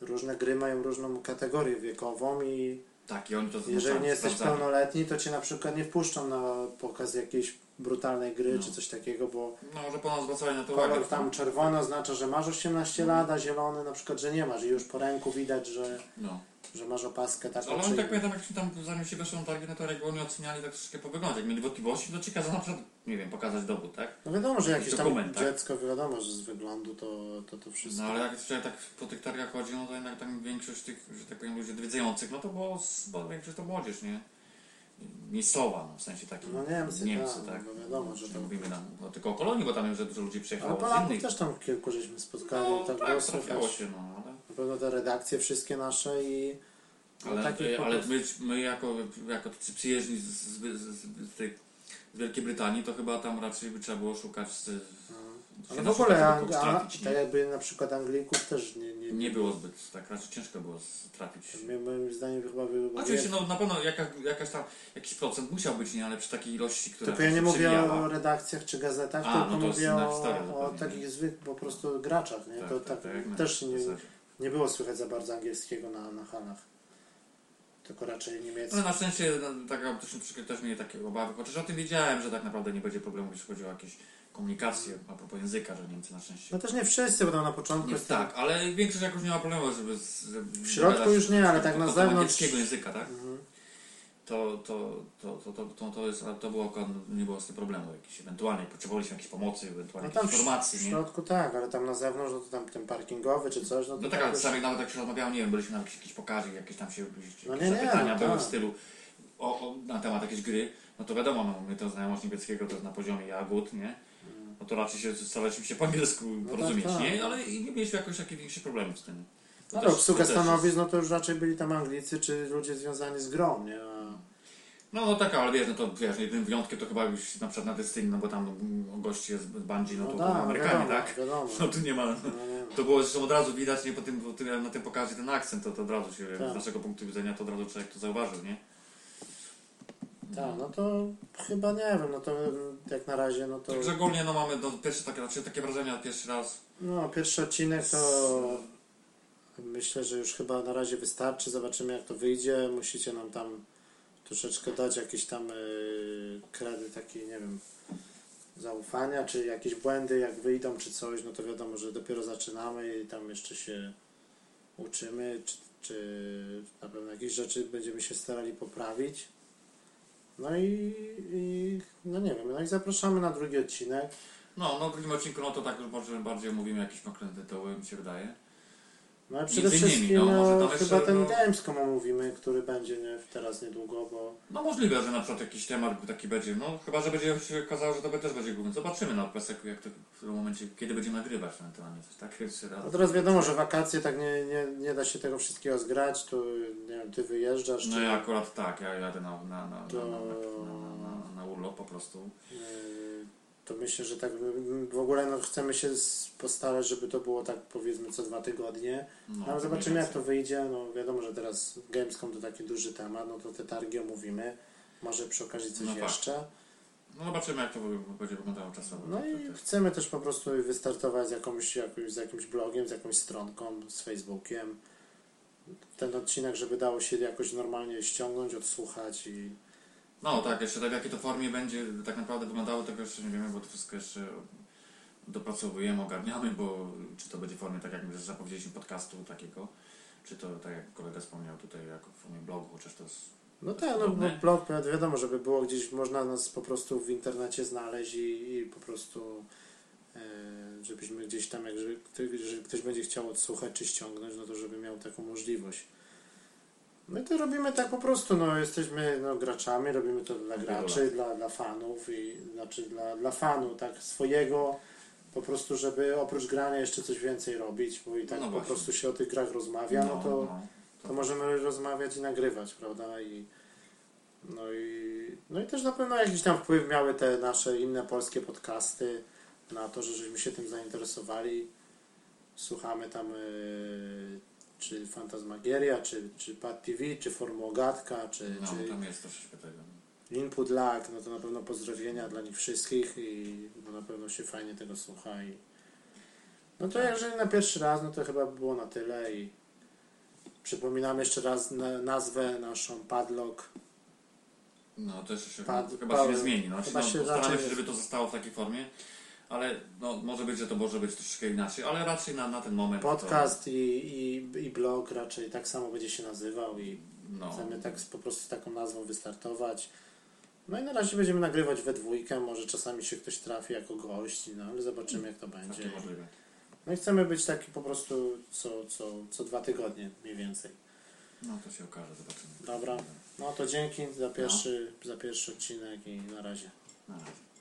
Speaker 1: różne gry mają różną kategorię wiekową i
Speaker 2: tak, i oni to
Speaker 1: jeżeli
Speaker 2: zaznaczali,
Speaker 1: nie jesteś
Speaker 2: sprawdzali.
Speaker 1: pełnoletni, to cię na przykład nie wpuszczą na pokaz jakiejś brutalnej gry
Speaker 2: No.
Speaker 1: czy coś takiego, bo
Speaker 2: No, że ponad zwracali na to uwagę.
Speaker 1: kolor tam czerwony oznacza, że masz 18 lat, a zielony na przykład, że nie masz i już po ręku widać, że,
Speaker 2: No.
Speaker 1: że masz opaskę taką
Speaker 2: Ale
Speaker 1: czy
Speaker 2: oni tak
Speaker 1: inną.
Speaker 2: pamiętam, jak się tam zanim się weszło na targi, no to jak oni oceniali tak troszeczkę po wyglądzie. Jak mieli wątpliwości, to ci kazano na przykład, nie wiem, pokazać dowód, tak?
Speaker 1: No wiadomo, że jakieś tam
Speaker 2: Dokument, tak?
Speaker 1: dziecko wiadomo, że z wyglądu to to, to
Speaker 2: No
Speaker 1: wszystko.
Speaker 2: ale jak człowiek tak po tych targach chodzi, no to jednak tam większość tych, że tak powiem, ludzi odwiedzających, no to było, z- bo większość to młodzież, nie? Miejscowa, no, w sensie takim
Speaker 1: No Niemcy,
Speaker 2: Niemcy
Speaker 1: tak,
Speaker 2: tak?
Speaker 1: no wiadomo, że
Speaker 2: Nie
Speaker 1: tak.
Speaker 2: Mówimy nam no, tylko o Polonii, bo tam wiem, że dużo ludzi
Speaker 1: Ale
Speaker 2: przyjechało z
Speaker 1: Polaków
Speaker 2: innych.
Speaker 1: też tam kilku żeśmy spotkali,
Speaker 2: no,
Speaker 1: tak
Speaker 2: tak,
Speaker 1: było
Speaker 2: trafiało
Speaker 1: słychać.
Speaker 2: się, no, ale...
Speaker 1: Na pewno te redakcje wszystkie nasze i no,
Speaker 2: Ale, e,
Speaker 1: takich po
Speaker 2: ale
Speaker 1: prostu-
Speaker 2: my, my jako, jako tacy przyjezdni z, z, z, z, tej, z Wielkiej Brytanii, to chyba tam raczej by trzeba było szukać. Z,
Speaker 1: Ale
Speaker 2: się
Speaker 1: w ogóle
Speaker 2: naszukać,
Speaker 1: Ang-
Speaker 2: żeby kogoś
Speaker 1: a,
Speaker 2: trafić,
Speaker 1: tak
Speaker 2: nie,
Speaker 1: jakby na przykład Anglików też nie, nie,
Speaker 2: nie było zbyt, tak raczej ciężko było z- trafić.
Speaker 1: Mie- Moim zdaniem chyba by było
Speaker 2: Oczywiście,
Speaker 1: więcej.
Speaker 2: no na pewno jakaś, jakaś tam, jakiś procent musiał być, nie, ale przy takiej ilości, która
Speaker 1: Tylko ja nie
Speaker 2: się
Speaker 1: mówię
Speaker 2: przewijała.
Speaker 1: o redakcjach czy gazetach,
Speaker 2: A,
Speaker 1: tylko
Speaker 2: no to jest
Speaker 1: mówię
Speaker 2: inna
Speaker 1: o,
Speaker 2: historia
Speaker 1: o
Speaker 2: zupełnie,
Speaker 1: takich zwykłych po prostu graczach. Nie? to tak,
Speaker 2: jak na-
Speaker 1: też
Speaker 2: w
Speaker 1: nie,
Speaker 2: zasadzie.
Speaker 1: nie było słychać za bardzo angielskiego na, na halach. Tylko raczej niemiecki.
Speaker 2: Ale na szczęście no, tak, też, też mieli takie obawy, chociaż o tym wiedziałem, że tak naprawdę nie będzie problemu, jeśli chodzi o jakieś komunikacje a propos języka, że Niemcy na szczęście
Speaker 1: No też nie wszyscy, bo tam na początku
Speaker 2: Nie,
Speaker 1: jest tam-
Speaker 2: tak, ale większość jak już nie ma problemu, żeby... Z, żeby
Speaker 1: No, W środku
Speaker 2: gadać
Speaker 1: już nie, ale
Speaker 2: z-
Speaker 1: tak na
Speaker 2: z- z
Speaker 1: zewnątrz-
Speaker 2: angielskiego języka, tak?
Speaker 1: Mhm.
Speaker 2: To, to, to, to, to, to, to, jest, ale to było, akurat- nie było z tym problemu jakiejś, ewentualnie potrzebowaliśmy jakiejś pomocy, ewentualnie
Speaker 1: No tam
Speaker 2: jakiejś
Speaker 1: w,
Speaker 2: informacji,
Speaker 1: w
Speaker 2: nie?
Speaker 1: środku tak, ale tam na zewnątrz, no to tam ten parkingowy czy coś, no to
Speaker 2: No tak, ale
Speaker 1: już-
Speaker 2: czasami nawet jak się rozmawiało, nie wiem, byliśmy na jakichś, jakichś pokazie, jakieś tam się jakieś
Speaker 1: No nie, nie,
Speaker 2: zapytania
Speaker 1: no
Speaker 2: były
Speaker 1: tak.
Speaker 2: w stylu o, o, na temat jakiejś gry, no to wiadomo, no, my to znajomość niemieckiego to jest na poziomie jagód, nie? No to raczej się staraliśmy się po angielsku
Speaker 1: tak,
Speaker 2: porozumieć,
Speaker 1: tak.
Speaker 2: nie? Ale i nie mieliśmy jakoś takich większych problemów z tym. To
Speaker 1: No ale
Speaker 2: też-
Speaker 1: obsługa
Speaker 2: to też jest-
Speaker 1: stanowisk, no to już raczej byli tam Anglicy czy ludzie związani z grą, nie? A,
Speaker 2: No, no tak, ale wiesz, no to wiesz, jedynym wyjątkiem to chyba już na przykład na Destiny, no bo tam mm, goście z Bandzi, no to byli Amerykanie,
Speaker 1: wiadomo,
Speaker 2: tak? [laughs]
Speaker 1: wiadomo.
Speaker 2: No tu nie ma.
Speaker 1: No, nie.
Speaker 2: To było zresztą od razu widać, nie po tym, po tym, na tym pokazie ten akcent, to, to od razu się,
Speaker 1: Tak.
Speaker 2: z naszego punktu widzenia, to od razu człowiek to zauważył, nie?
Speaker 1: Tak, no to chyba nie wiem, no to mm, jak na razie, no to
Speaker 2: Także ogólnie, no mamy no, pierwsze takie, znaczy, takie wrażenia, pierwszy raz.
Speaker 1: no, pierwszy odcinek to myślę, że już chyba na razie wystarczy, zobaczymy jak to wyjdzie, musicie nam tam troszeczkę dać jakiś tam yy, kredy taki, nie wiem, zaufania, czy jakieś błędy jak wyjdą, czy coś, no to wiadomo, że dopiero zaczynamy i tam jeszcze się uczymy, czy, czy na pewno jakieś rzeczy będziemy się starali poprawić. No i, i no nie wiem, no i zapraszamy na drugi odcinek.
Speaker 2: No, no w drugim odcinku, no to tak już może bardziej mówimy jakieś konkretne tytuły, mi się wydaje.
Speaker 1: No ale
Speaker 2: Między
Speaker 1: przede
Speaker 2: innymi,
Speaker 1: wszystkim
Speaker 2: no, może
Speaker 1: no,
Speaker 2: tam
Speaker 1: chyba
Speaker 2: jeszcze,
Speaker 1: ten
Speaker 2: no-
Speaker 1: Gamescom omówimy, który będzie nie, teraz niedługo, bo
Speaker 2: No możliwe, że na przykład jakiś temat taki będzie, no chyba, że będzie się okazało, że to też będzie główny. Zobaczymy na PESEK, jak to, w którym momencie, kiedy będziemy nagrywać na ten temat, coś tak jeszcze raz.
Speaker 1: no teraz wiadomo, że wakacje tak nie, nie, nie da się tego wszystkiego zgrać, tu nie wiem, ty wyjeżdżasz,
Speaker 2: No
Speaker 1: czy,
Speaker 2: ja akurat tak, ja jadę na, na, na,
Speaker 1: To-
Speaker 2: na, na, na, na, na urlop po prostu.
Speaker 1: yy, to myślę, że tak yy, w ogóle no, chcemy się s- postarać, żeby to było tak powiedzmy co dwa tygodnie,
Speaker 2: No,
Speaker 1: no, ale
Speaker 2: to
Speaker 1: zobaczymy
Speaker 2: mniej
Speaker 1: jak to
Speaker 2: więcej.
Speaker 1: wyjdzie, no wiadomo, że teraz Gamescom to taki duży temat, no to te targi omówimy, może przy okazji coś
Speaker 2: No tak.
Speaker 1: jeszcze.
Speaker 2: No zobaczymy jak to wy- będzie wyglądało czasowo. Tak,
Speaker 1: No
Speaker 2: To- to
Speaker 1: i
Speaker 2: też-
Speaker 1: chcemy też po prostu wystartować z, jakąś, jakimś, z jakimś blogiem, z jakąś stronką, z Facebookiem. Ten odcinek, żeby dało się jakoś normalnie ściągnąć, odsłuchać i
Speaker 2: No tak, jeszcze tak w jakiej to formie będzie tak naprawdę wyglądało, tego jeszcze nie wiemy, bo to wszystko jeszcze dopracowujemy, ogarniamy, bo czy to będzie w formie tak jak my zapowiedzieliśmy podcastu takiego, czy to tak jak kolega wspomniał tutaj jako w formie blogu, chociaż to jest
Speaker 1: no tak, no bo
Speaker 2: Podobne.
Speaker 1: blog wi- wiadomo, żeby było gdzieś, można nas po prostu w internecie znaleźć i, i po prostu e, żebyśmy gdzieś tam, jak żeby, kto- jeżeli ktoś będzie chciał odsłuchać czy ściągnąć, no to żeby miał taką możliwość. My to robimy tak po prostu, no jesteśmy no, graczami, robimy to dla
Speaker 2: Wielu
Speaker 1: graczy, dla, dla fanów i znaczy dla, dla fanu, tak swojego po prostu, żeby oprócz grania jeszcze coś więcej robić, bo i tak
Speaker 2: No
Speaker 1: po
Speaker 2: właśnie.
Speaker 1: prostu się o tych grach rozmawia, no, to to
Speaker 2: to-
Speaker 1: możemy rozmawiać i nagrywać, prawda? I, no, i, no i też na pewno jakiś tam wpływ miały te nasze inne polskie podcasty na to, że żeśmy się tym zainteresowali. Słuchamy tam y, czy Fantasmagieria, czy, czy Pad TV, czy Formogatka, czy,
Speaker 2: no,
Speaker 1: czy
Speaker 2: tam jest troszeczkę tego.
Speaker 1: Input Lag, no to na pewno pozdrowienia dla nich wszystkich i no na pewno się fajnie tego słucha i no
Speaker 2: Tak.
Speaker 1: to jeżeli na pierwszy raz, no to chyba by było na tyle i przypominam jeszcze raz na, nazwę naszą Padlock
Speaker 2: No to jeszcze się,
Speaker 1: Pad-
Speaker 2: chyba się nie
Speaker 1: Tak, Paweł.
Speaker 2: zmieni. No,
Speaker 1: Chyba
Speaker 2: no,
Speaker 1: się
Speaker 2: postaramy
Speaker 1: raczej-
Speaker 2: się, żeby to zostało w takiej formie, ale no, może być, że to może być troszeczkę inaczej, ale raczej na, na ten moment.
Speaker 1: Podcast i, i, i blog raczej tak samo będzie się nazywał i
Speaker 2: To, no,
Speaker 1: chcemy tak z- po prostu z taką nazwą wystartować. No i na razie będziemy nagrywać we dwójkę, może czasami się ktoś trafi jako gość, no ale zobaczymy jak to będzie.
Speaker 2: takie możliwe.
Speaker 1: No i chcemy być taki po prostu co, co, co dwa tygodnie mniej więcej.
Speaker 2: No to się okaże, zobaczymy.
Speaker 1: Dobra, no to dzięki za pierwszy, za pierwszy odcinek i na razie.
Speaker 2: Na razie.